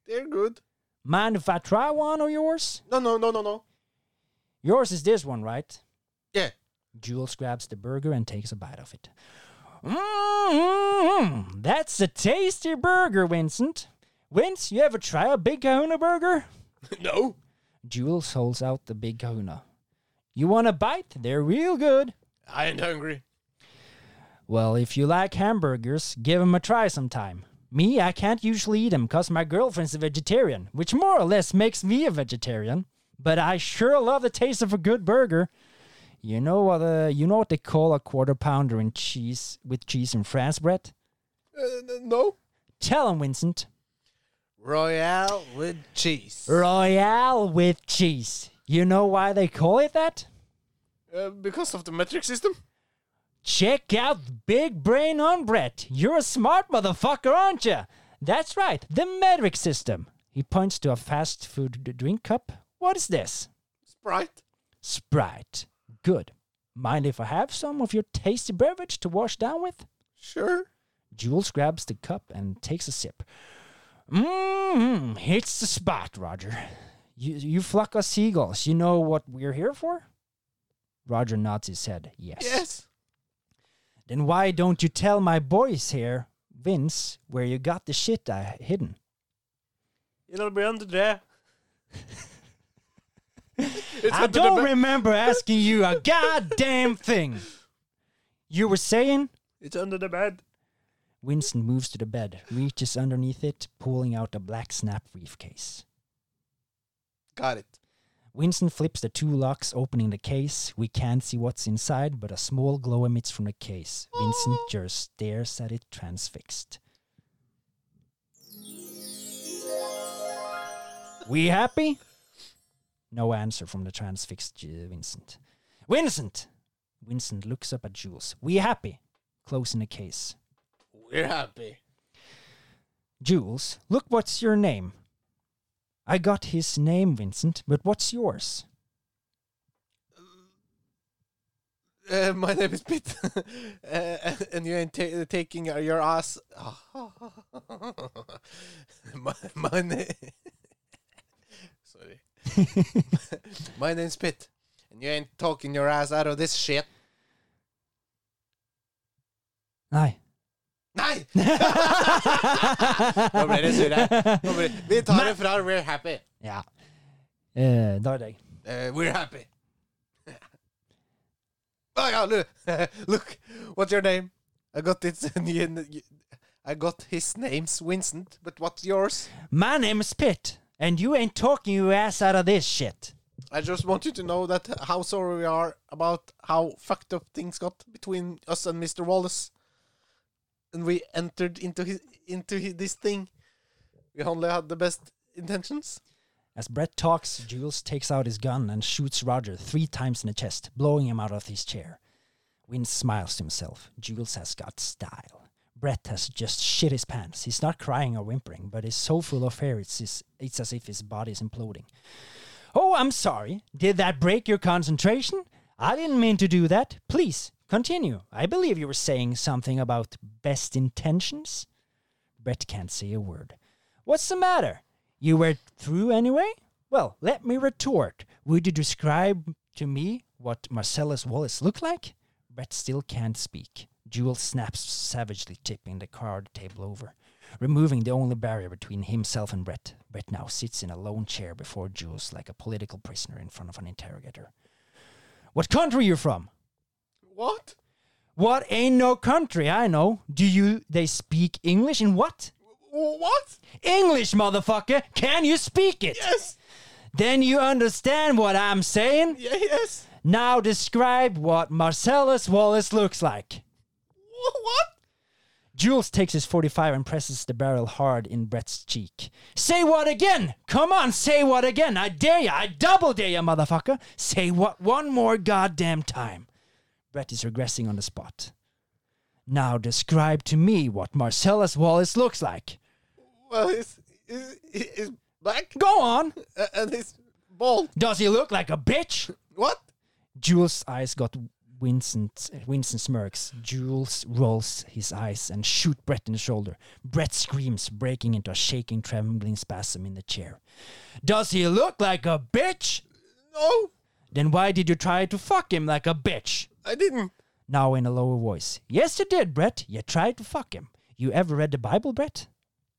They're good. Mind if I try one of yours? No, no, no, no, no. Yours is this one, right? Yeah. Jules grabs the burger and takes a bite of it. Mmm, that's a tasty burger, Vincent. Vince, you ever try a Big Kahuna burger? no. Jules holds out the Big Kahuna. You want a bite? They're real good. I ain't hungry. Well, if you like hamburgers, give 'em a try sometime. Me, I can't usually eat 'em 'cause my girlfriend's a vegetarian, which more or less makes me a vegetarian. But I sure love the taste of a good burger. You know what? Uh, you know what they call a quarter pounder in cheese with cheese in France, Brett? Uh, n- no. Tell 'em, Vincent. Royale with cheese. Royale with cheese. You know why they call it that? Uh, because of the metric system? Check out Big Brain on Brett. You're a smart motherfucker, aren't you? That's right, the metric system. He points to a fast food d- drink cup. What is this? Sprite. Sprite. Good. Mind if I have some of your tasty beverage to wash down with? Sure. Jules grabs the cup and takes a sip. Mmm, hits the spot, Roger. You, you flock of seagulls, you know what we're here for? Roger nods his head, yes. Yes. Then why don't you tell my boys here, Vince, where you got the shit I hidden? It'll be under there. It's I under the don't ba- remember asking you a goddamn thing. You were saying? It's under the bed. Winston moves to the bed, reaches underneath it, pulling out a black snap briefcase. Got it. Winston flips the two locks, opening the case. We can't see what's inside, but a small glow emits from the case. Vincent just stares at it, transfixed. We happy? No answer from the transfixed uh, Vincent. Vincent! Vincent looks up at Jules. We happy? Closing the case. We're happy. Jules, look what's your name. I got his name, Vincent, but what's yours? Uh, my name is Pete, uh, and you ain't ta- taking your ass. my my name. Sorry. my name's Pete, and you ain't talking your ass out of this shit. Nei. Nei! Nå ble det surre. Nå ble- Vi tar det fra We're Happy. Ja. Eh, da er det jeg. Uh, we're Happy. oh, yeah, look, look, what's your name? I got it. I got his name's Vincent, but what's yours? My name is Pitt, and you ain't talking your ass out of this shit. I just want you to know that how sorry we are about how fucked up things got between us and Mr. Wallace. And we entered into his into his, this thing. We only had the best intentions. As Brett talks, Jules takes out his gun and shoots Roger three times in the chest, blowing him out of his chair. Vince smiles to himself. Jules has got style. Brett has just shit his pants. He's not crying or whimpering, but is so full of fear it's, it's, it's as if his body is imploding. Oh, I'm sorry. Did that break your concentration? I didn't mean to do that. Please, continue. I believe you were saying something about best intentions. Brett can't say a word. What's the matter? You were through anyway? Well, let me retort. Would you describe to me what Marcellus Wallace looked like? Brett still can't speak. Jewel snaps savagely, tipping the card table over, removing the only barrier between himself and Brett. Brett now sits in a lone chair before Jules like a political prisoner in front of an interrogator. What country you from? What? What ain't no country, I know. Do you they speak English in what? What? English, motherfucker! Can you speak it? Yes. Then you understand what I'm saying? Yeah, yes. Now describe what Marcellus Wallace looks like. Wh- What? Jules takes his 45 and presses the barrel hard in Brett's cheek. Say what again? Come on, say what again? I dare ya. I double dare ya, motherfucker. Say what one more goddamn time. Brett is regressing on the spot. Now describe to me what Marcellus Wallace looks like. Well, he's, he's, he's black Go on. uh, and he's bald. Does he look like a bitch? What? Jules' eyes got Vincent. Winston smirks. Jules rolls his eyes and shoot Brett in the shoulder. Brett screams, breaking into a shaking, trembling spasm in the chair. Does he look like a bitch? No, Then why did you try to fuck him like a bitch? I didn't. Now in a lower voice. Yes, you did, Brett. You tried to fuck him. You ever read the Bible, Brett?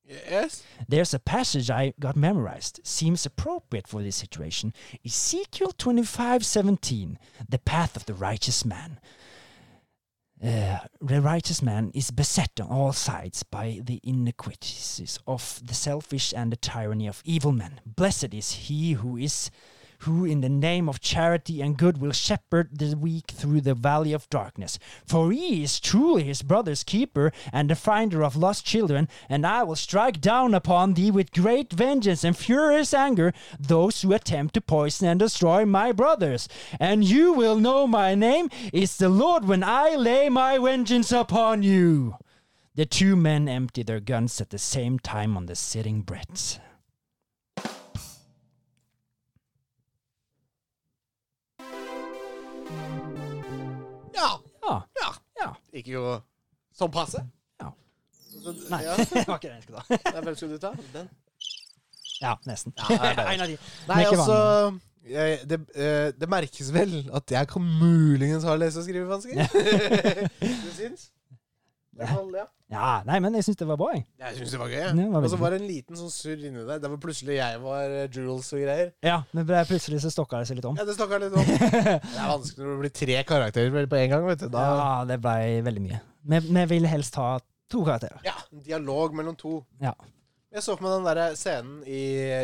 Yes. There's a passage I got memorized. Seems appropriate for this situation. Ezekiel 25:17, the path of the righteous man. Uh, the righteous man is beset on all sides by the iniquities of the selfish and the tyranny of evil men. Blessed is he who is who in the name of charity and good will shepherd the weak through the valley of darkness. For he is truly his brother's keeper and the finder of lost children, and I will strike down upon thee with great vengeance and furious anger those who attempt to poison and destroy my brothers. And you will know my name is the Lord when I lay my vengeance upon you. The two men empty their guns at the same time on the sitting Brett. gikk jo sånn passe. Ja. Så, Nei, ja. det var ikke den jeg skulle ta. Nei, Hvem skulle du ta? Den? Ja, nesten. Ja, det er bedre. en av de. Nei, ikke altså jeg, det, eh, det merkes vel at jeg kan muligens ha lese- og skrivevansker. du syns? I hvert fall, ja. Ja, nei, men jeg syns det var bra, jeg. Jeg syns det var gøy. Ja, det og så var veldig var det en liten sånn surr inni der. Det var plutselig jeg var eh, Jules og greier. Ja, men det er plutselig så stokka det seg litt om. Ja, Det snakka litt om. Det er vanskelig når det blir tre karakterer vel på en gang. vet du. Da, Ja, det ble veldig mye. Vi, vi ville helst ha to karakterer. ja, en Dialog mellom to. Ja. Jeg så for meg den der scenen i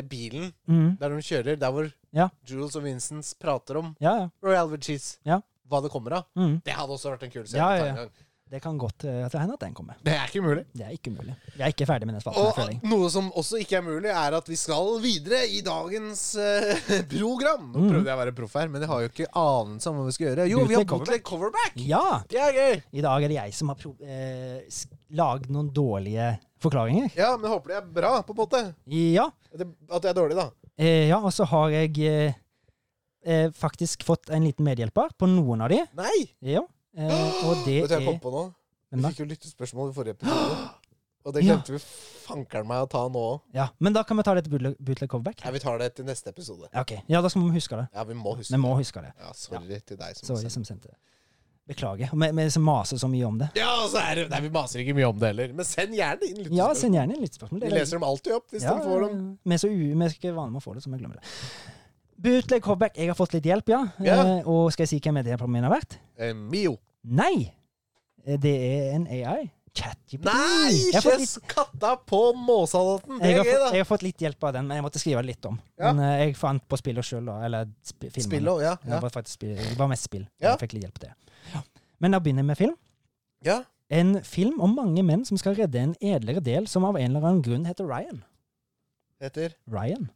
bilen Mm. der de kjører, der hvor Ja. Jules og Vincents prater om Ja, ja. Royal with cheese. Ja. Hva det kommer av. Mm. Det hadde også vært en kul scene. å Ja, ta ja, en ja. gang. Det kan godt eh, at det hender at den kommer. Det er ikke umulig. Det er ikke umulig. Vi er ikke ferdig med den spalten. jeg Og føler jeg. noe som også ikke er mulig, er at vi skal videre i dagens eh, program. Mm. Nå prøvde jeg å være proff her, men jeg har jo ikke anelse om hva vi skal gjøre. Jo, Bootleg vi har bootleg coverback! Ja! Det er gøy! I dag er det jeg som har pro eh, sk- lagd noen dårlige forklaringer. Ja, men håper det er bra, på en måte. Ja. Det, at det er dårlig, da. Eh, ja, og så har jeg eh, eh, faktisk fått en liten medhjelper på noen av de. Nei! Ja. Eh, og det Vet du hva jeg er kom på nå? Vi Hvem da? fikk jo lyttespørsmål i forrige episode. Og det Ja. glemte vi fankeren meg å ta nå òg. Ja, Men da kan vi ta det til bootleg- bootleg coverback. Nei, vi tar det til neste episode. Ja, ok. ja, da skal vi huske det. Ja, vi må huske Vi det. må huske det. Ja, sorry til deg som Sorry sender. som sendte det. Beklager. Vi, vi som maser så mye om det. Ja, og så er det Nei, vi maser ikke mye om det heller. Men send gjerne inn Ja, lyttespørsmål. send gjerne inn litt spørsmål. Det Vi er leser dem alltid opp hvis Ja, de får dem. Vi er så u vi er ikke vane med å få det, så vi glemmer det. Bootleg Hobback, jeg har fått litt hjelp, ja. Ja. Eh, og skal jeg si hvem medhjelperen min har vært? Eh, Mio. Nei! Eh, Det er en AI. ChatGPT. Nei! Jeg har fått Kjess katta på måsehaletten. Det Jeg er har, gøy, fått, da. jeg har fått litt hjelp av den, men jeg måtte skrive litt om. Ja. Men eh, jeg fant på spillet sjøl, da. Eller sp filmen. Spill òg, ja. Det Ja. var faktisk spill. Det var mest spill. Ja. Jeg fikk litt hjelp til det. Ja. Men da begynner jeg med film. ja. En film om mange menn som skal redde en edlere del som av en eller annen grunn heter Ryan. Heter Ryan.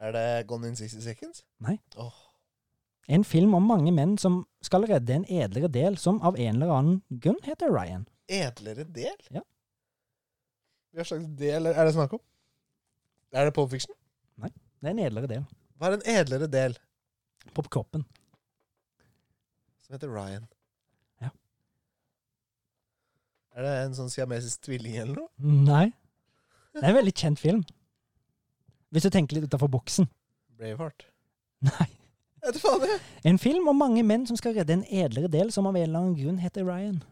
Er det Gone in 60 Seconds? En film om mange menn som skal redde en edlere del som av en eller annen grunn heter Ryan. Edlere del? Ja. Hva slags del er det snakk om? Er det Pole Fiction? Det er en edlere del. Hva er en edlere del På kroppen. som heter Ryan? Ja. Er det en sånn siamesisk tvilling eller noe? Nei. Det er en veldig kjent film. Hvis du tenker litt utafor boksen. Braveheart. Nei. Jeg vet faen jeg. En film om mange menn som skal redde en edlere del som av en eller annen grunn heter Ryan.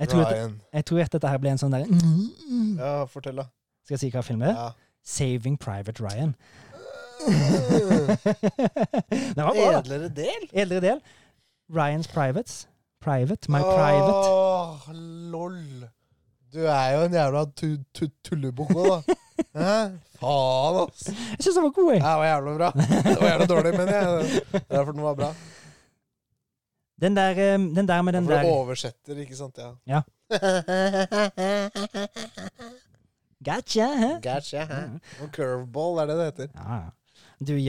Jeg tror, at, Ryan. jeg tror at dette her ble en sånn derre Ja, fortell, da. Skal jeg si hva film det er? Ja. 'Saving Private Ryan'. Mm. det var bra. da. Edlere del? Edlere del. Ryan's Privates. Private. My Private. Åh, lol. Du er jo en jævla tu tu tullebukk nå, da. Hæ? Faen, ass. Jeg syns den var god, jeg. Det var jævla bra. Det var jævla dårlig, men jeg. Det er derfor den var bra. Den der, eh, den der med den For der du oversetter, ikke sant? Ja. Ja. Gotcha, hæ? Gotcha, hæ? Mm. Og curveball, er det det heter. Ja. ja.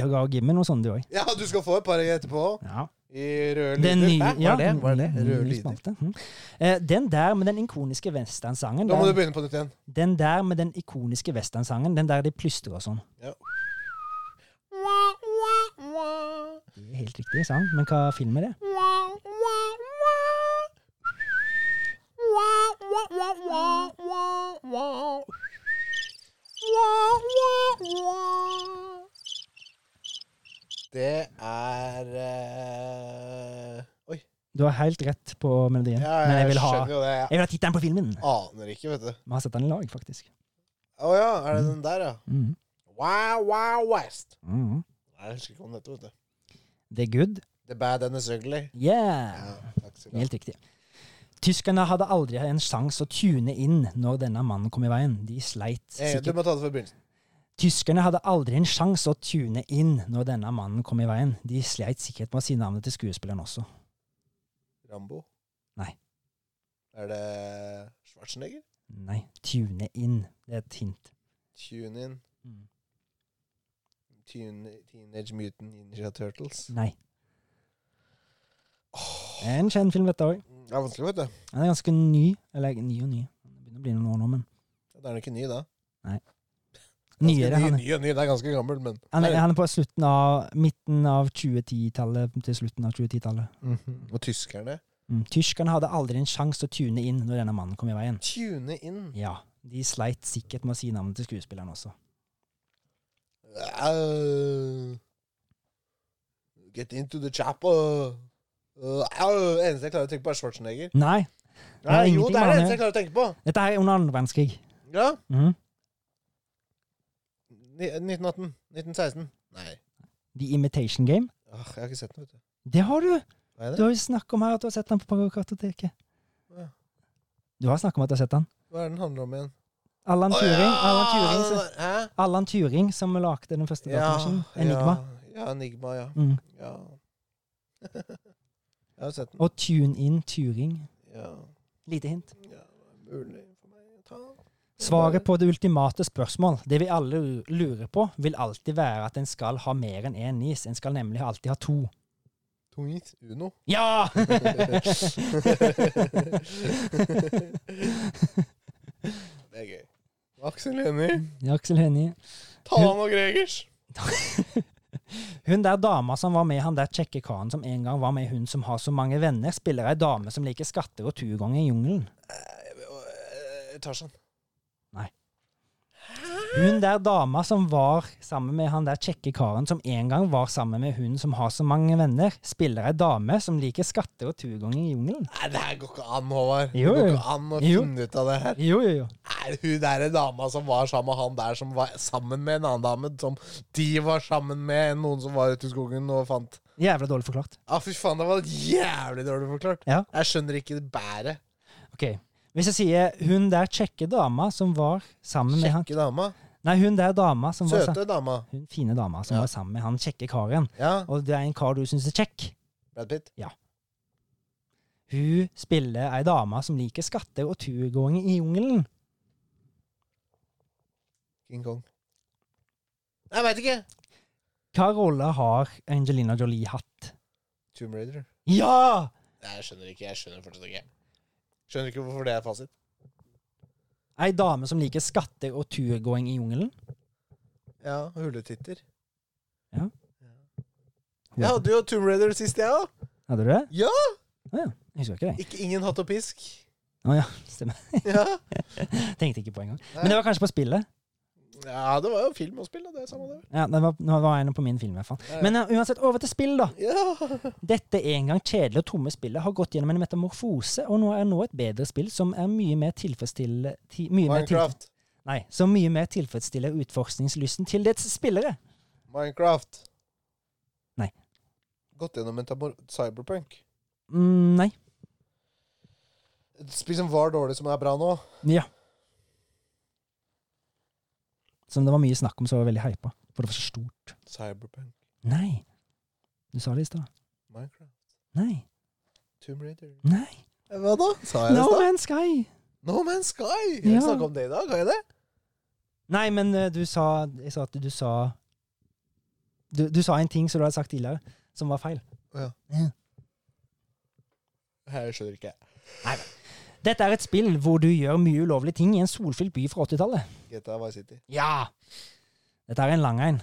Du ga Gimmen noe sånt, du òg. Ja, du skal få et par etterpå. Ja. I røde lyder. Den nye Hæ? Hva ja, er det? Hva er det? den Røde nye lyder. spalte. Mhm. Eh, Den der med den ikoniske westernsangen. Da må du Den, begynne på nytt igjen. den der med den ikoniske westernsangen. Den der de plystrer og sånn. Det er Helt riktig sang, men hva film er det? Det er eh, Oi. Du har helt rett på melodien. Ja, men jeg jeg vil ha, skjønner jo det. jeg vil ha tittelen på filmen. Jeg aner ikke, vet du. Vi har sett den i lag, faktisk. Å ja, er det den der, ja? Mhm. Wow, wow, west. Mhm. Nei, Jeg husker ikke om dette, vet du. The Good. The bad and the ugly. Yeah! Ja, takk skal du ha. Helt riktig. Tyskerne hadde aldri en sjanse å tune inn når denne mannen kom i veien. De sleit Eh, Du sikkert. må ta det fra begynnelsen. Tyskerne hadde aldri en sjanse å tune inn når denne mannen kom i veien. De sleit sikkert med å si navnet til skuespilleren også. Rambo? Nei. Er det Schwarzenegger? Nei, tune inn. Det er et hint. Tune in. Mm. Tune, Teenage Mutant Ninja Turtles. Nei. Det er en kjent film, dette òg. Det er vanskelig, vet du. Den er ganske ny. Eller ny og ny. Det begynner å bli noen år nå, men Da er den ikke ny, da. Nyere. Ny, Han, ny, ny, det er ganske gammel, men han, er- han er på slutten av, midten av 2010-tallet til slutten av 2010-tallet. Mhm. Og tyskerne Mm. Tyskerne hadde aldri en sjanse å tune inn når denne mannen kom i veien. Tune inn. Ja, De sleit sikkert med å si navnet til skuespilleren også. Au. Eh, get into the chapel. Uh, au. eneste jeg klarer å tenke på, er Schwarzenegger. Nei, Det har Nei, jo, ingenting det er med det han å eneste jeg klarer å tenke på. dette er under andre verdenskrig. Ja. Mhm. Ni- 1918. 1916. Nei. The Imitation Game. Åh, jeg har ikke sett den, vet du. Det har du! Nei, det? Du har jo snakket om her at du har sett den på kartoteket. Ja. Du har snakket om at du har sett den. Hva er den handler om igjen? Allan Å, Turing, ja, Alan Turing, så- den der- Hæ? Alan Turing som lagde den første datamaskinen. Enigma. Ja, ja Enigma, ja. Mm. ja. jeg har sett den. Og Tune In Turing. Ja, Lite hint. ja det er mulig for meg å ta. Svaret på det ultimate spørsmål, det vi alle lu- lurer på, vil alltid være at en skal ha mer enn én nis. En skal nemlig alltid ha to. Tungit Uno. Ja! Det er gøy. Aksel Hennie. Ja, Aksel Hennie. Talan og Gregers. Hun der dama som var med han der kjekke karen som en gang var med hun som har så mange venner, spiller ei dame som liker skatter og turgang i jungelen. Eh, Tarzan. Hun der dama som var sammen med han der kjekke karen som en gang var sammen med hun som har så mange venner, spiller ei dame som liker skatter og turgang i jungelen. Nei, det her går ikke an, Håvard. Jo, det går jo. ikke an å Jo. finne ut av det her. Jo, jo, jo. Er hun derre dama som var sammen med han der, som var sammen med en annen dame, som de var sammen med noen som var ute i skogen og fant Jævla dårlig forklart. Ja, fy faen, det var jævlig dårlig forklart. Ja. Jeg skjønner ikke bæret. Ok. Hvis jeg sier hun der kjekke dama som var sammen med han Kjekke dama. Nei, hun der dama som var sammen Søte dama. Hun fine dama som Ja. var sammen med han kjekke karen. Ja. Og det er en kar du syns er kjekk. Brad Pitt. Hun spiller ei dame som liker skatter og turgåing i jungelen. King Kong. Jeg veit ikke. Hva rolle har Angelina Jolie hatt? Tomb Raider. Ja! Nei, jeg skjønner ikke. Jeg skjønner fortsatt ikke. Skjønner ikke hvorfor det er fasit. Ei dame som liker skatter og turgåing i jungelen. Ja, huletitter. Ja. Jeg hadde jo Tomb Raider sist, jeg òg. Hadde du det? Ja. Ah, ja. Jeg husker ikke det. Ikke ingen hatt og pisk. Å ja, stemmer. Ja. Tenkte ikke på engang. Nei. Men det var kanskje på spillet. ja, det var jo film og spill, da. Det er samme det. Ja, det var, det var en på min film i hvert fall. Ja, ja. Men uh, uansett, over til spill, da. Ja. Dette en gang kjedelige og tomme spillet har gått gjennom en metamorfose, og nå er nå et bedre spill som er mye mer tilfredsstille... Ti, mye mer tilf- Minecraft. nei, som mye mer tilfredsstiller utforskningslysten til dets spillere. Minecraft. Nei. Gått gjennom en tabor cyberpunk. Mm, nei. Et spill som var dårlig, som er bra nå. Ja. Som det var mye snakk om, så var jeg veldig hypa. For det var så stort. Cyberpunk. Nei. Du sa det i stad. Minecraft. Nei. Tomb Raider. Nei. Eh, Hva da? Sa jeg det No i stad? Man's Sky! No Man's Sky! Jeg Ja. vil snakke om det i dag, har jeg det? Nei, men eh, du sa Jeg sa at du sa Du, du sa en ting som du hadde sagt tidligere, som var feil. Jeg skjønner ikke. Dette er et spill hvor du gjør mye ulovlige ting i en solfylt by fra 80-tallet. GTA Vice City. Ja! Dette er en lang en.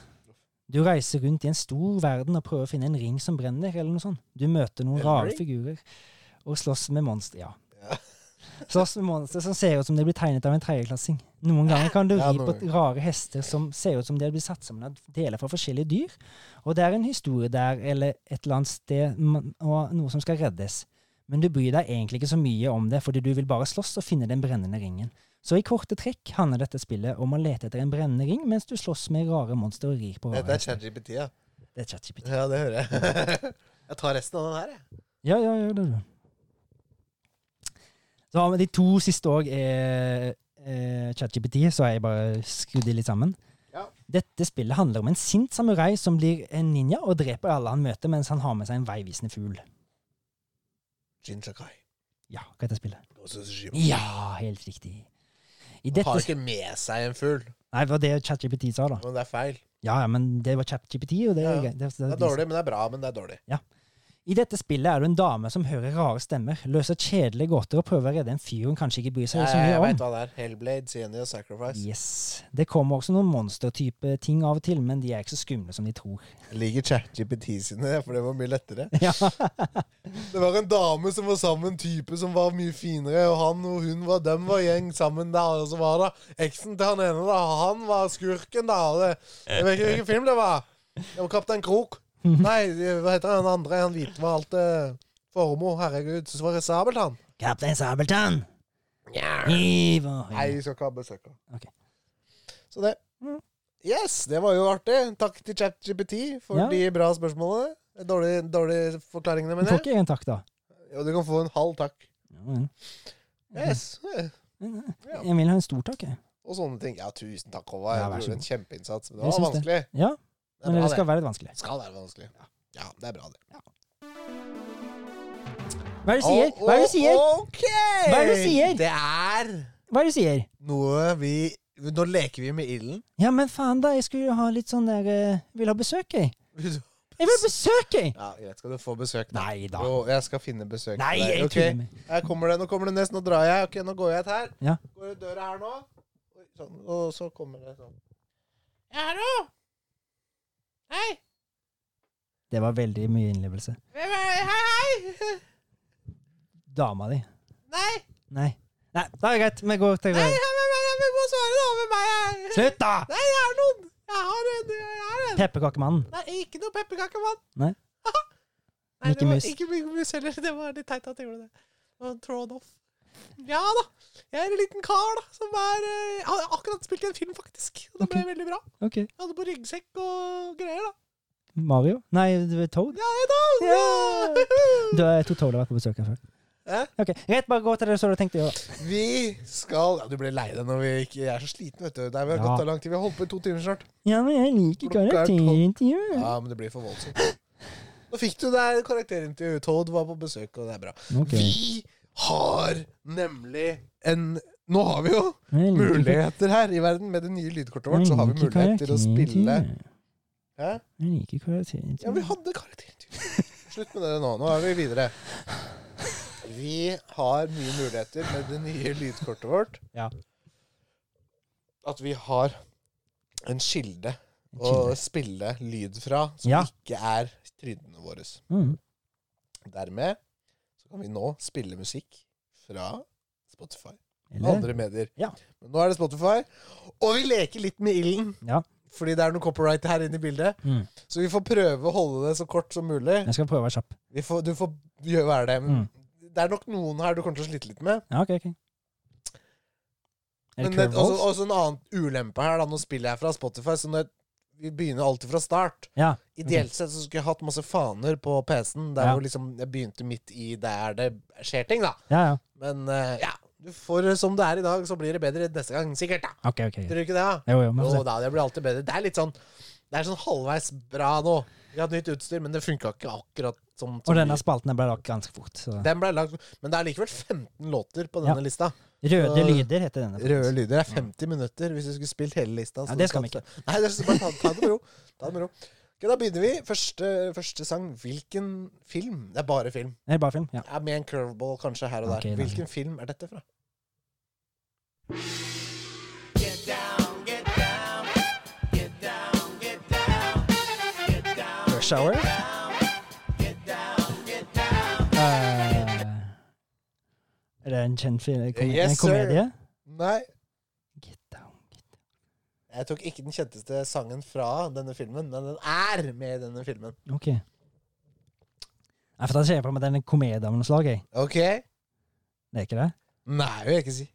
Du reiser rundt i en stor verden og prøver å finne en ring som brenner, eller noe sånt. Du møter noen En rare ring? figurer og slåss med monstre. Ja. Ja. Slåss med monstre som ser ut som de blir tegnet av en tredjeklassing. Noen ganger kan du Ja, ri noen på rare hester som ser ut som de blir satt sammen av deler fra forskjellige dyr. Og det er en historie der eller et eller annet sted man- og noe som skal reddes. Men du bryr deg egentlig ikke så mye om det, fordi du vil bare slåss og finne den brennende ringen. Så i korte trekk handler dette spillet om å lete etter en brennende ring mens du slåss med rare monstre og rir på rare Dette er hester. ChatGPT, ja. Det er ChatGPT. Ja, det hører jeg. jeg tar resten av den her, jeg. Ja, ja, ja, det er det. Så har vi de to siste òg er eh, ChatGPT, så har jeg bare skrudd de litt sammen. Ja. Dette spillet handler om en sint samurai som blir en ninja og dreper alle han møter, mens han har med seg en veivisende fugl. Jin Shakai. Ja, hva heter spillet? Ghost of Tsushima. Ja, helt riktig. I Han har dette ikke med seg en fugl, Nei, det var det ChatGPT sa, da. men det er feil. Ja, ja, men det var ChatGPT, og det, Ja, er ja. greit. det, Det er dårlig, men det er bra. Men det er dårlig. I I dette spillet er du en dame som hører rare stemmer, løser kjedelige gåter og prøver å redde en fyr hun kanskje ikke bryr seg så jeg mye veit om. hva det er. Hellblade, Senior Sacrifice. Yes. Det kommer også noen monstertype ting av og til, men de er ikke så skumle som de tror. Jeg liker ChatGPT sine, for det var mye lettere. Ja. Det var en dame som var sammen type som var mye finere, og han og hun var dem var gjeng sammen der, og så var det eksen til han ene, da. Han var skurken, da. og Det, jeg vet ikke hvilken film det var. Det var Kaptein Krok. Nei, hva heter han andre? Han hvite med alt det Formoe. Herregud, så var det sabelt, han. Kaptein Sabeltann! Ivo. Nei, vi skal ikke ha besøk. Ok. Så det. Mm. Yes, det var jo artig. Takk til ChatGPT for Ja. de bra spørsmålene. Dårlig, dårlig forklaringene, Du mener får jeg. ikke Mhm. en takk, da. Og du kan få en halv takk. Ja, Yes. men- Ja. Jeg vil ha en stor takk, jeg. Og sånne ting. Ja, tusen takk, Håvard. Ja, vær du så gjorde god. en kjempeinnsats. Men det Jeg var syns det. vanskelig. Ja, Det er men bra, det skal være litt vanskelig. det. skal være vanskelig. Ja, det er bra, det. Hva er det du sier? Hva er det du sier? Å, OK! Hva er det du sier? Det er Hva er det du sier? noe vi Nå leker vi med ilden. Ja, men faen, da. Jeg skulle jo ha litt sånn der eh, Vil ha besøk, jeg. Ja, Jeg vil ha besøk, jeg! greit. Skal du få besøk? da? Nei da. Jo, jeg skal finne besøk. til Nei, deg, jeg ok? tuller med Her kommer det, nå kommer det nest, nå drar jeg. Ok, nå går jeg et her. Ja. Går ut døra her nå. Oi, Sånn, og så kommer det sånn. Ja, hallo! Hei! Det var veldig mye innlevelse. Hvem er det? Hei, hei! Dama di. Nei! Nei. Nei, da er det greit. Vi går til Nei, hei, hvem er det? Vi må svare da, hvem er jeg? Slutt, da! Nei, jeg er noen! Jeg har en, jeg har en! Pepperkakemannen. Nei, ikke noe pepperkakemann! Nei. Nei, Mikke det var Mus. ikke Mikke Mus heller. Det var litt teit at jeg gjorde det. Det var Thrown off. Ja da! Jeg er en liten kar da, som er eh, Jeg har akkurat spilt i en film, faktisk. Og det ble veldig bra. Ok. Jeg hadde på ryggsekk og greier, da. Mario? Nei, det var Toad. Ja, jeg da! Du har to Toad har vært på besøk her før. Hæ? Ok, Greit, bare gå til det som du tenkte å gjøre. Vi skal ja, Du ble lei deg når vi ikke Jeg er så sliten, vet du. Nei, vi har Ja. gått av lang tid. Vi har holdt på i to timer snart. Ja, men jeg liker Klokka er karakteren til deg. Ja, men det blir for voldsomt. Nå fikk du deg karakterintervju. Todd var på besøk, og det er bra. Ok. Vi har nemlig en Nå har vi jo Jeg liker muligheter her i verden. Med det nye lydkortet vårt Jeg så har vi liker mulighet til å karakteren til spille deg. Hæ? Jeg liker karakteren til Ja, vi deg. hadde karakterintervju. Slutt med det nå. Nå er vi videre. Vi har mye muligheter med det nye lydkortet vårt. Ja. At vi har en kilde En å kilde. spille lyd fra som Ja. ikke er trynene våre. Mm. Dermed så kan vi nå spille musikk fra Spotify og Eller? andre medier. Ja. Men nå er det Spotify, og vi leker litt med ilden. Ja. Fordi det er noe copyright her inne i bildet. Mm. Så vi får prøve å holde det så kort som mulig. Jeg skal prøve å være kjapp. Vi får, du får gjøre være det. Mm. Men det er nok noen her du kommer til å slite litt med. Ja, ok, ok. Er det Men det altså, er curveballs? også, også en annen ulempe her. da Nå spiller jeg fra Spotify, så når jeg, vi begynner alltid fra start. Ja. Ideelt sett så skulle jeg hatt masse faner på PC-en. Der Ja. hvor liksom jeg begynte midt i der det skjer ting, da. Ja, ja. Men eh, ja, du får som det er i dag, så blir det bedre neste gang. Sikkert, da. Ok, ok. Tror du ikke det? da? Jo, jo, men Jo få se. da, det blir alltid bedre. Det er litt sånn Det er sånn halvveis bra nå. Vi har hatt nytt utstyr, men det funka ikke akkurat som, som Og denne spalten her ble lagt ganske fort. Så. Den ble lagt, men det er likevel 15 låter på denne Ja. lista. Røde Så- lyder heter denne. Røde lyder er 50 minutter hvis du skulle spilt hele lista. så Ja, det skal du vi kan- Nei, det er bare ta, ta det med ro. Ta det med ro. Ok, da begynner vi. Første, første sang. Hvilken film? Det er bare film. Er det bare film? Ja. Ja, med en curveball kanskje her og der. Ok, da. Hvilken film er dette fra? Rush Hour? Eh, er det en kjent film? En, kom Yes, en komedie? Nei. Get down, get down. Jeg tok ikke den kjenteste sangen fra denne filmen, men den er med i denne filmen. Ok. Nei, for da ser jeg på meg at det er en komedie av noe slag. jeg. Ok? Det er ikke det? Nei, vil jeg ikke si.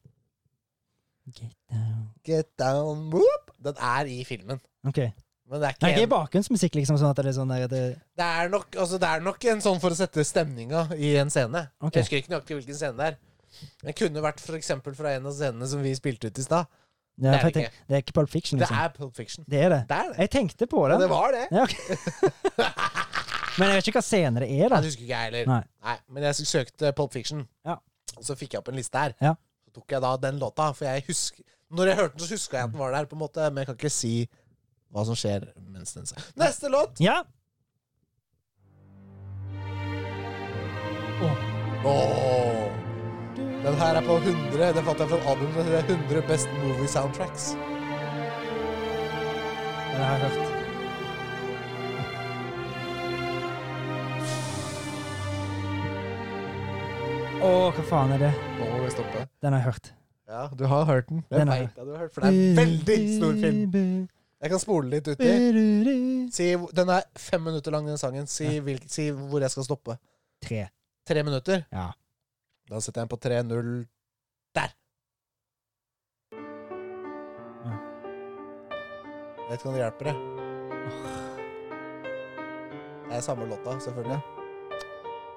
Get down. Get down whoop. Den er i filmen. Ok. Men det er ikke Nei, det en- er bakgrunnsmusikk, liksom. sånn at det er sånn der, det, Det er, nok, altså det er nok en sånn for å sette stemninga i en scene. Ok. Jeg husker ikke nøyaktig hvilken scene det er. Men Det kunne vært for eksempel fra en av scenene som vi spilte ut i stad. det, er, det for jeg ikke. tenker- det er ikke Pulp Fiction, Det liksom. er Pulp Fiction. Det er det. Det er det. Jeg tenkte på det. Ja, det var det. Ja, ok. Men jeg vet ikke hva scene det er, Nei, da. det husker ikke jeg heller. Nei. Nei, men jeg søkte Pulp Fiction, Ja. og så fikk jeg opp en liste her. Ja. Så tok jeg da den låta, for jeg husker Når jeg hørte den, så huska jeg at den var der, på en måte, men jeg kan ikke si hva som skjer mens den Neste låt! Ja. er på 100. Det fant jeg fra et album som heter 100 Best Movie Soundtracks. Den har jeg hørt. Å, hva faen er det? Nå må vi stoppe. Den har jeg hørt. Ja, du har hørt den. Den Jeg har vet at du har hørt, for det er en veldig stor film. Jeg kan spole litt uti. Si, den er fem minutter lang, den sangen. Si, hvilk, si hvor jeg skal stoppe. Tre. Tre minutter? Ja. Da setter jeg den på 3-0. Der! Ja. Jeg vet ikke om det hjelper, det. Det er samme låta, selvfølgelig.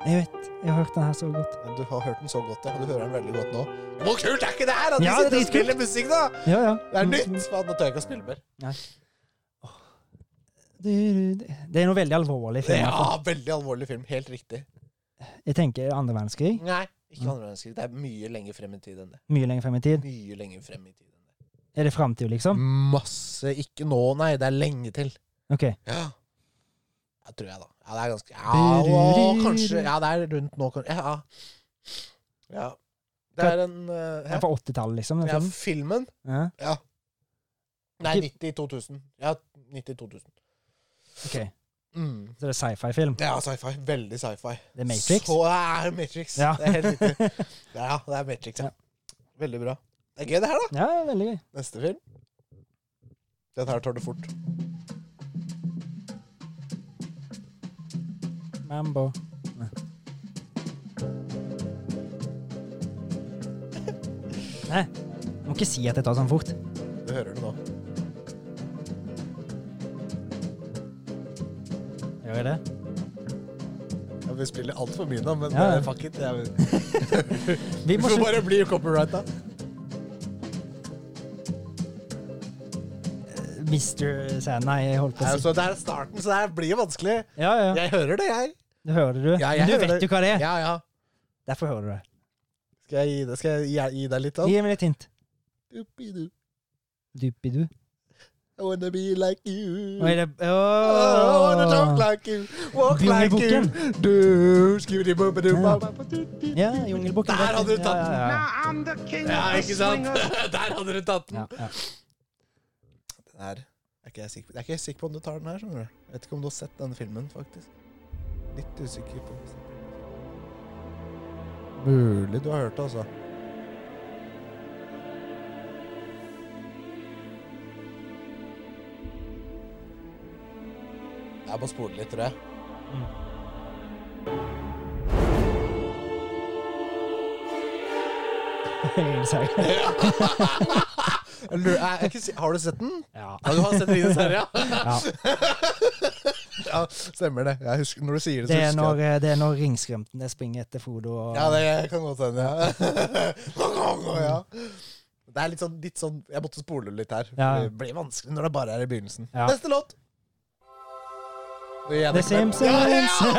Jeg vet. Jeg har hørt den her så godt. Men du har hørt den så godt, ja. Du hører den veldig godt nå. Hvor kult er ikke det her? At Ja, vi det sitter er og spiller musikk, da! Ja, ja. Det er nytt! Faen, nå tør jeg ikke å spille mer. Det er noe veldig alvorlig. i filmen. Ja, veldig alvorlig film. Helt riktig. Jeg tenker andre verdenskrig. Nei, ikke andre verdenskrig. Det er mye lenger frem i tid enn det. Mye lenger frem i tid. Mye lenger frem i tid enn det. Er det framtid, liksom? Masse Ikke nå, nei. Det er lenge til. OK. Ja. Jeg tror jeg, da. Ja, det er ganske Ja, å, kanskje Ja, det er rundt nå, kanskje. Ja. ja. Det er en eh, Den er ja. fra 80-tallet, liksom? Den ja, filmen. filmen Ja. Nei, Ikke- 90 2000. Ja, 90 2000. Ok. Mm. Så det er sci-fi-film? Det er sci-fi. Veldig sci-fi. Det er Matrix? Så er det Matrix. Ja. Det er helt riktig. Ja, det er Matrix, ja. Ja. Veldig bra. Det er gøy, det her, da. ja, veldig gøy. Neste film. Den her tar du fort. Mambo. Nei, jeg må ikke si at jeg tar sånn fort. Du hører det nå. Gjør jeg det? Ja, vi spiller altfor mye nå, men Ja, ja. eh, fuck it. Jeg, Vi vi må får slutte. bare bli copyrighta. Mr. Sand, eh, nei, jeg holdt på Nei, å si Altså, det er starten, så det her blir vanskelig. Ja, ja. Jeg hører det, jeg. Du hører det, du. Ja, jeg Men du hører vet det. jo hva det er. Ja, ja. Derfor hører du det. Skal jeg gi, det, skal jeg gi, gi deg litt av Gi meg litt hint. Doopidoo. Dupidu. I wanna be like you. Oh, Oi, det I wanna talk Ååå. like you. Walk like you. Jungelboken. Du, skibidi-bop-a-du-bop. Ja, Jungelboken. Der hadde du tatt Ja, ja, Ja, ikke sant? Der hadde du tatt ja. den. Ja, ja. Den her er ikke jeg sikker på. Jeg er ikke sikker på om du tar den her, skjønner du. Jeg vet ikke om du har sett denne filmen, faktisk. Litt usikker på. Mulig du har hørt det, altså. Jeg må spole litt, tror jeg. Ingen sang. jeg lurer, jeg, er ikke si- har du sett den? Ja. Ja, du har sett Rines herre, ja. ja. Stemmer det. Jeg husker, når du sier det, Det så er husker jeg. når, eh, det er når ringskremtene springer etter Frodo og Ja, det kan godt hende, ja. ja. Det er litt sånn, litt sånn Jeg måtte spole litt her. for Ja. Det blir vanskelig når det bare er i begynnelsen. Ja. Neste låt! Det er The det ikke, men- Simpsons! Ja, ja,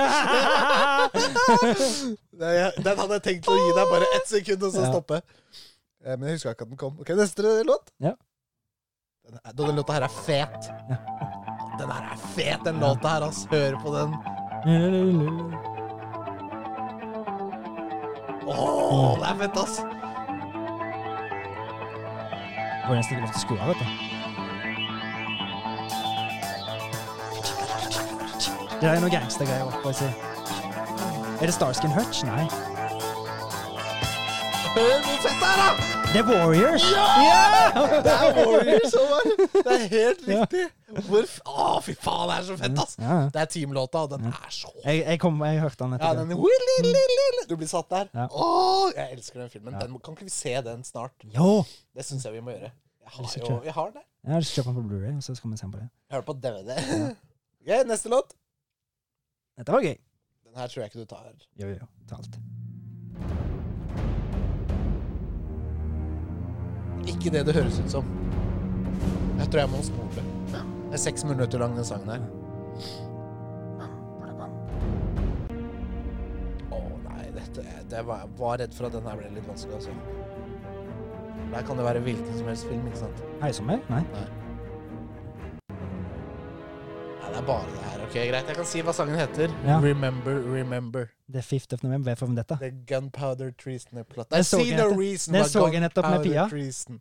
ja! Det er- Den hadde jeg tenkt å gi deg bare ett sekund, og så Ja. stoppe. Eh, Men jeg huska ikke at den kom. Ok, Neste låt. Ja. Den, er- denne låta her er fet. Den her er fet, den låta her, ass. Hør på den. Åh, Mm. det er fett, ass. Får nesten ikke lov til å skru av, vet du. Det der er noe gangstergreier oppå si. Er det Starskin Hutch? Nei. Hør hvor fett det er, da! The Warriors! Det er Warriors som var Det er helt riktig. Hvor f- Å, fy faen, det er så fett, ass. Ja. Det er teamlåta, og den er så Jeg, jeg, kom, jeg hørte han ja, etter den det. Du blir satt der. Ja. Å, jeg elsker den filmen. Den, kan ikke vi se den snart? Jo! Det syns jeg vi må gjøre. Jeg har Elsker jo det. jeg har den der. Jeg har kjøpt den på Blu-ray, og så skal vi se på det. Jeg har den på DVD. Ok, neste låt. Dette var gøy. Den her tror jeg ikke du tar. Jo, jo, jo. Ta alt. Ikke det det høres ut som. Jeg tror jeg må spole. Det er seks minutter lang, den sangen her. Å nei, dette det var, Jeg var redd for at den her ble litt vanskelig, altså. Der kan det være hvilken som helst film, ikke sant? Heisommer? Nei. Nei, det er bare det her. Ok, Greit. Jeg kan si hva sangen heter. Ja. Remember, remember. The 5th of November, V for Vendetta. The gunpowder treason and plot. Den I så see jeg no nettopp- reason den why så jeg nettopp med gunpowder Pia. treason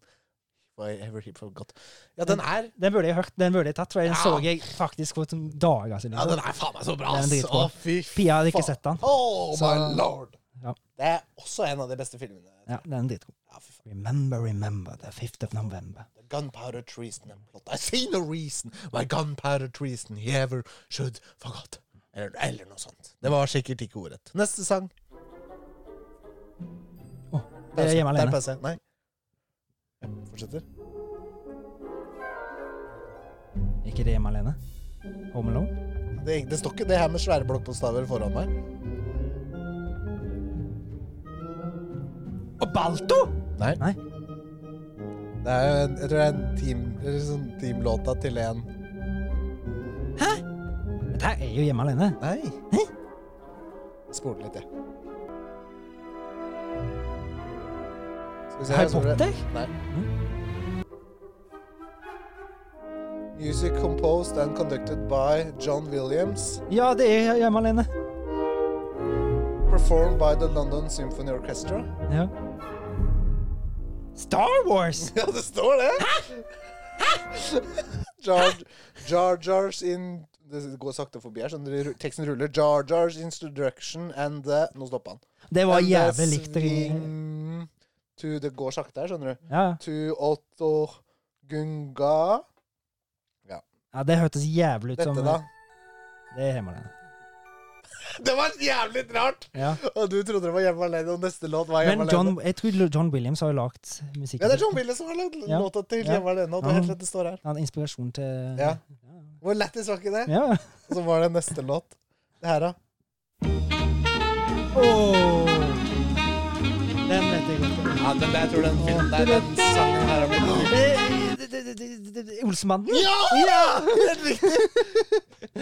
Why ever he forgot. Ja, den er Den burde jeg hørt, den burde jeg tatt, for den Ja. så jeg faktisk for sånn dager siden. Ja, den er faen meg så bra, Den er ass! dritbra. Å, fy Pia hadde ikke faen. sett den. Oh, Så- my lord! Ja. Det er også en av de beste filmene. Ja, den er dritgod. Ja, fy faen. Remember, remember the 5th of November. The gunpowder treason and plot. I see no reason why gunpowder treason he ever should forgot. Eller, eller noe sånt. Det var sikkert ikke ordrett. Neste sang. Å, det er hjemme Der alene. passer jeg. Nei. Jeg Fortsetter. Ikke det hjemme alene? Home Alone? Det, det står ikke det her med svære blokkbokstaver foran meg. Og Balto! Nei. Nei. Det er jo en, jeg tror det er en team, eller sånn teamlåta til en Dette her er jo hjemme alene. Nei. Spole litt, jeg. Skal vi se, Harry jeg spoler. Potter? Nei. Music composed and conducted by John Williams. Ja, det er hjemme alene. Performed by the London Symphony Orchestra. Ja. Star Wars! Ja, det står det! Jar Jar Jars in Det går sakte forbi her, så den- teksten ruller. Jar Jars instruction and the Nå stopper han. Det var And the jævlig likt. det- swing To, det går sakte her, skjønner du. Ja, To Otto Gunga ja, det hørtes jævlig ut som eh, Dette, da. Det er hjemme alene. Det var jævlig rart! Ja. Og du trodde det var Hjemme alene, og neste låt var Hjemme Men alene. John, jeg tror John Williams har jo lagd musikken. Ja, det er John Willis som har lagd Ja. låta til Ja. Hjemme alene. Og det er Ja. helt rett det står her. Han hadde inspirasjon til Ja. Hvor lættis var ikke det? ja. Og så var det neste låt. Det her, da. Den vet jeg godt. Ja, den der tror den filmen der, den sangen her har blitt Eh, d- d- d- d- d- Olsemannen? Ja! ja! Helt riktig!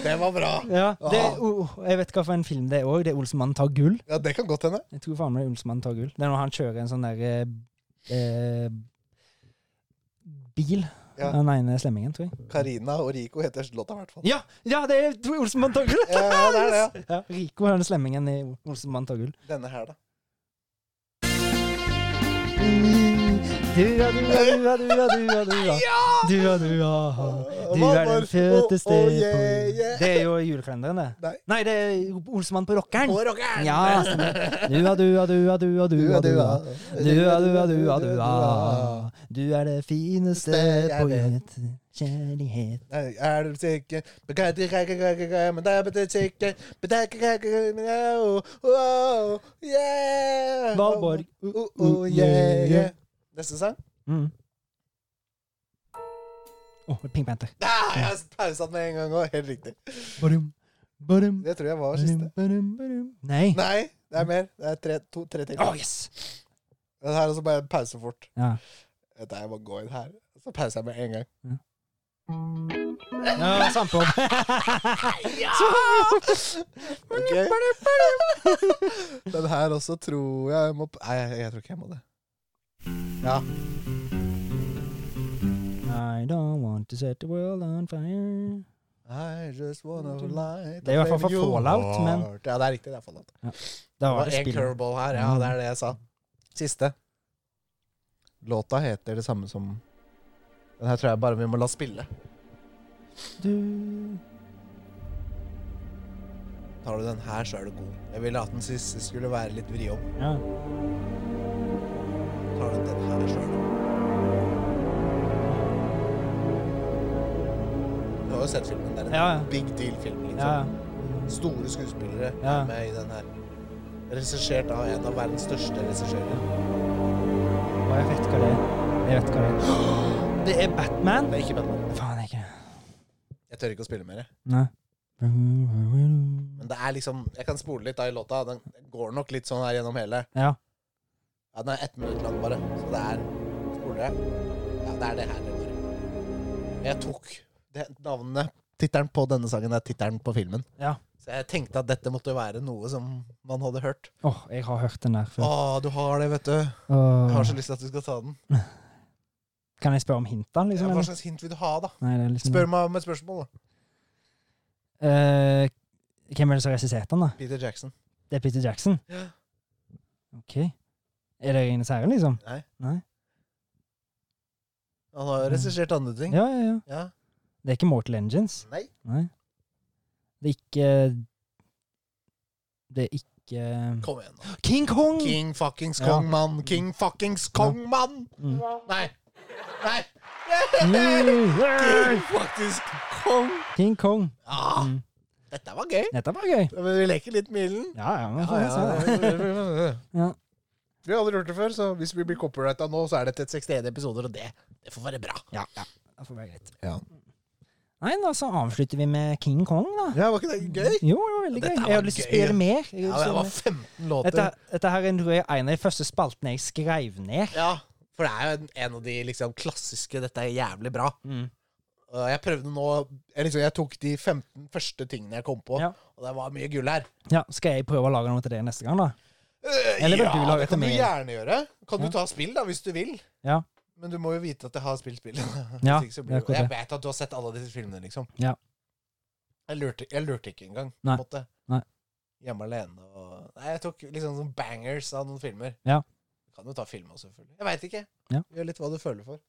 Det var bra. Ja, det, Ah. oh, jeg vet hva for en film det er òg. Det er 'Olsmannen tar gull'. Ja, det kan godt hende. Jeg tror faen meg det er 'Olsmannen tar gull'. Det er når han kjører en sånn der eh, eh, Bil. Ja. Den ene slemmingen, tror jeg. Karina og Rico heter låta, i hvert fall. Ja, ja det er tror jeg Olsmannen tar gull! Ja, ja, det er det, ja. Ja, Rico er den slemmingen i Olsmannen tar gull. Denne her, da. Dua, dua, dua, dua, dua, dua. Dua, dua. Du Hva var- er den feteste Oh, oh, på yeah, jord. yeah. Det er jo julekalenderen, det. Nei. Nei, det er Olsemann på rockeren. På rockeren! Ja, stemmer. Dua, dua, dua, dua, dua, dua. Dua, dua, dua, dua. Du er det fineste Jeg på vet. jord. Kjærlighet. Nei, Er du sikker? Begeistret, gre- gre- gre- gre- Men da er det sikker Begeistret, gre- gre- gre- gre- oh, oh, Yeah! Valborg. Oh, oh, oh, yeah, yeah. Neste sang? Mm. Åh, Pink Panther. Ah, jeg har pauset med en gang òg. Helt riktig. Badum, badum, Det tror jeg var badum, siste. badum, badum. Nei. Nei, det er mer. Det er tre, to, tre ting. Åh, yes! Den her også bare pause fort. Ja. Dette her, jeg må gå inn her. Så pauser jeg med en gang. Ja, Sampo. Ah! Ok. Den her også tror jeg må Nei, jeg, jeg tror ikke jeg må det. Ja. I don't want to set the world on fire. I just wanna light Det er i hvert fall up in for your Fallout, men- heart. Ja, det er riktig. Det er Fallout. Da Det var var det Mm. en spill. curveball her. Ja, det er det jeg sa. Siste. Låta heter det samme som Den her tror jeg bare vi må la spille. Du Tar du den her, så er du god. Jeg ville at den siste skulle være litt vri om. Ja. Tar du den her, så er du god. Du har jo sett filmen. Det er en Ja, ja. big deal-film. liksom. ja. Store skuespillere Ja. er med i den her. Regissert av en av verdens største regissører. Og jeg vet hva det er. Jeg vet hva det er. Det er Batman. Det er ikke Batman. Faen, jeg er ikke det. Jeg tør ikke å spille mer. jeg. Nei. Men det er liksom Jeg kan spole litt da i låta. Den går nok litt sånn her gjennom hele. Ja. Ja, Den er ett minutt lang, bare. Så det er Spoler jeg? Ja, det er det her det går. Jeg tok det navnet Tittelen på denne sangen er tittelen på filmen. Ja. Så jeg tenkte at dette måtte jo være noe som man hadde hørt. Åh, jeg har hørt den der Å, før. du har det, vet du. Jeg har Åh. så lyst til at du skal ta den. Kan jeg spørre om hintene, Ja, liksom? Hva Eller? slags hint vil du ha, da? Nei, det er liksom Spør meg om et spørsmål, da. Eh, hvem er det som har regissert den, da? Peter Jackson. Det er Peter Jackson? Ja. Ok. Er det Ringenes herre, liksom? Nei. Nei. Han har jo regissert andre ting. Mm. Ja, ja, ja. Ja. Det er ikke Mortal Engines. Nei. Nei. Det er ikke Det er ikke Kom igjen, nå. King Kong! King fuckings Mm. Ja. kong, mann! King fuckings kong, mann! Mm. Nei. Nei. Mm, King yeah. faktisk kong. King Kong. Ja, Mm. dette var gøy. Dette var gøy. Men vi leker litt med ilden. Ja, ja. Men, Ja, faen, ja, altså. ja. Ja. Vi har aldri gjort det før, så hvis vi blir copyrighta nå, så er dette et 61 episoder, og det, det får være bra. ja, ja. Det får være greit. Ja. Nei, da så avslutter vi med King Kong, da. Ja, Var ikke det gøy? Jo, det var veldig Dette gøy. var Jeg hadde lyst til å gøy, ja. spille mer. Jeg hadde Ja, lyst det til å var spille 15 mer. låter. dette, dette her er en tror jeg, en av de første spaltene jeg skrev ned. Ja, For det er jo en, en av de liksom klassiske 'dette er jævlig bra'. Mm. Og Jeg prøvde nå Jeg, liksom, jeg tok de 15 første tingene jeg kom på, Ja. og det var mye gull her. Ja, Skal jeg prøve å lage noe til det neste gang, da? Øh, Eller vil ja, du lage det etter kan du meg? gjerne gjøre. Kan Ja. du ta spill, da, hvis du vil? Ja. Men du må jo vite at jeg har spilt spill. Hvis Ja, ikke så det blir er akkurat det- jeg det. vet at du har sett alle disse filmene, liksom. Ja. Jeg lurte, jeg lurte ikke engang. på en Nei. måte. Nei. Hjemme alene og Nei, jeg tok liksom sånn bangers av noen filmer. Ja. Du kan jo ta film også, selvfølgelig. Jeg veit ikke. Ja. Gjør litt hva du føler for.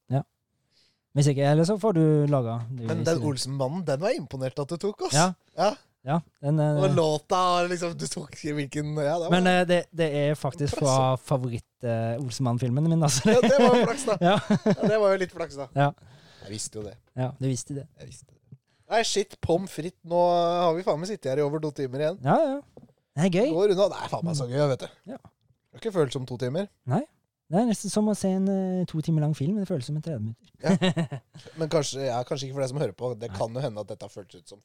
Hvis ikke, eller så får du laga. du- Men den Olsen-mannen, den var jeg imponert at du tok, ass. Mm. Ja. Ja. Ja, den, eh, Og låta og liksom Du tok hvilken Ja, det var, Men eh, det, det er faktisk fra favoritt-Olsemann-filmene mine, altså. ja, det var jo flaks, da. Ja. Ja, det var jo litt flaks, da. Ja. Jeg visste jo det. ja, du visste det. Jeg visste det. Nei, shit, pommes frites. Nå har vi faen meg sittet her i over to timer igjen. Ja, ja. Det er gøy. Går unna. Det er faen meg så gøy, vet du. Ja. Det har ikke føltes som to timer. Det er nesten som å se en eh, to timer lang film. men Det føles som en 30 minutter. Men kanskje, ja, kanskje ikke for deg som hører på. Det Nei. kan jo hende at dette har føltes ut som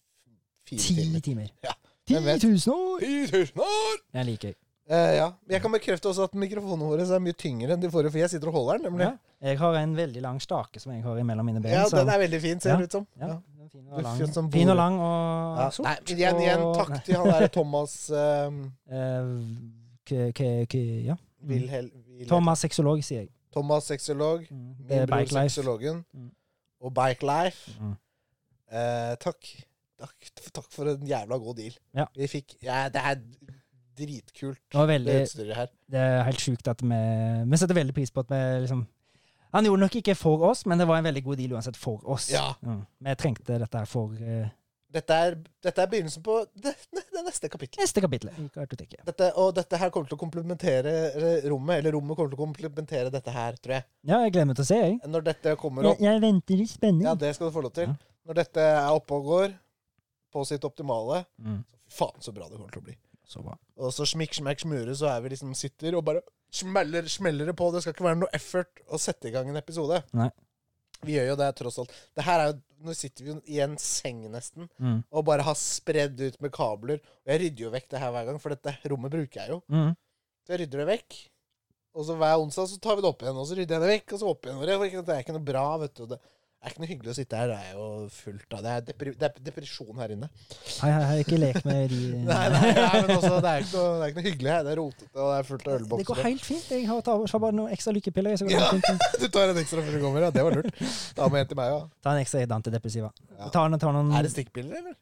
fire Ti timer. timer. Ja. Ti Hvem vet? tusen år! Ti tusen år! Det er like gøy. Eh, ja. Men Jeg kan bekrefte også at mikrofonene våre er mye tyngre enn de forrige, for jeg sitter og holder den. nemlig. Ja. Jeg har en veldig lang stake som jeg har mellom mine ben. Ja, så- den er veldig fin, ser sånn. Ja. det ut som. ja, Ja. den er fin, Du og lang. fyr som fin og bor- lang og Ja. sort. Nei, men igjen, igjen, og- takk til han der Thomas eh, Eh, k k k ja. Wilhel... Wilhel- Thomas sexolog, sier jeg. Thomas sexolog. Mm. Det Min er bror Bike Life. sexologen. Mm. Og Bike Life. Mm. Eh, takk. takk. Takk for en jævla god deal. Ja. Vi fikk ja, Det er dritkult, Det var det veldig utstyret her. Det er helt sjukt at vi Vi setter veldig pris på at vi liksom Han gjorde nok ikke for oss, men det var en veldig god deal uansett for oss. Ja. Mm. Vi trengte dette her for eh, Dette er, dette er begynnelsen på det, det neste kapittelet. neste kapittel i kartoteket. Dette, og dette her kommer til å komplementere eh, rommet, eller rommet kommer til å komplementere dette her, tror jeg. Ja, jeg gleder meg til å se, jeg. Når dette kommer Jeg, opp jeg venter i spenning. Ja, det skal du få lov til. Ja. Når dette er oppe og går, på sitt optimale Mm. Faen, så bra det kommer til å bli. Så bra. Og så smikk, smekk, smure, så er vi liksom sitter og bare smeller, smeller det på. Det skal ikke være noe effort å sette i gang en episode. Nei. Vi gjør jo det, tross alt. Det her er jo, Nå sitter vi jo i en seng, nesten, Mm. og bare har spredd ut med kabler. Og jeg rydder jo vekk det her hver gang, for dette rommet bruker jeg jo. Mm. Så jeg rydder det vekk. Og så hver onsdag så tar vi det opp igjen, og så rydder jeg det vekk, og så opp igjen. Og det er ikke noe bra, vet du. og Det er ikke noe hyggelig å sitte her. Det er jo fullt av Det er, depri det er depresjon her inne. Hei, hei, hei, ikke lek med de Nei, nei, nei, men også, det er ikke noe, det er ikke noe hyggelig her. Det er rotete, og det er fullt av Det går ølbokser. helt fint. Jeg har tar, tar bare noen ekstra lykkepiller. jeg, Så går det Ja. helt fint. Du tar en ekstra før du kommer, ja. Det var lurt. Ta med en til meg òg. Ta en ekstra edd antidepressiva. Ja. Ta, noen- ta noen Er det stikkpiller, eller?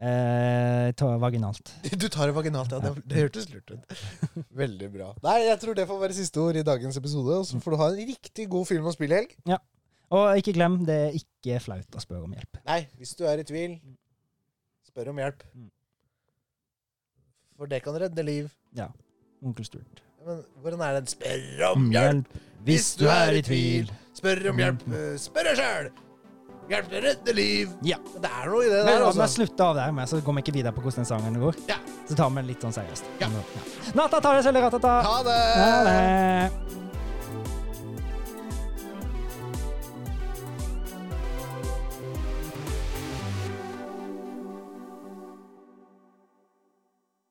eh, ta vaginalt. Du tar det vaginalt, ja. Det, det hørtes lurt ut. Veldig bra. Nei, jeg tror det får være siste ord i dagens episode. Og så får du ha en riktig god film- og spillhelg. Og ikke glem, det er ikke flaut å spørre om hjelp. Nei, hvis du er i tvil, spør om hjelp. Mm. For det kan redde liv. Onkel Sturt. Men hvordan er den? Spør om Mm, hjelp! Hvis du er i tvil, spør om hjelp! eh, Spør deg sjøl! Hjelp til å redde liv! Ja. Det er noe i det Men der, la meg altså. slutte av der, men så går vi ikke videre på hvordan den sangen går. Ja. Så tar vi den litt sånn seriøst. Ja. Natta tar jeg selv i ratata. Ha Ha det! det.